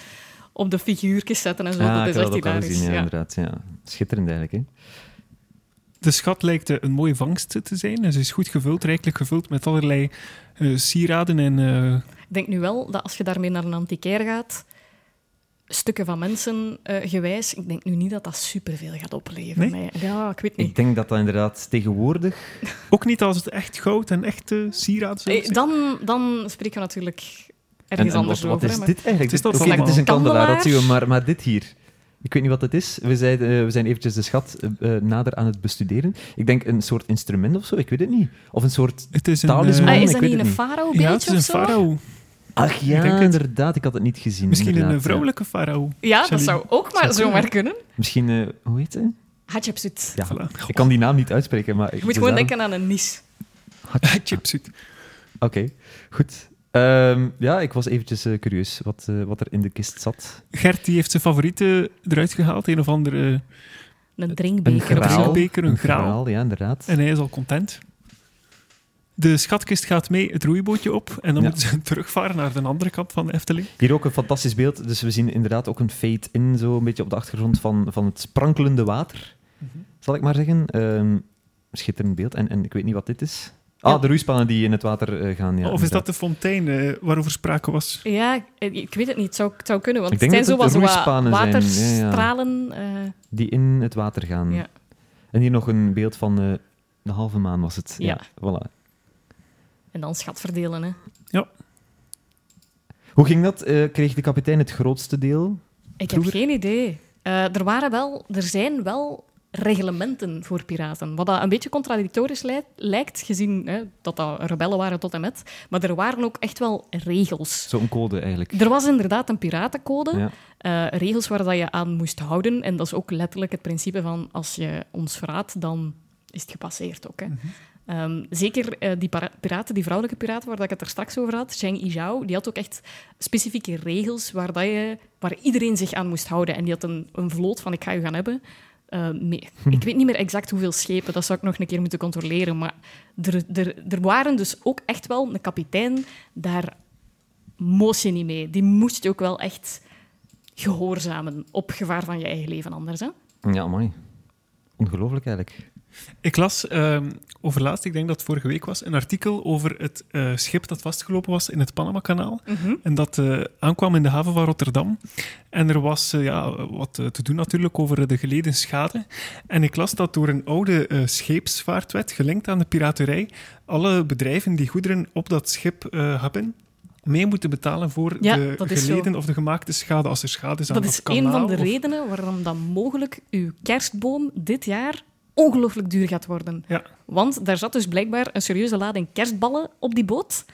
Speaker 3: op de figuurtjes zetten en zo.
Speaker 2: Ah,
Speaker 3: dat
Speaker 2: ik
Speaker 3: is
Speaker 2: had
Speaker 3: echt
Speaker 2: dat ook al
Speaker 3: hilarisch.
Speaker 2: gezien, ja,
Speaker 3: ja.
Speaker 2: inderdaad. Ja. Schitterend eigenlijk, hè?
Speaker 1: De schat lijkt eh, een mooie vangst te zijn. En Ze is goed gevuld, rijkelijk gevuld met allerlei eh, sieraden en... eh,
Speaker 3: Ik denk nu wel dat als je daarmee naar een antiquaire gaat, stukken van mensen eh, gewijs, ik denk nu niet dat dat superveel gaat opleveren. Maar ja, ik weet
Speaker 2: Ik
Speaker 3: niet.
Speaker 2: denk dat dat inderdaad tegenwoordig...
Speaker 1: ook niet als het echt goud en echte sieraden zou
Speaker 3: Eh,
Speaker 1: zijn.
Speaker 3: Dan, dan spreken we natuurlijk
Speaker 2: En, en
Speaker 3: ergens
Speaker 2: wat,
Speaker 3: anders
Speaker 2: wat
Speaker 3: over.
Speaker 2: is
Speaker 3: hè, maar-
Speaker 2: dit eigenlijk?
Speaker 1: Het is toch
Speaker 2: Oké,
Speaker 1: allemaal-
Speaker 2: het is een kandelaar, dat
Speaker 3: Kandelaar.
Speaker 2: zien we, maar, maar dit hier... Ik weet niet wat het is. We zijn, eh, we zijn eventjes de schat eh, eh, nader aan het bestuderen. Ik denk een soort instrument of zo, ik weet het niet. Of een soort...
Speaker 1: Het is een...
Speaker 2: Talisman,
Speaker 1: eh,
Speaker 3: Ah,
Speaker 2: ik
Speaker 3: is
Speaker 2: weet
Speaker 3: dat niet
Speaker 2: het
Speaker 3: een
Speaker 2: niet.
Speaker 3: farao-beeldje
Speaker 1: ja, het is een
Speaker 3: of zo?
Speaker 1: farao.
Speaker 2: Ach ja,
Speaker 1: Ik denk het.
Speaker 2: inderdaad. Ik had het niet gezien.
Speaker 1: Misschien een eh,
Speaker 2: inderdaad, ja.
Speaker 1: vrouwelijke farao.
Speaker 3: Ja, dat
Speaker 1: Sorry.
Speaker 3: zou ook
Speaker 1: Zou
Speaker 3: maar
Speaker 1: kunnen.
Speaker 3: zomaar kunnen.
Speaker 2: Misschien... eh, hoe heet het?
Speaker 3: Hatshepsut.
Speaker 2: Ja,
Speaker 1: Voilà.
Speaker 2: ik kan die naam niet uitspreken, maar...
Speaker 3: Je moet gewoon denken aan een nis.
Speaker 1: *laughs* Chipsuit.
Speaker 2: Oké, goed. Ehm, ja, ik was eventjes eh, curieus wat, eh, wat er in de kist zat.
Speaker 1: Gert die heeft zijn favoriete eruit gehaald. Een of eh, andere
Speaker 3: Een
Speaker 2: Een
Speaker 3: drinkbeker of
Speaker 2: graal.
Speaker 3: zo.
Speaker 1: drinkbeker, een graal.
Speaker 2: ja, inderdaad.
Speaker 1: En hij is al content. De schatkist gaat mee het roeibootje op. En dan
Speaker 2: Ja.
Speaker 1: moeten ze *laughs* terugvaren naar de andere kant van de Efteling.
Speaker 2: Hier ook een fantastisch beeld. Dus we zien inderdaad ook een fade-in, zo een beetje op de achtergrond van, van het sprankelende water, zal ik maar zeggen. Ehm, schitterend beeld. En, en ik weet niet wat dit is. Ah,
Speaker 3: Ja.
Speaker 2: de roeispannen die in het water eh, gaan. Ja,
Speaker 1: of is dat
Speaker 2: inderdaad.
Speaker 1: de fontein eh, waarover sprake was?
Speaker 3: Ja, ik ik weet het niet. Het zou, het zou kunnen, want
Speaker 2: Ik
Speaker 3: het
Speaker 2: denk
Speaker 3: zijn zo
Speaker 2: dat het
Speaker 3: wat wat
Speaker 2: roeispanen zijn. Ja, ja.
Speaker 3: waterstralen. eh,
Speaker 2: Die in het water gaan.
Speaker 3: Ja.
Speaker 2: En hier nog een beeld van eh, de halve maan was het. Ja.
Speaker 3: Ja.
Speaker 2: voilà.
Speaker 3: en dan schat verdelen, hè.
Speaker 2: Hoe ging dat? Eh, kreeg de kapitein het grootste deel?
Speaker 3: Ik
Speaker 2: Vroeger?
Speaker 3: heb geen idee. Eh, er, waren wel, er zijn wel reglementen voor piraten. Wat dat een beetje contradictorisch lij- lijkt, gezien hè, dat dat rebellen waren tot en met. Maar er waren ook echt wel regels.
Speaker 2: Zo'n code eigenlijk.
Speaker 3: Er was inderdaad een piratencode,
Speaker 2: Ja.
Speaker 3: eh, regels waar dat je aan moest houden. En dat is ook letterlijk het principe van als je ons verraadt, dan is het gepasseerd ook. Hè. Ehm, zeker eh, die para- piraten, die vrouwelijke piraten waar dat ik het er straks over had, Zheng Yizhou, die had ook echt specifieke regels waar, dat je, waar iedereen zich aan moest houden. En die had een, een vloot van ik ga je gaan hebben. Eh, mee- Ik weet niet meer exact hoeveel schepen, dat zou ik nog een keer moeten controleren. Maar er, er, er waren dus ook echt wel een kapitein daar moest je niet mee. Die moest je ook wel echt gehoorzamen op gevaar van je eigen leven anders. Hè?
Speaker 2: Ja, mooi. Ongelooflijk eigenlijk.
Speaker 1: Ik las ehm overlaatst, ik denk dat het vorige week was, een artikel over het eh, schip dat vastgelopen was in het Panama-kanaal.
Speaker 3: Mhm.
Speaker 1: En dat eh, aankwam in de haven van Rotterdam. En er was eh, ja, wat eh, te doen natuurlijk over de geleden schade. En ik las dat door een oude eh, scheepsvaartwet, gelinkt aan de piraterij, alle bedrijven die goederen op dat schip eh, hebben, mee moeten betalen voor
Speaker 3: Ja,
Speaker 1: de
Speaker 3: dat is zo.
Speaker 1: geleden of de gemaakte schade als er schade is aan
Speaker 3: Dat is
Speaker 1: kanaal.
Speaker 3: een van de
Speaker 1: of-
Speaker 3: redenen waarom dan mogelijk uw kerstboom dit jaar ongelooflijk duur gaat worden.
Speaker 1: Ja.
Speaker 3: Want daar zat dus blijkbaar een serieuze lading kerstballen op die boot.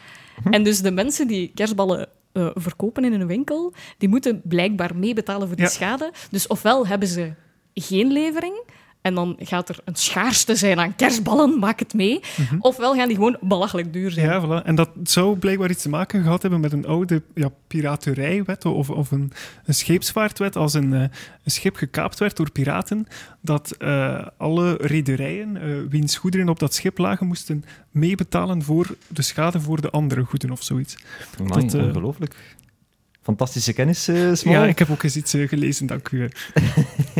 Speaker 1: Mhm.
Speaker 3: En dus de mensen die kerstballen eh, verkopen in hun winkel, die moeten blijkbaar meebetalen voor die
Speaker 1: Ja.
Speaker 3: schade. Dus ofwel hebben ze geen levering. En dan gaat er een schaarste zijn aan kerstballen, maak het mee. Ofwel gaan die gewoon belachelijk duur zijn.
Speaker 1: Mhm. Ja, voilà. En dat zou blijkbaar iets te maken gehad hebben met een oude ja, piraterijwet of, of een, een scheepsvaartwet. Als een, eh, een schip gekaapt werd door piraten, dat eh, alle rederijen eh, wiens goederen op dat schip lagen, moesten meebetalen voor de schade voor de andere goederen of zoiets.
Speaker 2: Amai,
Speaker 1: Dat, eh,
Speaker 2: Ongelooflijk. Fantastische kennis, eh Smal.
Speaker 1: Ja, eh. ik heb ook eens iets eh, gelezen, dank u.
Speaker 2: Nee,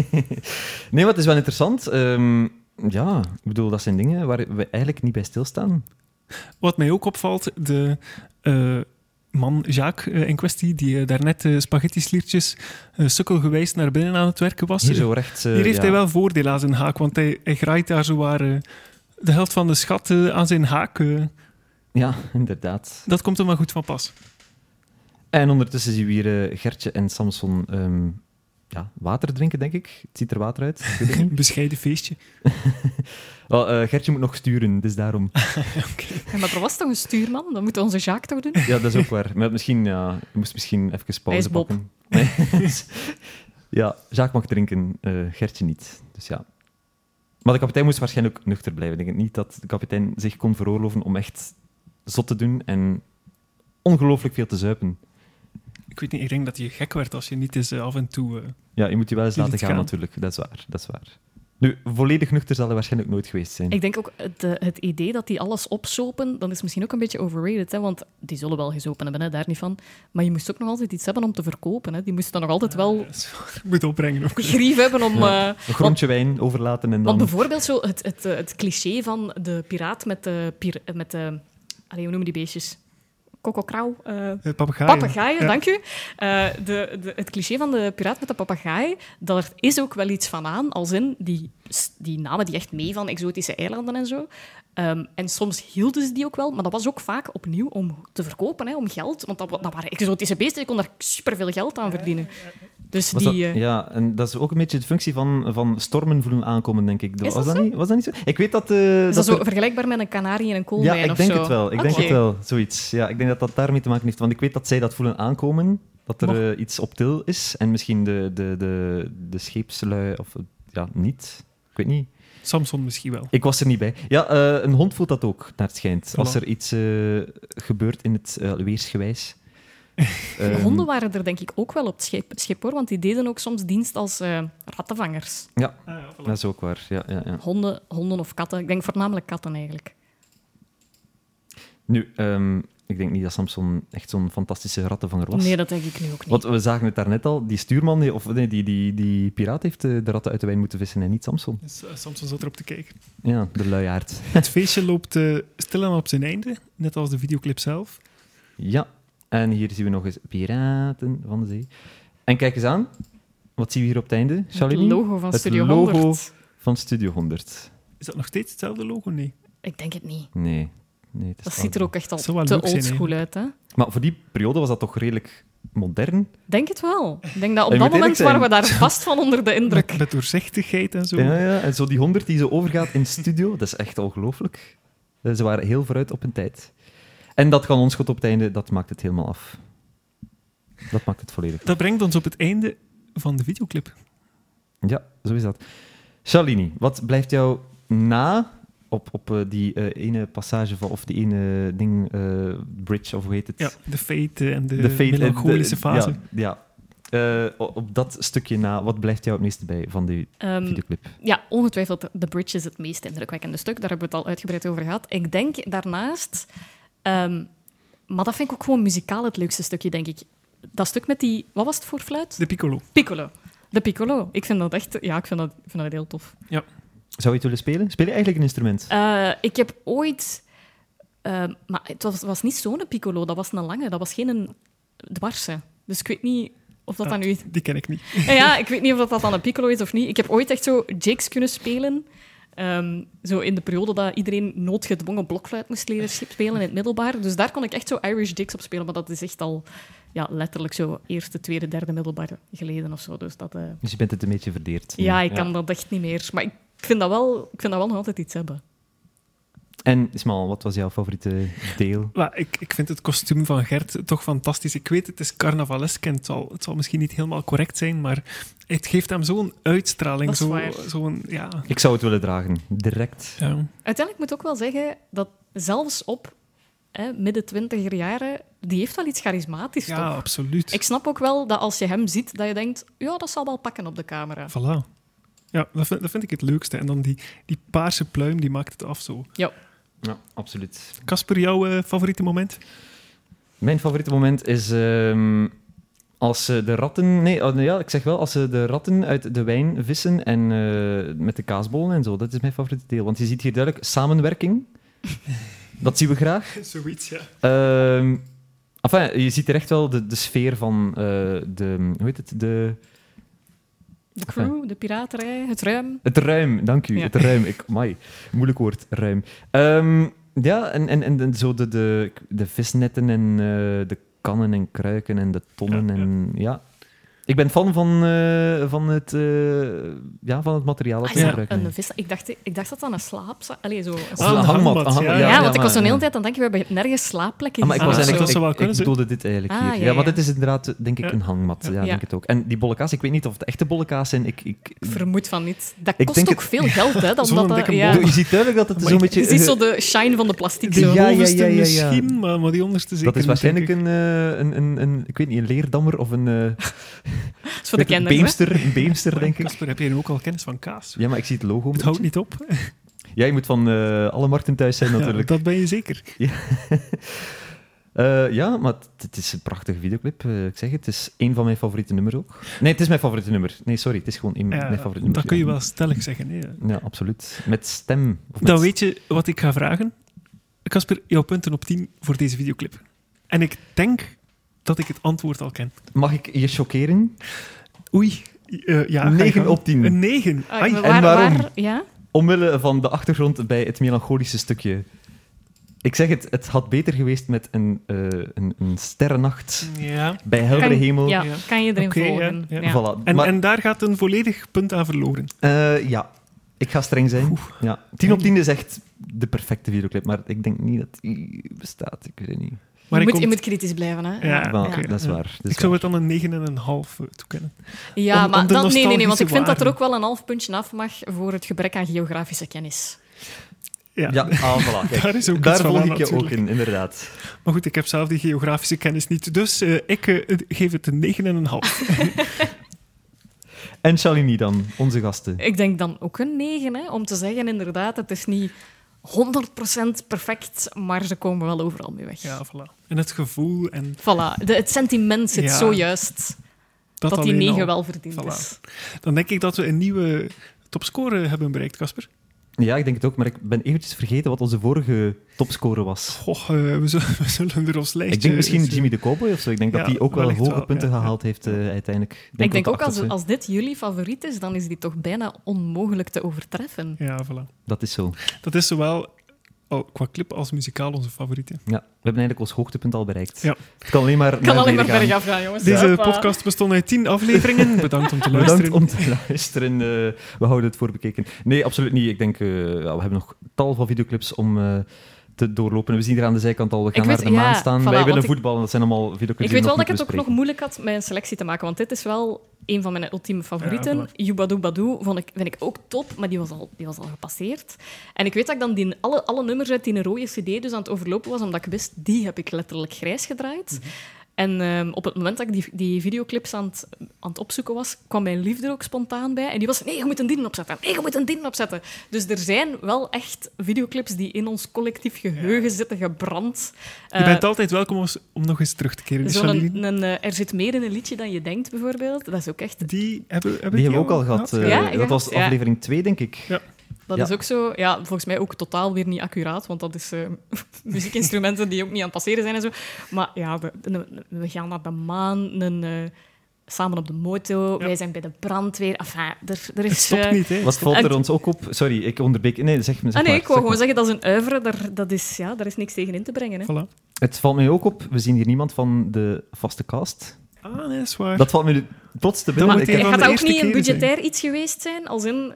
Speaker 2: maar het is wel interessant. Ehm, Ja, ik bedoel, dat zijn dingen waar we eigenlijk niet bij stilstaan.
Speaker 1: Wat mij ook opvalt, de eh, man Jacques eh, in kwestie, die eh, daarnet eh spaghetti-sliertjes eh, sukkelgewijs naar binnen aan het werken was.
Speaker 2: Hier zo recht... eh,
Speaker 1: Hier heeft
Speaker 2: ja.
Speaker 1: hij wel voordeel aan zijn haak, want hij, hij graait daar zowaar eh, de helft van de schat eh, aan zijn haak. eh.
Speaker 2: Ja, inderdaad.
Speaker 1: dat komt hem wel goed van pas.
Speaker 2: En ondertussen zien we hier eh, Gertje en Samson ehm, ja, water drinken, denk ik. Het ziet er water uit. Ik weet het *laughs* niet.
Speaker 1: Bescheiden feestje.
Speaker 2: Wel, eh, Gertje moet nog sturen, dus daarom.
Speaker 3: Ja, maar er was toch een stuurman? Dat moet onze Jacques toch doen?
Speaker 2: Ja, dat is ook waar. Maar misschien, ja, je moest misschien even pauze
Speaker 3: Hij is Bob.
Speaker 2: pakken. Nee. *laughs* ja, Jacques mag drinken, eh, Gertje niet. Dus ja. Maar de kapitein moest waarschijnlijk ook nuchter blijven. Ik denk niet dat de kapitein zich kon veroorloven om echt zot te doen en ongelooflijk veel te zuipen.
Speaker 1: Ik weet niet, ik denk dat je gek werd als je niet eens eh, af en toe... eh,
Speaker 2: Ja, je moet je wel eens
Speaker 1: Je
Speaker 2: laten
Speaker 1: liet
Speaker 2: gaan,
Speaker 1: gaan.
Speaker 2: natuurlijk. Dat is waar, dat is waar. Nu, volledig nuchter zal hij waarschijnlijk nooit geweest zijn.
Speaker 3: Ik denk ook het, eh, het idee dat die alles opsopen, dan is misschien ook een beetje overrated. Hè? Want die zullen wel gezopen hebben, hè? daar niet van. Maar je moest ook nog altijd iets hebben om te verkopen. Hè? Die moesten dan nog altijd wel
Speaker 1: dat is waar. Ik eh, *laughs* moet opbrengen ook.
Speaker 3: grief hebben om...
Speaker 2: Ja.
Speaker 3: eh,
Speaker 2: Een grondje wijn overlaten en
Speaker 3: Want
Speaker 2: dan...
Speaker 3: bijvoorbeeld zo het, het, eh, het cliché van de piraat met de... Pir, eh, met de allee, hoe noemen die beestjes? Kokokrauw? eh
Speaker 1: Eh, papegaaien.
Speaker 3: papegaaien,
Speaker 1: Ja.
Speaker 3: dank u. Eh, de, de, het cliché van de piraat met de papegaai, daar is ook wel iets van aan. Als in, die, s- die namen die echt mee van exotische eilanden en zo. Ehm, en soms hielden ze die ook wel, maar dat was ook vaak opnieuw om te verkopen, hè, om geld. Want dat, wa- dat waren exotische beesten, je kon daar superveel geld aan verdienen. Dus
Speaker 2: Was
Speaker 3: die...
Speaker 2: dat-
Speaker 3: eh,
Speaker 2: ja, en dat is ook een beetje de functie van, van stormen voelen aankomen, denk ik.
Speaker 3: Is
Speaker 2: was,
Speaker 3: dat
Speaker 2: dat
Speaker 3: zo?
Speaker 2: Niet, was dat niet zo? Ik weet dat... eh,
Speaker 3: is dat
Speaker 2: er-
Speaker 3: zo vergelijkbaar met een kanarie en een
Speaker 2: Ja,
Speaker 3: koolmijn
Speaker 2: ik
Speaker 3: of
Speaker 2: denk
Speaker 3: zo?
Speaker 2: het wel. Ik denk
Speaker 3: Oké.
Speaker 2: het wel, zoiets. Ja, ik denk dat dat daarmee te maken heeft. Want ik weet dat zij dat voelen aankomen, dat er eh, iets op til is. En misschien de, de, de, de scheepslui, of eh, ja, niet. Ik weet niet.
Speaker 1: Samson misschien wel.
Speaker 2: Ik was er niet bij. Ja, eh, een hond voelt dat ook, naar het schijnt. Als
Speaker 1: Voilà.
Speaker 2: er iets eh, gebeurt in het eh,
Speaker 3: *laughs*
Speaker 2: weersgewijs.
Speaker 3: De
Speaker 2: Ehm,
Speaker 3: honden waren er denk ik ook wel op het schip, schip hoor, want die deden ook soms dienst als eh, rattenvangers.
Speaker 2: Ja,
Speaker 1: Ah, ja, voilà.
Speaker 2: dat is ook waar. Ja, ja, ja.
Speaker 3: Honden, honden of katten. Ik denk voornamelijk katten eigenlijk.
Speaker 2: Nu, ehm, ik denk niet dat Samson echt zo'n fantastische rattenvanger was.
Speaker 3: Nee, dat denk ik nu ook niet.
Speaker 2: Want we zagen het daarnet al, die stuurman, die- of nee, die, die, die piraat heeft eh, de ratten uit de wijn moeten vissen en niet Samson.
Speaker 1: Dus, eh, Samson zat erop te kijken.
Speaker 2: Ja, de luiaard.
Speaker 1: Het feestje loopt eh stilaan op zijn einde, net als de videoclip zelf.
Speaker 2: Ja, en hier zien we nog eens piraten van de zee. En kijk eens aan, wat zien we hier op het einde,
Speaker 3: het
Speaker 2: Charlie?
Speaker 3: logo van
Speaker 2: Het
Speaker 3: Studio
Speaker 2: logo.
Speaker 3: 100.
Speaker 2: Van Studio 100.
Speaker 1: Is dat nog steeds hetzelfde logo? Nee.
Speaker 3: Ik denk het niet.
Speaker 2: Nee. nee het is
Speaker 3: Dat ziet er ook echt al
Speaker 1: Het zou wel
Speaker 3: te
Speaker 1: leuk zijn,
Speaker 3: oldschool uit, hè?
Speaker 2: Maar voor die periode was dat toch redelijk modern?
Speaker 3: Denk het wel. Ik denk dat op
Speaker 2: Ik
Speaker 3: dat
Speaker 2: moet eerlijk
Speaker 3: moment
Speaker 2: zijn.
Speaker 3: waren we daar vast van onder de
Speaker 1: *laughs*
Speaker 3: indruk.
Speaker 1: Met, met doorzichtigheid en zo.
Speaker 2: Ja, ja. En zo die 100 die zo overgaat in studio, dat is echt ongelooflijk. Eh, Ze waren heel vooruit op hun tijd. En dat kan ons goed op het einde, dat maakt het helemaal af. Dat maakt het volledig.
Speaker 1: Dat brengt ons op het einde van de videoclip.
Speaker 2: Ja, zo is dat. Charlini, wat blijft jou na op, op eh, die eh, ene passage van, of die ene ding, eh, bridge of hoe heet het?
Speaker 1: Ja, de fate en de,
Speaker 2: De fate-
Speaker 1: melancholische
Speaker 2: de-
Speaker 1: fase.
Speaker 2: Ja, ja. Eh, o- op dat stukje na, wat blijft jou het meeste bij van die
Speaker 3: Ehm,
Speaker 2: videoclip?
Speaker 3: ja, ongetwijfeld de bridge is het meest indrukwekkende stuk. Daar hebben we het al uitgebreid over gehad. Ik denk daarnaast... ehm, maar dat vind ik ook gewoon muzikaal het leukste stukje, denk ik. Dat stuk met die... Wat was het voor fluit?
Speaker 1: De piccolo.
Speaker 3: piccolo. De piccolo. Ik vind dat echt... Ja, ik vind dat, ik vind dat heel tof.
Speaker 2: Zou je het willen spelen? Speel je eigenlijk een instrument?
Speaker 3: Eh, ik heb ooit... eh, maar het was, was niet zo'n piccolo, dat was een lange. Dat was geen een dwarse. Dus ik weet niet of dat dan nu...
Speaker 1: Die ken ik niet.
Speaker 3: Eh, ja, ik weet niet of dat dan een piccolo is of niet. Ik heb ooit echt zo jigs kunnen spelen. Ehm, zo in de periode dat iedereen noodgedwongen blokfluit moest leren sch- spelen in het middelbaar. Dus daar kon ik echt zo Irish jigs op spelen. Maar dat is echt al ja, letterlijk zo eerste, tweede, derde middelbaar geleden of zo. Dus dat... eh,
Speaker 2: Dus je bent het een beetje verdeerd. nu.
Speaker 3: Ja, ik kan dat echt niet meer. Maar ik vind dat wel, ik vind dat wel nog altijd iets hebben.
Speaker 2: En Ismael, wat was jouw favoriete deel?
Speaker 1: Maar ik, ik vind het kostuum van Gert toch fantastisch. Ik weet, het is carnavalesk en het zal, het zal misschien niet helemaal correct zijn, maar het geeft hem zo'n uitstraling.
Speaker 3: Dat is
Speaker 1: zo-
Speaker 3: waar.
Speaker 1: Zo'n, ja.
Speaker 2: Ik zou het willen dragen, direct.
Speaker 1: ja.
Speaker 3: Uiteindelijk moet ik ook wel zeggen dat zelfs op hè, midden twintiger jaren, die heeft wel iets charismatisch,
Speaker 1: Ja,
Speaker 3: toch?
Speaker 1: absoluut.
Speaker 3: Ik snap ook wel dat als je hem ziet, dat je denkt, ja, dat zal wel pakken op de camera.
Speaker 1: Voilà. Ja, dat vind, dat vind ik het leukste. En dan die, die paarse pluim, die maakt het af zo.
Speaker 2: Ja, absoluut.
Speaker 1: Casper, jouw eh, favoriete moment?
Speaker 2: Mijn favoriete moment is ehm, Als ze de ratten... Nee, oh, nee, ja, ik zeg wel, als ze de ratten uit de wijn vissen en eh, met de kaasbollen en zo. Dat is mijn favoriete deel. Want je ziet hier duidelijk *laughs* samenwerking. dat zien we graag.
Speaker 1: *laughs* Zoiets, ja.
Speaker 2: Ehm, enfin, je ziet er echt wel de, de sfeer van eh, de... Hoe heet het? De...
Speaker 3: De crew, de piraterij, het ruim.
Speaker 2: Het ruim, dank u.
Speaker 3: Ja.
Speaker 2: Het ruim. Ik, amai, moeilijk woord, ruim. Ehm, ja, en, en, en, en zo de, de, de visnetten en eh, de kannen en kruiken en de tonnen.
Speaker 1: Ja, ja.
Speaker 2: en, ja. Ik ben fan van, eh, van, het, eh, ja, van het materiaal dat
Speaker 3: Ah,
Speaker 2: ze
Speaker 1: ja,
Speaker 3: ja,
Speaker 2: gebruiken.
Speaker 3: een vis. Ik dacht, ik dacht dat dat een slaap... Allee, zo. een
Speaker 2: Of
Speaker 1: Ah,
Speaker 2: een
Speaker 1: een
Speaker 2: hangmat.
Speaker 1: hangmat,
Speaker 2: een hang-
Speaker 1: ja.
Speaker 3: Ja,
Speaker 1: Ja,
Speaker 3: want ik was
Speaker 2: maar-
Speaker 3: een hele tijd aan het denken, we hebben nergens slaapplekken
Speaker 2: Ah, maar ik
Speaker 1: Ah,
Speaker 2: was
Speaker 1: zo.
Speaker 2: eigenlijk,
Speaker 1: Dat zou wel
Speaker 2: ik, ik
Speaker 1: kunnen zijn.
Speaker 2: bedoelde dit eigenlijk
Speaker 3: Ah,
Speaker 2: hier.
Speaker 3: ja,
Speaker 2: Ja,
Speaker 3: ja.
Speaker 2: want het is inderdaad, denk ik,
Speaker 1: Ja.
Speaker 2: een hangmat. Ja,
Speaker 3: Ja.
Speaker 2: denk het ook. En die bolle kaas, ik weet niet of het echte bolle kaas zijn. Ik, ik,
Speaker 3: Vermoed van niet. Dat
Speaker 2: Ik
Speaker 3: kost
Speaker 2: denk
Speaker 3: ook
Speaker 2: het-
Speaker 3: veel geld, hè. Dan
Speaker 1: Zo'n
Speaker 3: dat, dat-
Speaker 1: dikke
Speaker 3: ja.
Speaker 1: bol.
Speaker 2: Je ziet duidelijk dat het
Speaker 1: Maar
Speaker 2: zo'n
Speaker 1: ik-
Speaker 2: beetje...
Speaker 3: Je ziet zo
Speaker 2: eh,
Speaker 3: de shine van de plastic
Speaker 1: De
Speaker 3: zo.
Speaker 2: Ja, ja,
Speaker 1: bovenste
Speaker 2: ja, ja, ja.
Speaker 1: misschien, maar, maar die onderste zeker
Speaker 2: dat is
Speaker 1: niet,
Speaker 2: waarschijnlijk
Speaker 1: denk
Speaker 2: een, eh, een, een, een, ik weet niet, een leerdammer of een, eh,
Speaker 3: Dat is voor de
Speaker 2: een
Speaker 3: kinderen. hè.
Speaker 2: beemster, een beemster,
Speaker 1: ik.
Speaker 2: denk ik.
Speaker 1: Kasper, heb jij nu ook al kennis van kaas?
Speaker 2: Ja, maar ik zie het logo.
Speaker 1: Het houdt niet op.
Speaker 2: Ja, je moet van eh, alle markten thuis
Speaker 1: *laughs*
Speaker 2: zijn
Speaker 1: Ja,
Speaker 2: natuurlijk. Ja,
Speaker 1: dat ben je zeker.
Speaker 2: Eh, ja maar het, het is een prachtige videoclip. eh, ik zeg het, het is één van mijn favoriete nummers ook. Nee, het is mijn favoriete nummer. Nee, sorry, het is gewoon één,
Speaker 1: Ja,
Speaker 2: mijn favoriete nummer.
Speaker 1: dat kun je
Speaker 2: ja.
Speaker 1: wel stellig zeggen. Hè.
Speaker 2: Ja, absoluut. Met stem. Of met
Speaker 1: Dan weet je wat ik ga vragen. Casper, jouw punten op 10 voor deze videoclip. En ik denk dat ik het antwoord al ken.
Speaker 2: Mag ik je choqueren?
Speaker 1: Oei. Eh, ja, ga je
Speaker 2: 9
Speaker 1: gang.
Speaker 2: op 10.
Speaker 1: Een 9.
Speaker 3: Ah,
Speaker 2: en
Speaker 3: maar waar-
Speaker 2: waarom?
Speaker 3: waar- Ja?
Speaker 2: Omwille van de achtergrond bij het melancholische stukje. Ik zeg het, het had beter geweest met een, eh een, een sterrennacht
Speaker 1: Ja.
Speaker 2: bij heldere
Speaker 3: Kan,
Speaker 2: hemel.
Speaker 1: Ja.
Speaker 3: ja, kan je erin
Speaker 1: Oké, ja,
Speaker 3: volgen.
Speaker 1: ja.
Speaker 3: Ja.
Speaker 2: Voilà.
Speaker 1: En,
Speaker 2: maar,
Speaker 1: en daar gaat een volledig punt aan verloren.
Speaker 2: eh, ja, ik ga streng zijn. Ja. 10 op 10 is echt de perfecte videoclip, maar ik denk niet dat die bestaat. Ik weet het niet.
Speaker 1: Maar
Speaker 3: je,
Speaker 1: ik
Speaker 3: moet, je
Speaker 1: kom-
Speaker 3: moet kritisch blijven, hè.
Speaker 1: Ja,
Speaker 2: Maar
Speaker 1: oké.
Speaker 2: dat is
Speaker 1: ja.
Speaker 2: waar. dat is
Speaker 1: Ik zou
Speaker 2: waar.
Speaker 1: het dan een 9,5 toekennen.
Speaker 3: Ja,
Speaker 1: Om- om
Speaker 3: maar
Speaker 1: de
Speaker 3: dat, nee, nee, nee, want ik
Speaker 1: nostalgische
Speaker 3: vind dat er
Speaker 1: waarde.
Speaker 3: ook wel een half puntje af mag voor het gebrek aan geografische kennis.
Speaker 1: Ja.
Speaker 2: Ja, ah, voilà. Kijk,
Speaker 1: Daar is ook iets
Speaker 2: daar
Speaker 1: van
Speaker 2: volg
Speaker 1: aan,
Speaker 2: ik je ook
Speaker 1: natuurlijk.
Speaker 2: in, inderdaad.
Speaker 1: Maar goed, ik heb zelf die geografische kennis niet. Dus eh, ik eh, geef het een
Speaker 3: *laughs*
Speaker 1: 9,5.
Speaker 2: En Shalini dan, onze gasten.
Speaker 3: Ik denk dan ook een 9, hè, om te zeggen inderdaad, het is niet 100% perfect, maar ze komen wel overal mee weg.
Speaker 1: Ja, voilà. En het gevoel en
Speaker 3: Voilà, de, het sentiment zit
Speaker 1: Ja.
Speaker 3: zojuist
Speaker 1: dat,
Speaker 3: dat, die
Speaker 1: alleen
Speaker 3: 9
Speaker 1: al.
Speaker 3: wel verdiend
Speaker 1: Voilà.
Speaker 3: is.
Speaker 1: Dan denk ik dat we een nieuwe topscore hebben bereikt, Casper.
Speaker 2: Ja, ik denk het ook, maar ik ben eventjes vergeten wat onze vorige topscore was.
Speaker 1: Goh, eh, we, zullen, *laughs* we zullen er ons lijstje...
Speaker 2: Ik denk misschien
Speaker 1: eens- eh,
Speaker 2: Jimmy de Cowboy of zo. Ik denk
Speaker 1: Ja,
Speaker 2: dat die ook wel
Speaker 1: wellicht
Speaker 2: hoge
Speaker 1: wel,
Speaker 2: punten
Speaker 1: ja, ja.
Speaker 2: gehaald heeft eh, uiteindelijk.
Speaker 3: ik denk
Speaker 2: dat
Speaker 3: ook,
Speaker 2: de
Speaker 3: als,
Speaker 2: achtste-
Speaker 3: als dit jullie favoriet is, dan is die toch bijna onmogelijk te overtreffen.
Speaker 1: Ja, voilà.
Speaker 2: Dat is zo.
Speaker 1: Dat is zowel al qua clip als muzikaal onze favoriete.
Speaker 2: Ja, we hebben eigenlijk ons hoogtepunt al bereikt.
Speaker 1: Ja.
Speaker 2: Het kan alleen maar
Speaker 3: Ik kan
Speaker 2: naar
Speaker 3: alleen maar
Speaker 2: beneden gaan.
Speaker 3: bergaf gaan, jongens.
Speaker 1: Deze
Speaker 3: Hoppa.
Speaker 1: podcast bestond uit 10
Speaker 2: *laughs*
Speaker 1: afleveringen. Bedankt om te luisteren.
Speaker 2: Bedankt om te *laughs* luisteren. eh, we houden het voor bekeken. Nee, absoluut niet. Ik denk, eh, ja, we hebben nog tal van videoclips om eh, te doorlopen. We zien hier aan de zijkant al, we gaan
Speaker 3: weet-
Speaker 2: naar de
Speaker 3: ja,
Speaker 2: maan staan.
Speaker 3: voilà,
Speaker 2: Wij willen
Speaker 3: want ik-
Speaker 2: voetballen, dat zijn allemaal videoclips
Speaker 3: Ik
Speaker 2: die
Speaker 3: weet
Speaker 2: we
Speaker 3: wel
Speaker 2: nog
Speaker 3: dat ik het
Speaker 2: moeten
Speaker 3: ook nog
Speaker 2: bespreken.
Speaker 3: moeilijk had met een selectie te maken, want dit is wel een van mijn ultieme favorieten.
Speaker 1: Ja, voilà.
Speaker 3: Yubadoo Badoo vond ik, vind ik ook top, maar die was, al, die was al gepasseerd. En ik weet dat ik dan die, alle, alle nummers uit die een rode cd dus aan het overlopen was, omdat ik wist, die heb ik letterlijk grijs gedraaid. En ehm, op het moment dat ik die, die videoclips aan het, aan het opzoeken was, kwam mijn liefde er ook spontaan bij. En die was, nee, je moet een dienen opzetten. Nee, je moet een dienen opzetten. Dus er zijn wel echt videoclips die in ons collectief geheugen zitten gebrand.
Speaker 1: Je
Speaker 3: Eh,
Speaker 1: bent altijd welkom als- om nog eens terug te keren. Dus
Speaker 3: Zo'n
Speaker 1: Shalini.
Speaker 3: een, eh, er zit meer in een liedje dan je denkt, bijvoorbeeld. Dat is ook echt...
Speaker 1: Die hebben, hebben
Speaker 2: Die hebben we ook al gehad. eh,
Speaker 3: Ja, ik
Speaker 2: dat was
Speaker 3: dacht, ja.
Speaker 2: aflevering 2, denk ik.
Speaker 3: Dat
Speaker 2: Ja.
Speaker 3: is ook zo... Ja, volgens mij ook totaal weer niet accuraat, want dat is eh, *laughs* muziekinstrumenten die ook niet aan het passeren zijn en zo. Maar ja, we, we- we gaan naar de maan, een, eh, samen op de moto,
Speaker 1: Ja.
Speaker 3: wij zijn bij de brandweer. Enfin, er, er
Speaker 1: Het
Speaker 3: is...
Speaker 1: stopt
Speaker 3: eh,
Speaker 1: niet, hè.
Speaker 2: Wat valt
Speaker 3: En-
Speaker 2: er ons ook op? Sorry, ik onderbreek. Nee, zeg me. Zeg
Speaker 3: ah nee,
Speaker 2: maar,
Speaker 3: ik wou
Speaker 2: zeg
Speaker 3: gewoon
Speaker 2: maar.
Speaker 3: zeggen, dat is een uivre, daar, dat is, ja, daar is niks tegen in te brengen. Hè.
Speaker 1: Voilà.
Speaker 2: Het valt mij ook op. We zien hier niemand van de vaste cast.
Speaker 1: Ah, nee, dat is waar.
Speaker 2: Dat valt me nu plots te binnen.
Speaker 1: moet
Speaker 2: Ik
Speaker 1: hij
Speaker 2: heb-
Speaker 1: van
Speaker 3: Gaat
Speaker 1: de
Speaker 3: dat ook
Speaker 1: eerste
Speaker 3: niet een
Speaker 1: keren zijn.
Speaker 3: budgetair iets geweest zijn, als in...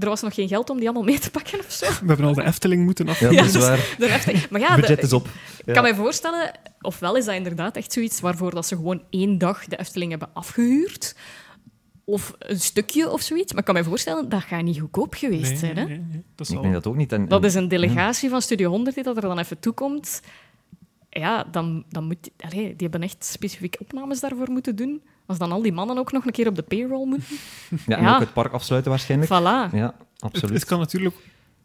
Speaker 3: Er was nog geen geld om die allemaal mee te pakken of zo.
Speaker 1: We hebben al de Efteling moeten
Speaker 2: Ja,
Speaker 1: af.
Speaker 2: dat
Speaker 3: Ja,
Speaker 2: is
Speaker 3: dus-
Speaker 2: waar.
Speaker 3: De Efteling- Maar ja, de-
Speaker 2: Budget is op.
Speaker 3: Ik kan mij voorstellen, ofwel is dat inderdaad echt zoiets waarvoor dat ze gewoon één dag de Efteling hebben afgehuurd. Of een stukje of zoiets. Maar ik kan mij voorstellen, dat gaat niet goedkoop geweest
Speaker 1: Nee,
Speaker 3: zijn. Hè?
Speaker 1: nee, nee, nee. Dat
Speaker 2: Ik
Speaker 1: zal
Speaker 2: denk dat ook niet. En,
Speaker 3: Dat is een delegatie van Studio 100 die dat er dan even toekomt. Ja, dan, dan moet... Die, allee, die hebben echt specifieke opnames daarvoor moeten doen. Als dan al die mannen ook nog een keer op de payroll moeten.
Speaker 2: ja, en
Speaker 3: ja.
Speaker 2: ook het park afsluiten waarschijnlijk. Ja,
Speaker 3: Voilà.
Speaker 1: Het,
Speaker 2: absoluut.
Speaker 1: het kan natuurlijk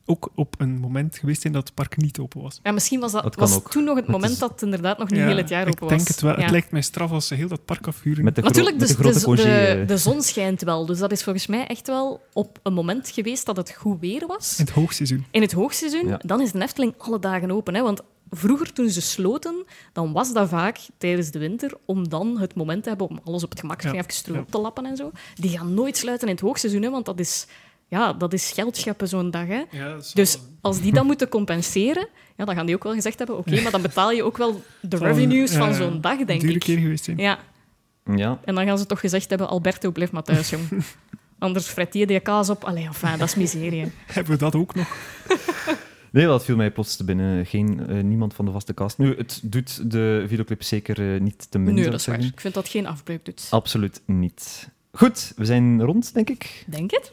Speaker 1: ook op een moment geweest zijn dat het park niet open was.
Speaker 3: Ja, misschien was dat,
Speaker 2: Dat kan
Speaker 3: was
Speaker 2: ook.
Speaker 3: toen nog het
Speaker 2: Maar het
Speaker 3: moment
Speaker 2: is-
Speaker 3: dat het inderdaad nog niet
Speaker 1: Ja,
Speaker 3: heel het
Speaker 1: ik
Speaker 3: jaar open was.
Speaker 1: denk het wel.
Speaker 3: Ja.
Speaker 1: Het lijkt mij straf als ze heel dat park afhuren.
Speaker 2: Met de, gro-
Speaker 3: Natuurlijk,
Speaker 2: met
Speaker 3: de,
Speaker 2: de grote
Speaker 3: de,
Speaker 2: congé,
Speaker 3: de,
Speaker 2: eh,
Speaker 3: de zon schijnt wel. Dus dat is volgens mij echt wel op een moment geweest dat het goed weer was.
Speaker 1: In het hoogseizoen.
Speaker 3: In het hoogseizoen,
Speaker 2: Ja.
Speaker 3: dan is de Efteling alle dagen open. Hè? Want vroeger, toen ze sloten, dan was dat vaak tijdens de winter om dan het moment te hebben om alles op het gemak
Speaker 1: Ja.
Speaker 3: even terug op te lappen en zo. Die gaan nooit sluiten in het hoogseizoen, hè? want dat is, ja, dat is geld scheppen zo'n dag. Hè? Dus als die dat moeten compenseren, ja, dan gaan die ook wel gezegd hebben, oké, maar dan betaal je ook wel de
Speaker 1: Zal een-
Speaker 3: revenues van
Speaker 1: ja,
Speaker 3: zo'n dag, denk
Speaker 1: dure
Speaker 3: ik.
Speaker 1: keer geweest zijn.
Speaker 3: Ja,
Speaker 2: Ja,
Speaker 3: en dan gaan ze toch gezegd hebben, Alberto, blijf maar thuis, jong. Anders fret je die kaas op. Allee, enfin, dat is miserie.
Speaker 1: Hebben we dat ook nog?
Speaker 2: Nee, dat viel mij plots te binnen. Geen, eh, niemand van de vaste cast. Nu, het doet de videoclip zeker eh, niet te min.
Speaker 3: Nee,
Speaker 2: zou
Speaker 3: dat
Speaker 2: ik
Speaker 3: is waar.
Speaker 2: zeggen.
Speaker 3: Ik vind dat geen afbreuk doet.
Speaker 2: Absoluut niet. Goed, we zijn rond, denk ik.
Speaker 3: Denk het?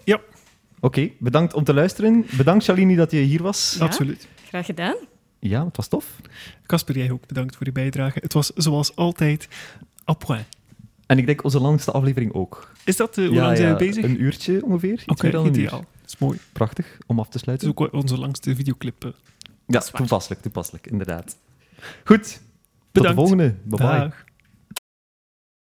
Speaker 2: Oké, bedankt om te luisteren. Bedankt, Shalini, dat je hier was.
Speaker 3: Ja?
Speaker 1: Absoluut.
Speaker 3: Graag gedaan.
Speaker 2: Ja, het was tof.
Speaker 1: Casper, jij ook bedankt voor je bijdrage. Het was zoals altijd à point.
Speaker 2: En ik denk onze langste aflevering ook.
Speaker 1: Is dat de, hoe
Speaker 2: Ja,
Speaker 1: lang zijn
Speaker 2: ja,
Speaker 1: we bezig?
Speaker 2: Een uurtje ongeveer. Iets
Speaker 1: Oké,
Speaker 2: meer dan een uur.
Speaker 1: ideaal. Dat is mooi.
Speaker 2: Prachtig, om af te
Speaker 1: Het is
Speaker 2: sluiten.
Speaker 1: ook wel onze langste videoclip. eh.
Speaker 2: Ja,
Speaker 3: is waar.
Speaker 2: toepasselijk, toepasselijk, inderdaad. Goed, tot de
Speaker 1: Bedankt.
Speaker 2: volgende. Bye-bye.
Speaker 1: Dag.